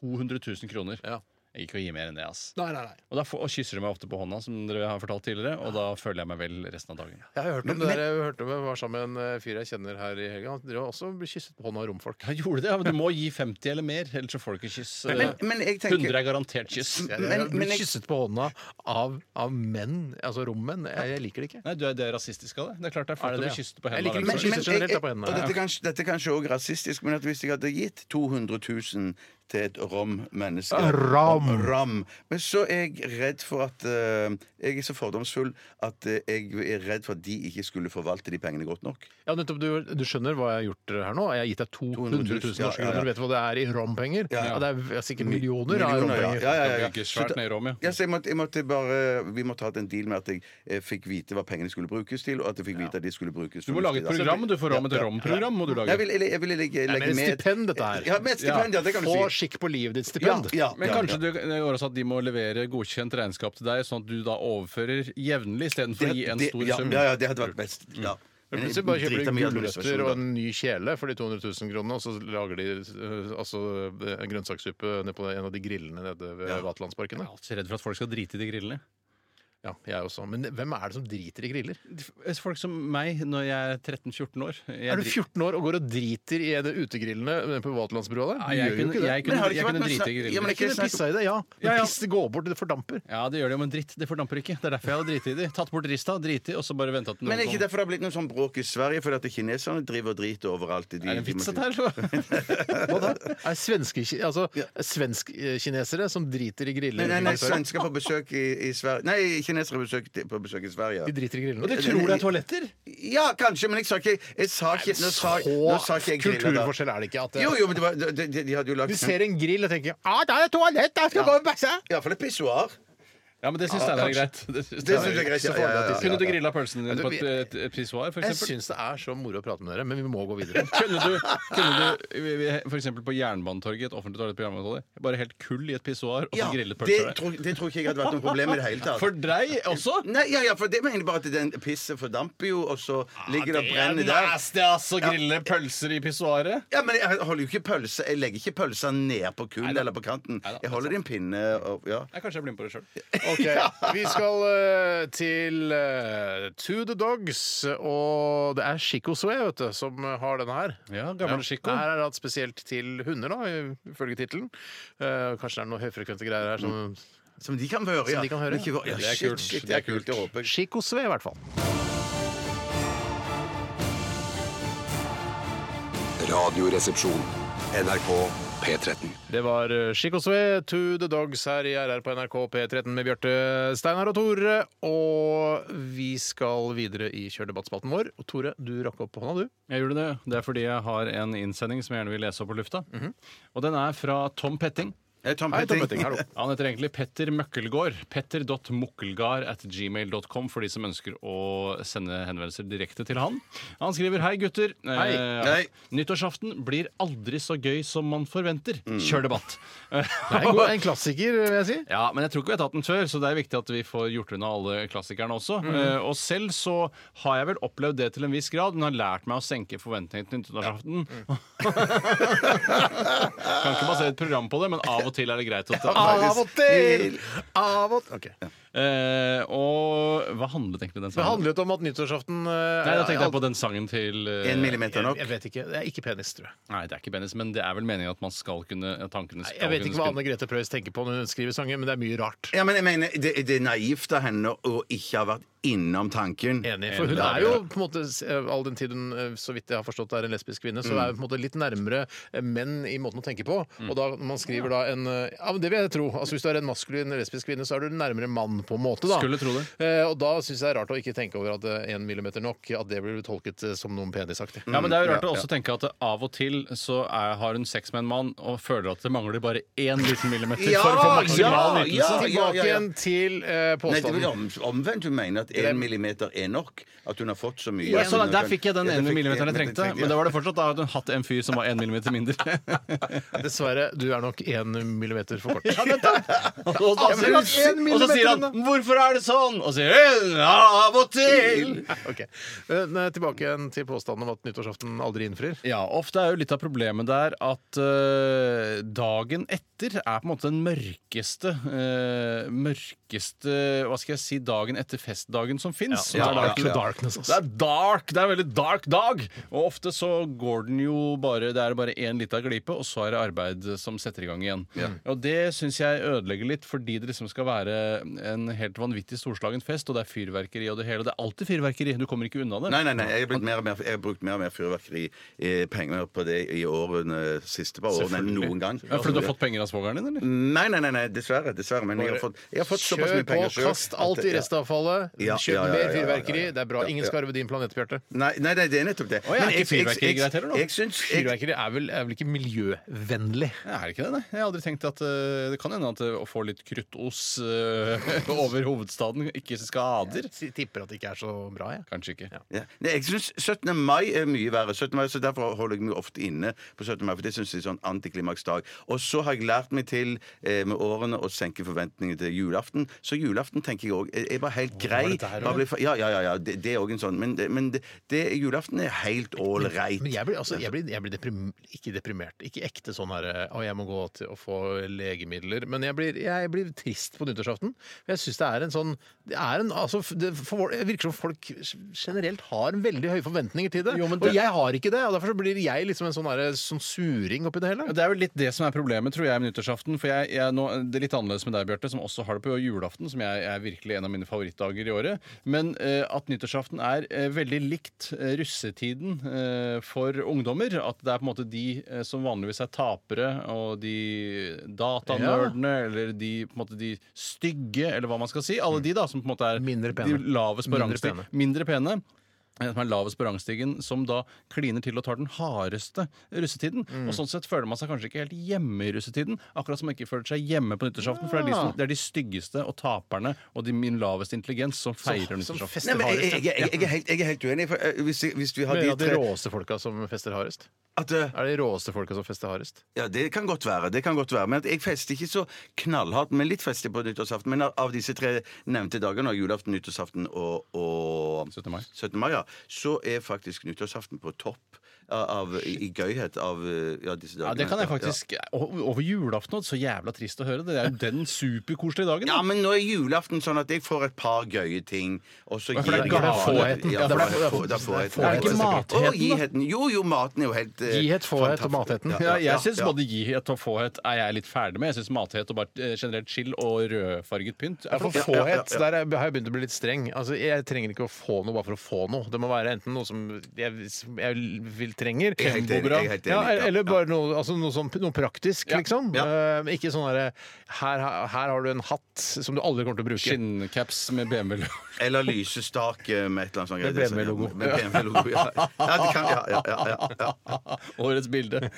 Speaker 6: 200 000 kroner.
Speaker 4: Ja.
Speaker 6: Jeg gir ikke å gi mer enn det, ass.
Speaker 4: Nei, nei, nei.
Speaker 6: Og da får, og kysser de meg ofte på hånda, som dere har fortalt tidligere, og da føler jeg meg vel resten av dagen.
Speaker 4: Jeg har hørt om det der, jeg hørte om jeg var sammen med en eh, fyr jeg kjenner her i helga. Han drev også og ble kysset på hånda av romfolk.
Speaker 6: Jeg gjorde det, ja, men Du må gi 50 eller mer, ellers så får du ikke kyss.
Speaker 5: Men, men jeg
Speaker 6: 100
Speaker 5: tenker
Speaker 6: er garantert kyss.
Speaker 5: Men-
Speaker 4: Jeg har blitt
Speaker 5: jeg-
Speaker 4: kysset på hånda av, av menn, altså rommenn. Jeg, jeg liker det ikke.
Speaker 6: Nei, du er, det er rasistisk av det. Det er klart det er flott
Speaker 4: Er det det,
Speaker 6: å bli
Speaker 4: ja?
Speaker 6: kysset på
Speaker 4: Jeg
Speaker 6: hendene.
Speaker 4: liker
Speaker 6: av
Speaker 4: ikke
Speaker 6: hvem som
Speaker 4: kysser
Speaker 6: helst.
Speaker 4: generelt, da, på hendene.
Speaker 5: og dette er kanskje, dette er kanskje også rasistisk, men at hvis jeg hadde gitt 200 000 til et rom menneske.
Speaker 4: Ah, Ram.
Speaker 5: ram. Men så er jeg redd for at eh, Jeg er så fordomsfull at eh, jeg er redd for at de ikke skulle forvalte de pengene godt nok.
Speaker 4: Ja, nettopp, du, du skjønner hva jeg har gjort her nå? Jeg har gitt deg 200 000 norske
Speaker 5: 200 000, ja, ja, ja.
Speaker 4: kroner. Vet du hva det er i rompenger? Ja,
Speaker 5: Ja, ja.
Speaker 4: Det er v- sikkert millioner, av
Speaker 5: Millioner, Ja,
Speaker 4: rompenger.
Speaker 5: ja, ja, ja.
Speaker 6: Bygge svært ned i rom, ja.
Speaker 5: Ja, så jeg måtte, jeg måtte bare, vi måtte ha hatt en deal med at jeg eh, fikk vite hva pengene skulle brukes til, og at jeg fikk vite at de skulle brukes
Speaker 6: Du må lage et program, du, for rommet til romprogram må du lage.
Speaker 5: Jeg vil, jeg, jeg vil legge,
Speaker 4: Det er
Speaker 5: legge
Speaker 4: mer
Speaker 5: med
Speaker 4: stipend, dette her.
Speaker 5: Ja, med et stipend, ja, det kan du
Speaker 4: Få
Speaker 5: si.
Speaker 4: skikk på livet ditt. Stipend.
Speaker 5: Ja, ja.
Speaker 6: Men kanskje det det gjør også at de må levere godkjent regnskap til deg, sånn at du da overfører jevnlig istedenfor å gi en
Speaker 5: Det-
Speaker 6: stor
Speaker 5: ja,
Speaker 6: sum.
Speaker 5: Ja, ja, det hadde vært best. Ja.
Speaker 4: Men
Speaker 5: Men
Speaker 4: Plutselig bare
Speaker 5: jeg
Speaker 4: kjøper
Speaker 5: driter
Speaker 4: de
Speaker 5: mye i administrasjon,
Speaker 4: gulrøtter og
Speaker 5: da.
Speaker 4: en ny kjele for de 200 000 kronene, og så lager de eh, altså, eh, grønnsakssuppe nede på en av de grillene nede ved
Speaker 5: Ja.
Speaker 4: Vaterlandsparken.
Speaker 6: Jeg
Speaker 4: da.
Speaker 6: er alltid redd for at folk skal drite i de grillene.
Speaker 4: Ja, jeg også. Men hvem er det som driter i griller?
Speaker 6: eh, Folk som meg når jeg er 13-14 år. Jeg
Speaker 4: Er du
Speaker 6: dri-
Speaker 4: 14 år og går og driter i det utegrillene nede på Vaterlandsbrua der?
Speaker 6: Nei,
Speaker 4: Du
Speaker 6: jeg
Speaker 4: gjør jo ikke
Speaker 6: kunne-
Speaker 4: det.
Speaker 6: jeg
Speaker 5: Men
Speaker 6: kunne,
Speaker 5: har det
Speaker 6: jeg
Speaker 5: ikke vært
Speaker 6: kunne
Speaker 5: noe
Speaker 6: drite i
Speaker 5: snakk- Ja, men det
Speaker 6: grillene.
Speaker 5: er ikke
Speaker 4: Kunne pissa i det, ja. Men
Speaker 6: Ja, ja.
Speaker 4: piss går bort, det
Speaker 5: (laughs)
Speaker 4: fordamper.
Speaker 6: Ja, det gjør det jo, men dritt, det fordamper ikke. Det er derfor jeg har driti i de. Tatt bort rista, driti, og så bare venta at
Speaker 5: Men
Speaker 6: noen
Speaker 5: er ikke derfor det har blitt noe sånn bråk i Sverige? Fordi at kineserne driver og driter overalt. i de-
Speaker 6: Er (laughs)
Speaker 5: de må-
Speaker 6: det en vits dette her?
Speaker 4: Hva da? Er svenske, altså,
Speaker 5: Ja.
Speaker 4: svensk-kinesere som driter i griller?
Speaker 5: Nei, nei, nei, svensker på besøk i, i Sverige Nei, kinesere på besøk, på besøk i Sverige.
Speaker 4: De driter i grillene.
Speaker 5: de tror sånn- det er
Speaker 6: toaletter?
Speaker 5: Ja, kanskje, men jeg sa ikke Jeg sa ikke, nå sa, nå sa ikke
Speaker 4: Så
Speaker 5: jeg griller, da.
Speaker 4: kulturforskjell er det ikke. At det,
Speaker 5: Jo, jo, men det var, de, de, de hadde jo lagt
Speaker 4: Du ser en grill og tenker 'ah, der er toalett, der skal jeg
Speaker 5: Ja.
Speaker 4: gå og bæsje'.
Speaker 5: Iallfall et pissoar.
Speaker 6: Ja, men det syns Steinar er greit. Det
Speaker 5: Det
Speaker 6: syns Steinar
Speaker 5: syns jeg er greit. Ja, ja, ja, ja.
Speaker 6: Kunne du grilla pølsen din
Speaker 4: Ja,
Speaker 6: på
Speaker 4: du-
Speaker 6: et, et, et pissoar, for
Speaker 4: Jeg
Speaker 6: eksempel?
Speaker 4: syns det er så moro å prate med dere, men vi må gå videre.
Speaker 5: (laughs)
Speaker 6: Kunne du, kunne du vi- vi- for eksempel på Jernbanetorget, et offentlig toalett på Jernbanetorget, bare helt kull i et pissoar og så
Speaker 5: Ja,
Speaker 6: grillet pølser
Speaker 5: det,
Speaker 6: der?
Speaker 5: tror, det tror ikke jeg hadde vært noe problem i det hele tatt.
Speaker 6: For deg også?
Speaker 5: Nei, ja, ja, for det mener jeg bare at den pisset fordamper jo, og så ligger det og brenner
Speaker 6: Ah, Det
Speaker 5: der.
Speaker 6: er nasty, altså! Grille pølser i pissoaret.
Speaker 5: Ja, men jeg holder jo ikke pølse Jeg legger ikke pølsa ned på kull eller på kanten.
Speaker 6: Neida, altså.
Speaker 5: Jeg holder i en pinne og ja.
Speaker 6: Jeg Kanskje jeg blir med på det sjøl.
Speaker 4: (laughs) Ok, Vi skal eh, til eh, To The Dogs, og det er Chico Sway vet du, som har denne her.
Speaker 6: Ja, gamle Chico.
Speaker 4: Det her er da spesielt til hunder, da, ifølge tittelen. Eh, kanskje det er noen høyfrekvente greier her. Som
Speaker 5: Som de kan høre, ja.
Speaker 4: de kan høre,
Speaker 5: Men ikke-
Speaker 4: ja.
Speaker 5: ja,
Speaker 6: Det er
Speaker 5: shit,
Speaker 6: kult.
Speaker 5: shit,
Speaker 6: Det
Speaker 5: det
Speaker 6: er
Speaker 5: er kult. Jeg håper
Speaker 4: Chico Sway, i hvert fall.
Speaker 1: Radioresepsjon. NRK P13.
Speaker 4: Det var eh, Chico Sway, To The Dogs her i RR på NRK P13 med Bjarte, Steinar og Tore. Og vi skal videre i Kjør debattspalten vår. Og Tore, du rakk opp hånda, du.
Speaker 6: Jeg gjorde det. Det er fordi jeg har en innsending som jeg gjerne vil lese opp på lufta.
Speaker 5: Mhm.
Speaker 6: Og den er fra Tom Petting.
Speaker 5: Hei, Tom
Speaker 4: Hei, Tom
Speaker 5: Petting.
Speaker 4: Petting, hallo.
Speaker 6: Han heter egentlig Petter Møkkelgård. Petter.mukkelgard at gmail.com for de som ønsker å sende henvendelser direkte til han. Han skriver hei, gutter. Hei.
Speaker 5: Hei.
Speaker 6: Nyttårsaften blir aldri så gøy som man forventer. Kjør debatt.
Speaker 4: (laughs) Det er en, god, en klassiker, vil jeg si.
Speaker 6: Ja, men jeg tror ikke vi har tatt den før, så det er viktig at vi får gjort unna alle klassikerne også. Eh, og selv så har jeg vel opplevd det til en viss grad, men har lært meg å senke forventningene til nyttårsaften. (laughs) kan ikke basere et program på det, men av og til er det greit å ta
Speaker 4: Av og til! Av og til.
Speaker 6: Eh, og hva handlet egentlig den
Speaker 4: Det
Speaker 6: sangen om?
Speaker 4: handlet om at nyttårsaften eh,
Speaker 6: Nei, da tenkte jeg på den sangen til eh,
Speaker 5: En millimeter nok.
Speaker 4: Jeg vet ikke. Det er ikke penis, tror jeg.
Speaker 6: Nei, det er ikke penis, men det er vel meningen at man skal kunne at tankene skal
Speaker 4: Jeg vet
Speaker 6: kunne
Speaker 4: ikke hva
Speaker 6: spinne.
Speaker 4: Anne Grete Preus tenker på når hun skriver sanger, men det er mye rart.
Speaker 5: Ja, men jeg mener, det, det er naivt av henne å ikke ha vært innom tanken.
Speaker 4: Enig. For hun er jo på en måte, s- all den tid hun, eh, så vidt jeg har forstått, er en lesbisk kvinne,
Speaker 6: Mm.
Speaker 4: så er hun på en måte litt nærmere eh, menn i måten å tenke på. Og da når man skriver da en eh, Ja, men det vil jeg tro. Altså Hvis du er en maskulin lesbisk kvinne, så er du nærmere mann på en måte, da.
Speaker 6: Skulle tro det.
Speaker 4: Eh, og da syns jeg det er rart å ikke tenke over at eh, en millimeter nok, at det blir tolket eh, som noen penisaktig.
Speaker 6: Ja, men det er jo rart å også tenke at av og til så er, har hun sex med en mann og føler at det mangler bare én liten millimeter
Speaker 5: Ja,
Speaker 6: for å få maksimal
Speaker 5: ja,
Speaker 6: nytelse.
Speaker 5: ja,
Speaker 4: Tilbake
Speaker 5: ja, ja.
Speaker 4: igjen til eh,
Speaker 5: Nei, det er
Speaker 4: påstanden.
Speaker 5: vel om, omvendt hun mener at én millimeter er nok. At hun har fått så mye.
Speaker 6: Ja,
Speaker 5: at
Speaker 6: så
Speaker 5: hun-
Speaker 6: der fikk jeg den
Speaker 5: Ja, der
Speaker 6: ene
Speaker 5: fikk
Speaker 6: millimeteren jeg
Speaker 5: en
Speaker 6: trengte. Men da var det fortsatt da hadde hun hatt en fyr som var én millimeter mindre.
Speaker 4: Dessverre, du er nok én millimeter
Speaker 5: (laughs)
Speaker 4: for kort.
Speaker 6: Og så- og
Speaker 4: men
Speaker 6: så
Speaker 4: en
Speaker 6: og så sier han 'Hvorfor er det sånn?' Og sier hun 'Av og til'.
Speaker 4: Ok. Men, eh, Tilbake igjen til påstanden om at nyttårsaften aldri innfrir.
Speaker 6: Ja, ofte er jo litt av problemet der at eh, dagen etter er på en måte den mørkeste eh, Mørkeste, hva skal jeg si, dagen etter festdagen som fins.
Speaker 4: Ja,
Speaker 6: det,
Speaker 4: dark-
Speaker 6: er da-
Speaker 4: darkness, altså. ass.
Speaker 6: det er dark, det er en veldig dark dag. Og ofte så går den jo bare Det er bare én lita glipe, og så er det arbeid som setter i gang igjen. Og det syns jeg ødelegger litt, fordi det liksom skal være en, en helt vanvittig storslagen fest, og det er fyrverkeri og det hele. Det er alltid fyrverkeri, du kommer ikke unna det.
Speaker 5: Nei, nei, nei, jeg har, blitt mer og mer, jeg har brukt mer og mer fyrverkeri eh, penger på det i årene siste par årene enn noen gang.
Speaker 6: Ja, fordi du har fått penger av svogeren din, eller?
Speaker 5: Nei, nei, nei, nei, dessverre. dessverre men jeg har fått, jeg har fått såpass
Speaker 4: Kjør
Speaker 5: mye
Speaker 4: på,
Speaker 5: penger selv
Speaker 4: kast alt
Speaker 5: at-
Speaker 4: i restavfallet.
Speaker 5: Ja,
Speaker 4: Kjøp
Speaker 5: ja, ja, ja, ja,
Speaker 4: mer
Speaker 5: ja, ja.
Speaker 4: fyrverkeri. Det er bra.
Speaker 5: Ja,
Speaker 4: Ingen
Speaker 5: ja.
Speaker 4: skal arve din planet, Bjarte.
Speaker 5: Nei, nei, nei, det er nettopp det.
Speaker 6: ja,
Speaker 5: Men
Speaker 6: er ikke
Speaker 5: jeg- jeg-
Speaker 6: fyrverkeri
Speaker 5: jeg-
Speaker 6: greit heller, da?
Speaker 5: Jeg syns jeg,
Speaker 4: Fyrverkeri er vel, er vel ikke miljøvennlig?
Speaker 6: Nei, er det ikke det? Nei. Jeg har aldri tenkt at eh, det kan hende at eh, å få litt kruttos eh, (laughs) over hovedstaden ikke skader.
Speaker 4: Jeg tipper at det ikke er så bra, jeg.
Speaker 6: Kanskje ikke.
Speaker 5: ja. Nei, jeg syns 17. mai er mye verre, 17. mai, så derfor holder jeg meg ofte inne på 17. mai. For det syns jeg er sånn antiklimaksdag. Og så har jeg lært meg til eh, med årene å senke forventningene til julaften. Så julaften tenker jeg òg er er bare helt grei.
Speaker 4: dette her,
Speaker 5: Bare blir fa- Ja, ja, ja. ja det, det er òg en sånn. Men, det- men det, det, julaften er helt ålreit.
Speaker 4: Men jeg blir, altså, jeg blir, jeg blir deprim, ikke deprimert. Ikke ekte sånn her Å, jeg må gå til å få legemidler. Men jeg blir, jeg blir trist på nyttårsaften. For Jeg syns det er en sånn Det, er en, altså, det for, det virker som folk generelt har veldig høye forventninger til det.
Speaker 6: Jo, men det-
Speaker 4: Og jeg har ikke det. Og derfor så blir jeg liksom en sånn, her, sånn suring oppi det hele.
Speaker 6: Det er vel litt det som er problemet tror jeg, med nyttårsaften. For jeg, jeg, nå, det er litt annerledes med deg, Bjarte, som også har det på julaften, som jeg, er virkelig en av mine favorittdager i året. Men eh, at nyttårsaften er eh, veldig likt eh, russetiden eh, for ungdommer. At det er på en måte de eh, som vanligvis er tapere, og de datanerdene, eller de, på en måte, de stygge, eller hva man skal si. Alle de da, som på en måte er
Speaker 4: Mm. Mindre pene.
Speaker 6: de lavest på
Speaker 4: Mindre
Speaker 6: rangstigen.
Speaker 4: pene.
Speaker 6: Mindre pene. eh, Som er lavest på rangstigen, som da kliner til og tar den hardeste russetiden. Og Sånn sett føler man seg kanskje ikke helt hjemme i russetiden. Akkurat som man ikke føler seg hjemme på nyttårsaften. For det er, de som, det er de styggeste og taperne og de min laveste intelligens som feirer
Speaker 4: som
Speaker 6: nyttårsaften.
Speaker 4: fester
Speaker 5: Nei, men jeg,
Speaker 4: hardest.
Speaker 5: jeg, jeg, jeg, jeg, er helt, jeg er helt uenig. For, eh, hvis, hvis vi har
Speaker 4: Men
Speaker 5: de
Speaker 4: er det de
Speaker 5: tre
Speaker 4: råeste folka som fester hardest?
Speaker 5: at, eh,
Speaker 4: Er det de råeste folka som fester hardest?
Speaker 5: Ja, det kan godt være. det kan godt være, men at Jeg fester ikke så knallhardt, men litt festig på nyttårsaften. Men av- av disse tre nevnte dagene, julaften, nyttårsaften og, og
Speaker 6: 17. mai.
Speaker 5: 17. mai, ja, så er faktisk nyttårsaften på topp av, av- i, i gøyhet av eh, ja, disse
Speaker 6: Ja,
Speaker 5: dagene.
Speaker 6: det kan jeg faktisk o- Over julaften også, så jævla trist å høre. Det er jo den superkoselige dagen.
Speaker 5: Ja.
Speaker 6: da.
Speaker 5: ja, men nå er julaften sånn at jeg får et par gøye ting, og så
Speaker 6: for det er
Speaker 5: jeg-
Speaker 6: da fåheten.
Speaker 5: Ja,
Speaker 4: Det er
Speaker 5: da
Speaker 4: for-
Speaker 5: får- da får jeg-
Speaker 4: det er ikke
Speaker 6: matheten, da?
Speaker 5: Å, giheten. Jo, jo, maten er jo helt eh,
Speaker 4: Gihet, fåhet og
Speaker 5: fantastisk.
Speaker 4: matheten.
Speaker 6: Ja, jeg syns
Speaker 5: ja.
Speaker 6: både gihet og fåhet er jeg litt ferdig med. Jeg syns mathet og bare eh, generelt chill og rødfarget pynt er
Speaker 4: For
Speaker 6: for få.
Speaker 4: fåhet, der er- har jeg begynt å bli litt streng. Altså, jeg trenger ikke å få noe bare for å få noe. Det må være enten noe som jeg, som jeg vil trenger,
Speaker 5: Jeg er helt enig,
Speaker 4: Kembobra.
Speaker 5: jeg er helt enig,
Speaker 4: ja,
Speaker 5: ja,
Speaker 4: eller
Speaker 5: ja.
Speaker 4: bare noe, altså noe, sånn, noe praktisk,
Speaker 6: Ja,
Speaker 4: liksom.
Speaker 5: ja.
Speaker 4: Eh, ikke sånn derre her, her har du en hatt som du aldri kommer til å bruke.
Speaker 6: Skinncaps med BMW-logo.
Speaker 5: Eller lysestake med et eller annet sånt.
Speaker 4: Med
Speaker 5: Det er sånn-
Speaker 4: BMW-logo.
Speaker 5: Med BMW-logo, ja. Ja, det kan, ja, ja, ja, ja, ja.
Speaker 6: Årets bilde.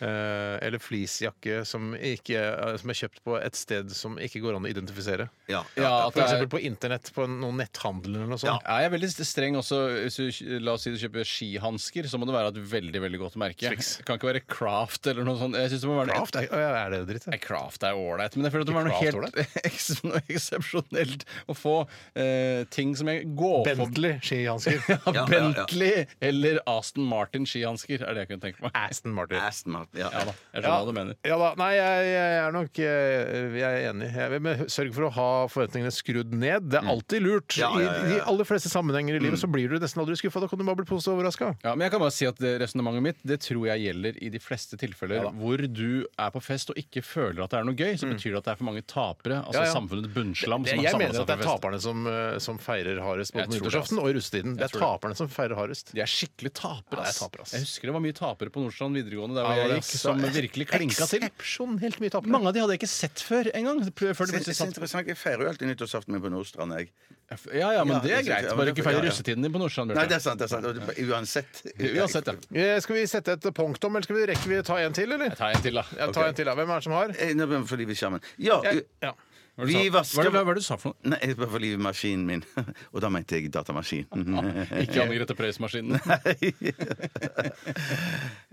Speaker 4: Eh, eller fleecejakke som, ikke- eh, som er kjøpt på et sted som ikke går an å identifisere.
Speaker 5: ja, ja.
Speaker 6: Ja, at
Speaker 4: For
Speaker 6: det er
Speaker 4: eksempel på internett, på noen netthandel eller noe sånt.
Speaker 6: ja, jeg er veldig streng også. Hvis du, la oss si du kjøper skihansker, så må det være et veldig veldig godt merke. Det kan ikke være Craft eller noe sånt. Jeg synes det må være
Speaker 4: Kraft, er, er det dritt?
Speaker 6: Nei, Kraft er ålreit, men jeg føler at det var noe
Speaker 4: Kraft
Speaker 6: helt (laughs) eks- noe eksepsjonelt å få eh, ting som jeg går for.
Speaker 4: Bentley skihansker.
Speaker 6: (laughs) Ja, Bentley eller Aston Martin skihansker er det jeg kunne tenke meg.
Speaker 4: (laughs) Aston Martin.
Speaker 5: Aston Martin. Ja.
Speaker 6: Ja da, jeg skjønner hva du mener.
Speaker 4: Ja da, Nei, jeg, jeg er nok eh, Jeg er enig. Jeg, vil- men sørg for å ha forventningene skrudd ned. Det er
Speaker 6: Mm.
Speaker 4: alltid lurt.
Speaker 5: Ja, ja, ja, ja.
Speaker 4: I de aller fleste sammenhenger i livet så blir du nesten aldri skuffa. Da kan du bare bli positivt overraska.
Speaker 6: Ja, men jeg kan bare si at det Resonnementet mitt det tror jeg gjelder i de fleste tilfeller hvor du er på fest og ikke føler at det er noe gøy. Så betyr det at det er for mange tapere. Altså
Speaker 4: Mm. Ja, ja.
Speaker 6: samfunnets bunnslam. som har
Speaker 4: Jeg
Speaker 6: samlet
Speaker 4: mener
Speaker 6: seg
Speaker 4: at det er
Speaker 6: for fest.
Speaker 4: taperne som, eh, som feirer hardest både på
Speaker 6: Jeg tror det, altså.
Speaker 4: nyttårsaften og i russetiden. Det
Speaker 6: Jeg
Speaker 4: er
Speaker 6: tror
Speaker 4: taperne som feirer hardest.
Speaker 6: De er skikkelig tapere.
Speaker 4: Ja, det
Speaker 6: ass.
Speaker 4: er tapere, ass.
Speaker 6: Jeg husker det var mye tapere på Nordstrand videregående der hvor
Speaker 4: Ja, det er
Speaker 6: jeg gikk, som
Speaker 4: altså
Speaker 6: virkelig klinka til.
Speaker 4: Eksepsjonelt mye tapere.
Speaker 6: Mange av de hadde jeg ikke sett før engang. Før
Speaker 5: Det
Speaker 6: de
Speaker 5: er
Speaker 6: plutselig
Speaker 5: så
Speaker 6: satt
Speaker 5: interessant. Jeg feirer jo alltid nyttårsaften min på Nordstrand. Jeg.
Speaker 6: Ja, ja, men
Speaker 5: Ja,
Speaker 6: det er
Speaker 5: jeg synes-
Speaker 6: greit.
Speaker 5: ja, men
Speaker 6: Bare
Speaker 5: det-
Speaker 6: ikke feil
Speaker 5: ja, ja.
Speaker 6: russetiden din på Nordstrand.
Speaker 5: Nei,
Speaker 6: Bjarte.
Speaker 5: det er sant. det er sant Og det- Uansett.
Speaker 6: Uansett, ja.
Speaker 4: Eh, Skal vi sette et punktum, eller skal vi rekke vi ta en til, eller?
Speaker 6: Ta en til, da.
Speaker 4: Ja, ta en til, da. Hvem er det som har?
Speaker 5: Eh, Nå blir vi for livet i skjermen. Ja,
Speaker 4: Jeg- Ja.
Speaker 6: Hva
Speaker 5: vi
Speaker 6: var det du sa-
Speaker 5: vasker
Speaker 6: hva er det- hva er det du
Speaker 4: (laughs)
Speaker 6: sa for noe?
Speaker 5: Nei, jeg ble for livet i maskinen min. (laughs) Og da mente jeg
Speaker 6: (laughs)
Speaker 5: datamaskinen.
Speaker 6: Ikke Anne Grete
Speaker 4: (laughs)
Speaker 6: Preus-maskinen.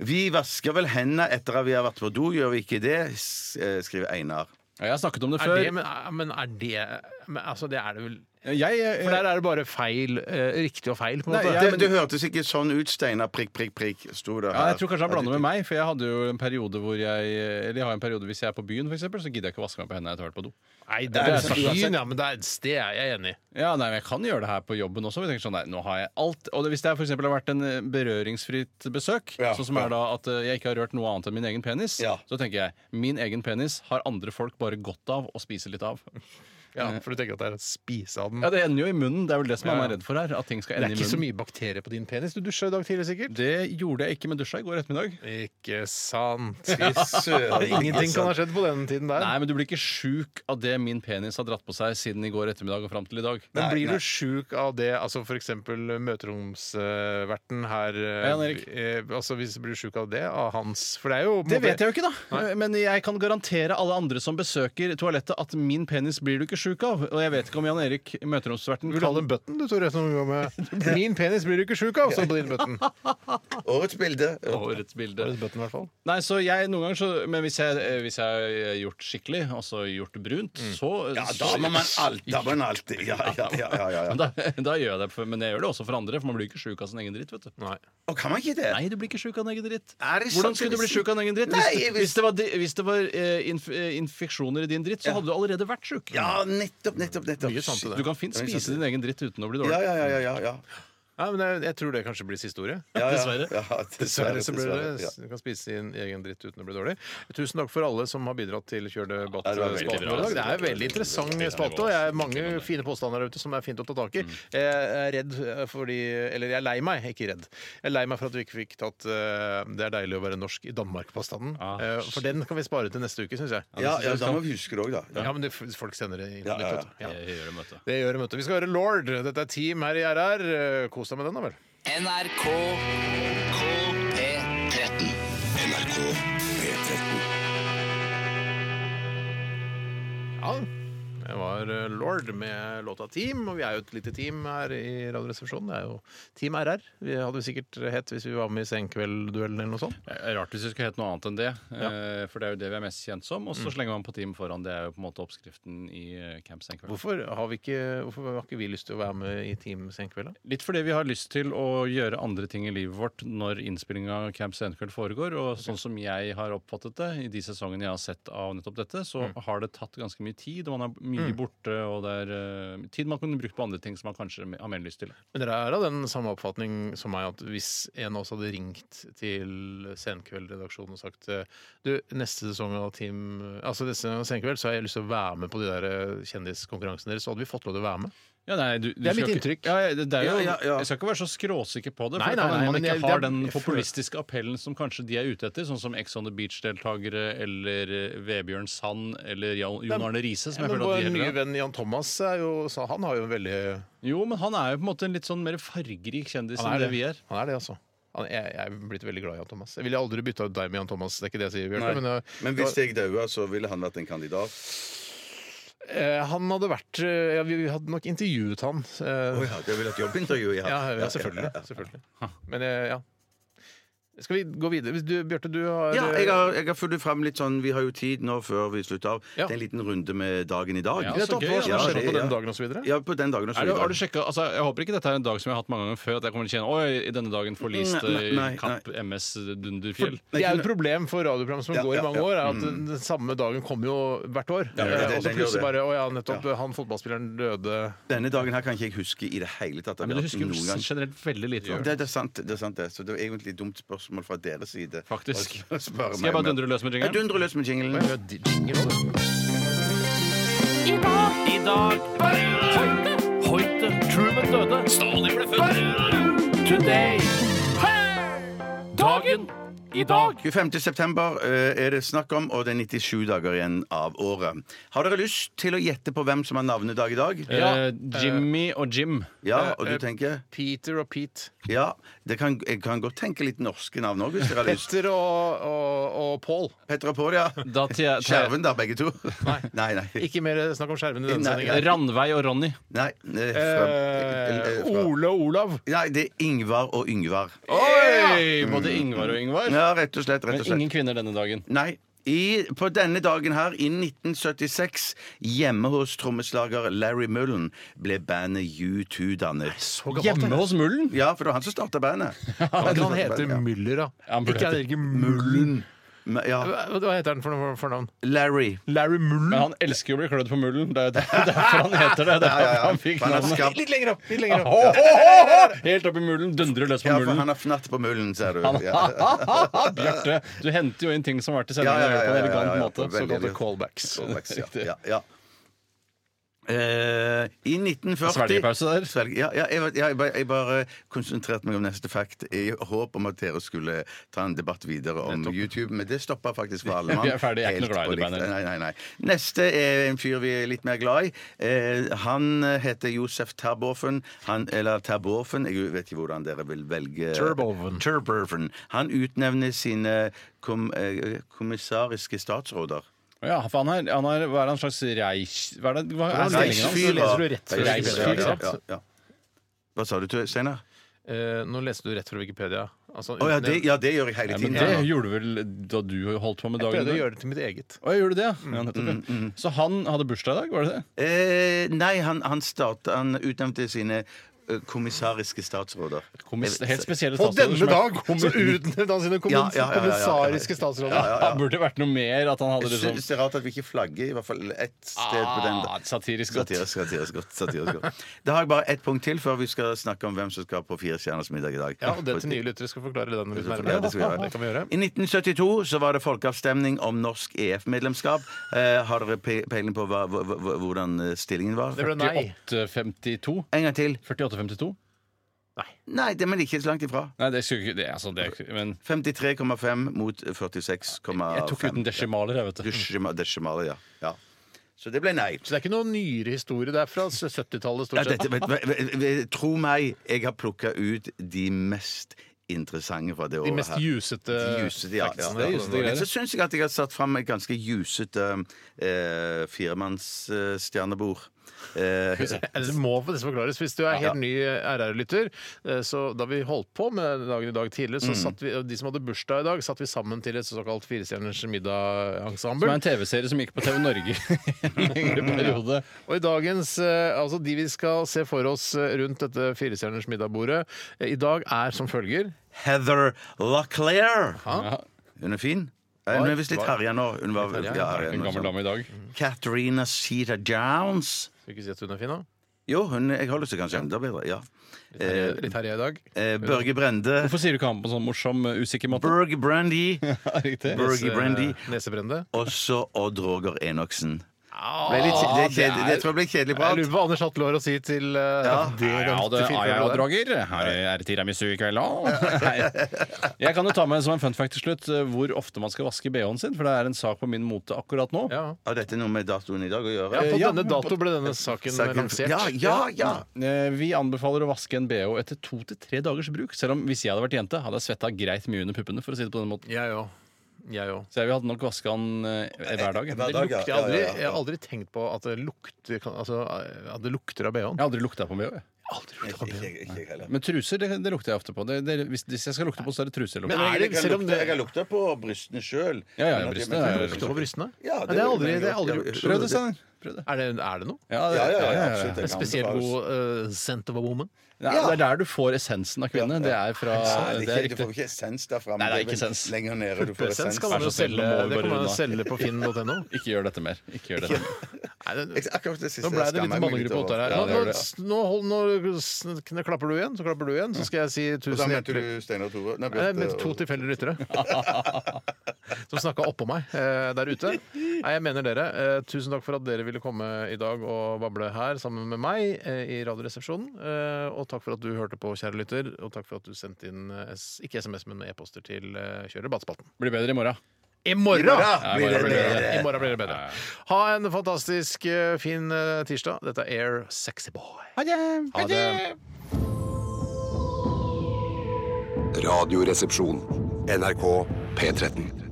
Speaker 5: Vi vasker vel hendene etter at vi har vært på do, gjør vi ikke det? S- eh, Skriver Einar.
Speaker 6: Ja, Jeg har snakket om det
Speaker 4: Er
Speaker 6: før.
Speaker 4: det, men, er- men er det men, Altså, det er det vel
Speaker 6: Jeg, eh,
Speaker 4: For der er det bare feil. eh, Riktig og feil, på en
Speaker 6: Nei,
Speaker 4: måte.
Speaker 6: jeg- Ja,
Speaker 5: Det,
Speaker 6: men-
Speaker 5: det hørtes ikke sånn ut, Steinar. Prikk, prikk, prikk. Sto det
Speaker 6: Ja,
Speaker 5: her.
Speaker 6: jeg tror kanskje han blander med meg, for jeg hadde jo en periode hvor jeg Eller jeg har en periode hvis jeg er på byen, for eksempel, så gidder jeg ikke å vaske meg på hendene etter å ha vært på do.
Speaker 4: Nei, det,
Speaker 6: er
Speaker 4: er
Speaker 6: sant, uansett.
Speaker 4: byen, ja, men det er et sted jeg er enig i.
Speaker 6: Ja, nei, men Jeg kan gjøre det her på jobben også. Men jeg tenker sånn, nei, nå har jeg alt Og det, Hvis det for eksempel har vært en eh, berøringsfritt besøk, sånn som er da at eh, jeg ikke har rørt noe annet enn min egen penis,
Speaker 5: Ja.
Speaker 6: så tenker jeg min egen penis har andre folk bare godt av å spise litt av.
Speaker 4: Ja, For du tenker at Mm. det er å spise av den?
Speaker 6: Ja, Det ender jo i munnen. Det er vel det som
Speaker 4: Ja.
Speaker 6: man er redd for her. At ting skal
Speaker 4: det er
Speaker 6: ende i
Speaker 4: ikke så
Speaker 6: munnen.
Speaker 4: mye bakterier på din penis. Du dusja i dag tidlig, sikkert.
Speaker 6: Det gjorde jeg ikke med dusja i går ettermiddag.
Speaker 4: Ikke sant. Fy søren. (laughs) altså. Ingenting kan ha skjedd på den tiden der.
Speaker 6: Nei, men du blir ikke sjuk av det min penis har dratt på seg siden i går ettermiddag og fram til i dag.
Speaker 4: Men blir du sjuk av det, altså f.eks. møteromsverten her eh,
Speaker 6: Jan Erik.
Speaker 4: eh, Altså Hvis du blir sjuk av det, av hans For det er jo
Speaker 6: Det vet jeg jo ikke, da. Men jeg kan garantere alle andre som besøker toalettet, at min penis blir du ikke sjuk av. Og jeg vet ikke om Jan Erik, møteromsverten,
Speaker 4: Vil du ha den bøtten, du, Tore? Som går (laughs) med Min penis blir du ikke sjuk av, så på din (laughs) bøtten.
Speaker 5: Årets bilde.
Speaker 6: årets bilde.
Speaker 4: Bøtten, i hvert fall.
Speaker 6: Nei, så jeg noen ganger så Men hvis jeg, eh, hvis jeg har gjort skikkelig, altså gjort brunt, så
Speaker 5: Mm. Ja, da må man alltid. Da må man alltid. Ja, ja, ja, ja, ja,
Speaker 6: Men
Speaker 5: ja.
Speaker 6: (laughs) da, da gjør jeg det, for, men jeg gjør det også for andre, for man blir ikke sjuk av sin egen dritt. vet du
Speaker 5: Og kan man ikke det?
Speaker 6: Nei, du blir ikke sjuk av din egen dritt.
Speaker 5: Er det
Speaker 6: Hvordan
Speaker 5: sant?
Speaker 6: skulle du bli sjuk av din egen dritt?
Speaker 5: Nei,
Speaker 6: Hvis,
Speaker 5: jeg
Speaker 6: det-
Speaker 5: vil-
Speaker 6: hvis det var, di- hvis det var eh, inf eh, infeksjoner i din dritt, så hadde du allerede vært sjuk.
Speaker 5: Ja, nettopp, nettopp, nettopp.
Speaker 4: Mye sant i det.
Speaker 6: Du kan fint
Speaker 5: Det er
Speaker 6: spise
Speaker 5: sant.
Speaker 6: din egen dritt uten å bli dårlig.
Speaker 5: Ja, ja, ja, ja, ja, ja.
Speaker 4: Nei, men jeg, jeg tror det kanskje blir siste ordet.
Speaker 5: Ja, ja.
Speaker 6: Dessverre.
Speaker 5: Ja,
Speaker 4: (laughs) Dessverre så blir
Speaker 5: dessverre,
Speaker 4: det
Speaker 5: ja.
Speaker 4: Du kan spise din egen dritt uten å bli dårlig. Tusen takk for alle som har bidratt til Kjør
Speaker 5: Ja, det var veldig
Speaker 4: debatt-spalten
Speaker 5: bra.
Speaker 4: vår i dag. Det er en veldig interessant spalte, og jeg har mange fine påstander der ute som er fint å ta tak i.
Speaker 5: Mm.
Speaker 4: Jeg er redd eh, fordi Eller jeg er lei meg, ikke redd. Jeg er lei meg for at vi ikke fikk tatt eh, 'Det er deilig å være norsk' i Danmark-påstanden.
Speaker 6: Ah,
Speaker 4: Eh, For den kan vi spare til neste uke, syns jeg.
Speaker 5: Ja, ja, da må vi huske det òg, da.
Speaker 4: Ja, men det, folk sender det inn.
Speaker 5: Ja, ja, ja.
Speaker 4: litt, vet du. Ja.
Speaker 6: Jeg gjør det, vet du.
Speaker 4: Det gjør de, vet du. Vi skal høre Lord. Dette er Team her i RR. Eh, Kos deg med den, da vel.
Speaker 8: NRK P13.
Speaker 1: NRK P13.
Speaker 4: Ja, det var eh, Lord med låta Team, og vi er jo et lite team her i Radioresepsjonen. Det er jo Team RR. Vi hadde jo sikkert hett hvis vi var med i Senkveldduellen eller noe sånt.
Speaker 6: Det er Rart hvis det skulle hett noe annet enn det. eh, For det er jo det vi er mest kjent som. Og så slenger man på Team foran. Det er jo på en måte oppskriften i eh, Camp Senkveld.
Speaker 4: Hvorfor har, vi ikke, hvorfor har ikke vi lyst til å være med i Team Senkveld? da?
Speaker 6: Litt fordi vi har lyst til å gjøre andre ting i livet vårt når innspillinga av Camp Senkveld foregår. Og sånn som jeg har oppfattet det, i de sesongene jeg har sett av nettopp dette, så har det tatt ganske mye tid, og man er mye borte, og det er eh, tid man kunne brukt på andre ting som man kanskje har mer lyst til.
Speaker 4: Men dere er av den samme oppfatning som meg at hvis en av oss hadde ringt til Senkveld-redaksjonen og sagt eh, du, neste sesong av Team Altså neste sesong av Senkveld så har jeg lyst til å være med på de der eh, kjendiskonkurransene deres, så hadde vi fått lov til å være med.
Speaker 6: Ja, nei, du, du
Speaker 4: Det er
Speaker 6: skal
Speaker 4: mitt
Speaker 6: ikke-
Speaker 4: inntrykk.
Speaker 6: Ja, ja, det, det er jo,
Speaker 5: Ja, ja, ja.
Speaker 6: Jeg skal ikke være så skråsikker på det. For
Speaker 4: Nei,
Speaker 6: det kan
Speaker 4: nei,
Speaker 6: hende
Speaker 4: nei,
Speaker 6: man
Speaker 4: men
Speaker 6: ikke
Speaker 4: jeg-
Speaker 6: har
Speaker 4: det er-
Speaker 6: den
Speaker 4: jeg føler-
Speaker 6: populistiske appellen som kanskje de er ute etter, sånn som Ex on the Beach-deltakere eller eh, Vebjørn Sand eller Jan- Jon Arne Riise. Som jeg
Speaker 4: Men
Speaker 6: føler
Speaker 4: vår
Speaker 6: at de
Speaker 4: nye
Speaker 6: heller er.
Speaker 4: venn Jan Thomas er jo, så han har jo en veldig
Speaker 6: Jo, men han er jo på en måte en litt sånn mer fargerik kjendis enn det vi er.
Speaker 4: Han er det, altså. Han, jeg, jeg er blitt veldig glad i Jan Thomas. Jeg ville aldri bytta ut deg med Jan Thomas. Det er ikke det jeg sier, Bjørn. Men, eh, jeg-
Speaker 5: Men hvis jeg daua, så ville han vært en kandidat?
Speaker 4: eh, han hadde vært eh, ja, Vi hadde nok intervjuet han.
Speaker 5: Å
Speaker 4: Eh,
Speaker 5: ja, det ville vært jobbintervju, ja.
Speaker 4: ja, ja, selvfølgelig. selvfølgelig. Men eh, ja. Skal vi gå videre? Hvis Du, Bjarte, du har
Speaker 5: Ja,
Speaker 4: eh,
Speaker 5: jeg har, jeg har funnet frem litt sånn Vi har jo tid nå før vi slutter av.
Speaker 4: Ja.
Speaker 5: Det er en liten runde med dagen i dag.
Speaker 6: Ja,
Speaker 4: vi har
Speaker 6: så
Speaker 4: tatt
Speaker 6: gøy,
Speaker 4: hva som
Speaker 5: ja.
Speaker 4: har
Speaker 5: Ja,
Speaker 4: skjedd på
Speaker 5: det-
Speaker 4: den
Speaker 5: ja.
Speaker 4: dagen og så videre.
Speaker 5: Ja, på den dagen og så
Speaker 6: Er det, har du
Speaker 5: videre.
Speaker 6: sjekket, altså, jeg håper ikke dette er en dag som jeg har hatt mange ganger før. At jeg kommer til å kjenne Oi, i denne dagen forliste
Speaker 5: Nei, nei, nei,
Speaker 6: Kapp MS Dunderfjell.
Speaker 4: Det er jo et problem for radioprogram som
Speaker 5: Ja,
Speaker 4: går i
Speaker 5: ja,
Speaker 4: mange
Speaker 5: ja. Mm.
Speaker 4: år, er at den- den samme dagen kommer jo hvert år.
Speaker 5: ja,
Speaker 4: Eh,
Speaker 5: den-
Speaker 4: og så
Speaker 5: den gjør
Speaker 4: plutselig
Speaker 5: det.
Speaker 4: bare Å ja, nettopp. Han fotballspilleren døde
Speaker 5: Denne dagen her kan ikke jeg huske i det hele tatt. at
Speaker 6: Men
Speaker 5: vi har
Speaker 6: du
Speaker 5: hatt
Speaker 6: husker
Speaker 5: den
Speaker 6: jo
Speaker 5: noen gang.
Speaker 6: generelt veldig lite. da.
Speaker 5: Det, det er sant, det er sant det. Så det var egentlig et dumt spørsmål fra deres side.
Speaker 6: Faktisk.
Speaker 5: Å spørre
Speaker 6: Skal jeg
Speaker 5: meg
Speaker 6: bare
Speaker 5: med-
Speaker 6: dundre løs med
Speaker 5: Jeg
Speaker 6: jingeren?
Speaker 5: dundrer løs med jinglen.
Speaker 12: I dag Hoite Truman døde Stalin ble født Today Dagen I dag
Speaker 5: 25. september eh, er det snakk om, og det er 97 dager igjen av året. Har dere lyst til å gjette på hvem som har navnedag i dag?
Speaker 6: Eh, Jimmy og Jim.
Speaker 5: Ja, og du tenker?
Speaker 4: Peter og Pete.
Speaker 5: Ja, det kan, jeg kan godt tenke litt norske navn òg, hvis dere har lyst.
Speaker 4: Petter og, og, og Paul.
Speaker 5: Petra Paul, ja.
Speaker 6: Da tar jeg- tar jeg-
Speaker 5: Skjerven, da, begge to. Nei, (laughs) nei. Nei.
Speaker 4: Ikke mer snakk om skjermen i denne
Speaker 5: Nei,
Speaker 4: sendingen.
Speaker 6: Randveig og Ronny.
Speaker 5: nei, eh, fra, eh,
Speaker 4: Eh,
Speaker 5: fra.
Speaker 4: Ole og Olav.
Speaker 5: nei det er Ingvar og Yngvar.
Speaker 6: Oi! Både Ingvar og Yngvar.
Speaker 5: Ja, rett og slett. Rett
Speaker 6: Men
Speaker 5: og slett.
Speaker 6: ingen kvinner denne dagen.
Speaker 5: Nei. I, på denne dagen her, i 1976, hjemme hos trommeslager Larry Mullen, ble bandet U2 dannet.
Speaker 6: Hjemme hos Mullen?
Speaker 5: Ja, for det var han som starta
Speaker 4: (laughs)
Speaker 5: bandet.
Speaker 4: Hva er det han heter Müller, da?
Speaker 6: han burde
Speaker 4: Ikke er det ikke Mullen.
Speaker 5: Men, Ja,
Speaker 4: Hva hva heter han for noe for- fornavn?
Speaker 5: Larry.
Speaker 4: Larry
Speaker 6: Men
Speaker 4: Mullen?
Speaker 6: han elsker jo å bli klødd på Mullen. Det er jo der-
Speaker 5: (laughs)
Speaker 6: derfor han heter det. Det er
Speaker 5: Ja, ja,
Speaker 6: derfor
Speaker 5: ja.
Speaker 6: han fikk
Speaker 5: Han har
Speaker 6: navnet.
Speaker 5: skapt-
Speaker 4: Litt lenger opp! litt lenger opp
Speaker 6: Ho, ho, ho! Helt opp i Mullen. Dundrer løs på
Speaker 5: Ja, for han
Speaker 6: Mullen.
Speaker 5: har fnatt på mullen, ser du.
Speaker 6: Han-
Speaker 5: Ja.
Speaker 6: (laughs) Bjarte, du henter jo inn ting som har vært i sendingen
Speaker 5: Ja, ja, ja,
Speaker 6: og gjør det på
Speaker 5: ja, ja, ja,
Speaker 6: en elegant
Speaker 5: ja,
Speaker 6: måte.
Speaker 5: veldig.
Speaker 6: Såkalte
Speaker 4: Callbacks.
Speaker 5: Callbacks, ja, ja, ja. Eh, I 1940
Speaker 6: Svelgepause der.
Speaker 5: Svelge- ja, ja, jeg, var- ja, jeg, bare, jeg bare konsentrerte meg om neste fact i håp om at dere skulle ta en debatt videre om YouTube, men det stoppa faktisk
Speaker 6: (laughs)
Speaker 5: for alle mann.
Speaker 6: Vi er ferdig, jeg er ikke
Speaker 5: Helt
Speaker 6: noe glad i
Speaker 5: på
Speaker 6: det
Speaker 5: likt.
Speaker 6: bandet.
Speaker 5: Nei, nei, nei. Neste er en fyr vi er litt mer glad i. Eh, han heter Josef Terborfen. Han, eller Terborfen, jeg vet ikke hvordan dere vil velge
Speaker 4: Terboven.
Speaker 5: Terboven. Han utnevner sine kom, eh, kommissariske statsråder.
Speaker 6: Ja, for han er, han er, hva er han slags reich... Hva er det? Hva er stillingen hans?
Speaker 5: Reichsfyrer.
Speaker 4: leser du rett fra
Speaker 5: Reichsfyrer,
Speaker 4: Wikipedia,
Speaker 5: ja,
Speaker 4: sant?
Speaker 5: ja, ja. Hva sa du, Steinar?
Speaker 4: Eh, nå leste du rett fra Wikipedia. Altså,
Speaker 5: Å ja,
Speaker 4: uten-
Speaker 5: det- ja, det gjør jeg hele
Speaker 6: Ja,
Speaker 5: tiden.
Speaker 6: men det gjorde du vel da du holdt på med
Speaker 4: Jeg
Speaker 6: dagen?
Speaker 4: prøvde å
Speaker 6: din?
Speaker 4: gjøre det til mitt eget.
Speaker 6: Å, jeg gjorde det, ja. ja nettopp,
Speaker 5: Mm,
Speaker 6: ja. Så han hadde bursdag i dag, var det det?
Speaker 5: Eh, nei, han, han, starta- han utnevnte sine eh, kommissariske statsråder.
Speaker 6: Kommis, helt spesielle
Speaker 4: På
Speaker 6: statsråder
Speaker 4: denne
Speaker 6: som er-
Speaker 4: dag så utnevnte han sine
Speaker 5: Ja, ja, ja, ja, ja, ja.
Speaker 4: kommissariske statsråder.
Speaker 6: (laughs) Ja, burde det vært noe mer at han hadde
Speaker 5: Jeg
Speaker 6: liksom
Speaker 5: syns det er rart at vi ikke flagger i hvert fall ett sted på den.
Speaker 6: ah, Satirisk godt.
Speaker 5: Satirisk, satirisk godt. satirisk godt. Da har jeg bare ett punkt til før vi skal snakke om hvem som skal på Fire stjerners middag i dag.
Speaker 4: Ja, og det til nye lyttere skal forklare den litt
Speaker 5: Ja,
Speaker 4: nærmere.
Speaker 5: det skal vi gjøre.
Speaker 4: Det kan vi gjøre.
Speaker 5: I 1972 så var det folkeavstemning om norsk EF-medlemskap. Eh, har dere pe- peiling på hva, hva, hva, hvordan eh, stillingen var?
Speaker 4: Det ble nei.
Speaker 6: 852?
Speaker 5: En gang til.
Speaker 6: 48-52?
Speaker 5: Nei, det, men ikke så langt ifra.
Speaker 6: Nei, det skulle ikke det, altså, det, Men
Speaker 5: 53,5 mot 46,5.
Speaker 6: jeg tok uten desimaler, jeg, vet du.
Speaker 5: Desima- Desimaler, ja. ja. Så det ble nei.
Speaker 4: Så det er ikke noen nyere historie. Det er fra 70-tallet,
Speaker 5: Ja,
Speaker 4: stort sett.
Speaker 5: dette, vet, vet, vet, vet, tro meg, jeg har plukka ut de mest interessante fra det året.
Speaker 4: De mest
Speaker 5: her.
Speaker 4: jusete
Speaker 5: De jusete, ja, ja.
Speaker 4: factsene.
Speaker 6: jusete greier.
Speaker 5: Så syns jeg at jeg har satt fram et ganske jusete eh, firemannsstjernebord. Eh,
Speaker 4: Eller det må faktisk forklares. Hvis du er
Speaker 5: Ja.
Speaker 4: helt ny RR-lytter, eh, så da vi holdt på med dagen i dag tidlig, så satt vi, de som hadde bursdag i dag, satt vi sammen til et såkalt Firestjerners
Speaker 6: Som er
Speaker 4: middag-ensemble.
Speaker 6: en TV-serie som gikk på TV Norge (laughs) i en lengre periode.
Speaker 4: Og i dagens, eh, altså de vi skal se for oss eh, rundt dette Firestjerners middag-bordet, eh, i dag er som følger
Speaker 5: Heather Locklear.
Speaker 6: Ja,
Speaker 5: Hun er fin. Eh, Hun er visst litt herja nå. Hun var, ja, herja
Speaker 6: en
Speaker 5: nå,
Speaker 6: gammel
Speaker 5: sånn.
Speaker 6: dame i dag.
Speaker 5: Katarina Sheeta Downs.
Speaker 4: Skal ikke si at hun er fin, da?
Speaker 5: Jo, hun, jeg holder seg kanskje enda bedre. Ja. Eh,
Speaker 4: Litt herja i dag.
Speaker 5: eh, Børge Brende.
Speaker 6: Hvorfor sier du ikke han på en sånn morsom, uh, usikker måte? (laughs)
Speaker 5: Børge Brandy.
Speaker 6: Riktig.
Speaker 5: Børge Brandy.
Speaker 4: Eh, Nesebrende.
Speaker 5: Og så Odd Roger Enoksen. Ble litt, det, er kjedelig, det tror jeg ble kjedelig
Speaker 4: Jeg
Speaker 5: prat.
Speaker 4: lurer på hva Anders Hatle har å si til eh, det
Speaker 6: Ja, ja, det
Speaker 4: ganske
Speaker 6: er jeg
Speaker 4: fine
Speaker 6: og
Speaker 4: programmet der.
Speaker 6: Roger. Her er det tiramisu i kveld (laughs) også. Nei. Jeg kan jo ta med som en fun fact til slutt eh, hvor ofte man skal vaske BH-en sin, for det er en sak på min mote akkurat nå.
Speaker 4: Ja.
Speaker 5: Har dette noe med datoen i dag å
Speaker 4: Ja,
Speaker 5: gjøre?
Speaker 4: på
Speaker 6: Eh, ja,
Speaker 4: denne dato ble denne saken
Speaker 5: Saken-
Speaker 4: lansert.
Speaker 5: ja, ja, ja.
Speaker 6: Eh, Vi anbefaler å vaske en BH etter to til tre dagers bruk. Selv om hvis jeg hadde vært jente, hadde jeg svetta greit mye under puppene. for å si det på den måten.
Speaker 4: Jeg òg. Jeg òg.
Speaker 6: Så jeg hadde nok vaska den eh, hver dag.
Speaker 5: Hver
Speaker 6: Jeg
Speaker 5: dag, ja.
Speaker 4: Jeg har aldri, jeg har aldri tenkt på at det lukter, kan- altså, at det lukter av bh-en.
Speaker 6: har aldri lukta på BH. jeg.
Speaker 5: Ikke- ikke- ikke jeg heller.
Speaker 6: Men truser det, det lukter jeg ofte på. Det, det, hvis, hvis jeg skal lukte på, så er det
Speaker 4: Men
Speaker 6: truselukt.
Speaker 4: er det-
Speaker 5: Jeg kan
Speaker 4: selv om
Speaker 5: lukte-
Speaker 4: det-
Speaker 5: Jeg har lukta på brystene sjøl.
Speaker 6: Ja, ja, brystene er-
Speaker 4: Lukter på brystene?
Speaker 5: Ja,
Speaker 4: Nei, det er aldri, det er aldri gjort.
Speaker 6: Prøv det, Steinar. Prøv det.
Speaker 4: Er det, er det noe?
Speaker 5: Ja,
Speaker 6: Ja,
Speaker 5: ja, ja,
Speaker 6: ja, ja.
Speaker 5: absolutt.
Speaker 4: En spesielt god eh, scent of a woman?
Speaker 6: Ja, Det er der du får essensen av kvinne. Det er fra Det er
Speaker 5: Du får
Speaker 6: riktig.
Speaker 5: ikke essens derfra. men
Speaker 6: Nei, det er
Speaker 5: vel
Speaker 6: ikke essens.
Speaker 5: Lenger nede du får
Speaker 4: Pulpescent
Speaker 5: essens.
Speaker 4: skal man jo
Speaker 6: Vær så snill,
Speaker 4: selge, det
Speaker 6: nå må vi
Speaker 4: kan
Speaker 6: bare
Speaker 4: man jo
Speaker 6: runde av.
Speaker 4: selge på
Speaker 6: (laughs)
Speaker 4: finn.no.
Speaker 6: Ikke gjør dette mer. Ikke gjør dette mer.
Speaker 4: Nei, det-
Speaker 5: Akkurat det siste
Speaker 4: Nå ble det litt
Speaker 5: skammer jeg meg litt
Speaker 4: mannegruppe
Speaker 5: over.
Speaker 4: åtte her.
Speaker 6: Ja, det
Speaker 4: Nå,
Speaker 6: gjør
Speaker 4: nå,
Speaker 6: det.
Speaker 4: nå, hold- nå sn- kn- klapper du igjen, så klapper du igjen, så skal jeg si
Speaker 5: Da
Speaker 4: tusen
Speaker 5: mente
Speaker 4: hjertelig
Speaker 5: du Steinar Tore? Nei,
Speaker 4: Nei, med
Speaker 5: Bjarte
Speaker 4: to
Speaker 5: og-
Speaker 4: tilfeldige lyttere
Speaker 6: (laughs)
Speaker 4: som snakka oppå meg eh, der ute. Nei, jeg mener dere. Eh, tusen takk for at dere ville komme i dag og bable her sammen med meg eh, i Radioresepsjonen. Eh, og takk for at du hørte på, kjære lytter. Og takk for at du sendte inn eh, s- ikke SMS, men e-poster til eh, Kjør debattspalten.
Speaker 6: Blir bedre i morgen.
Speaker 4: I morgen!
Speaker 5: Ja,
Speaker 6: Nei,
Speaker 5: blir det
Speaker 6: bare-
Speaker 5: bedre.
Speaker 4: I morgen blir det bedre. Ha en fantastisk eh, fin eh, tirsdag. Dette er Air Sexy Boy. Ha det.
Speaker 1: Radioresepsjon. NRK P13.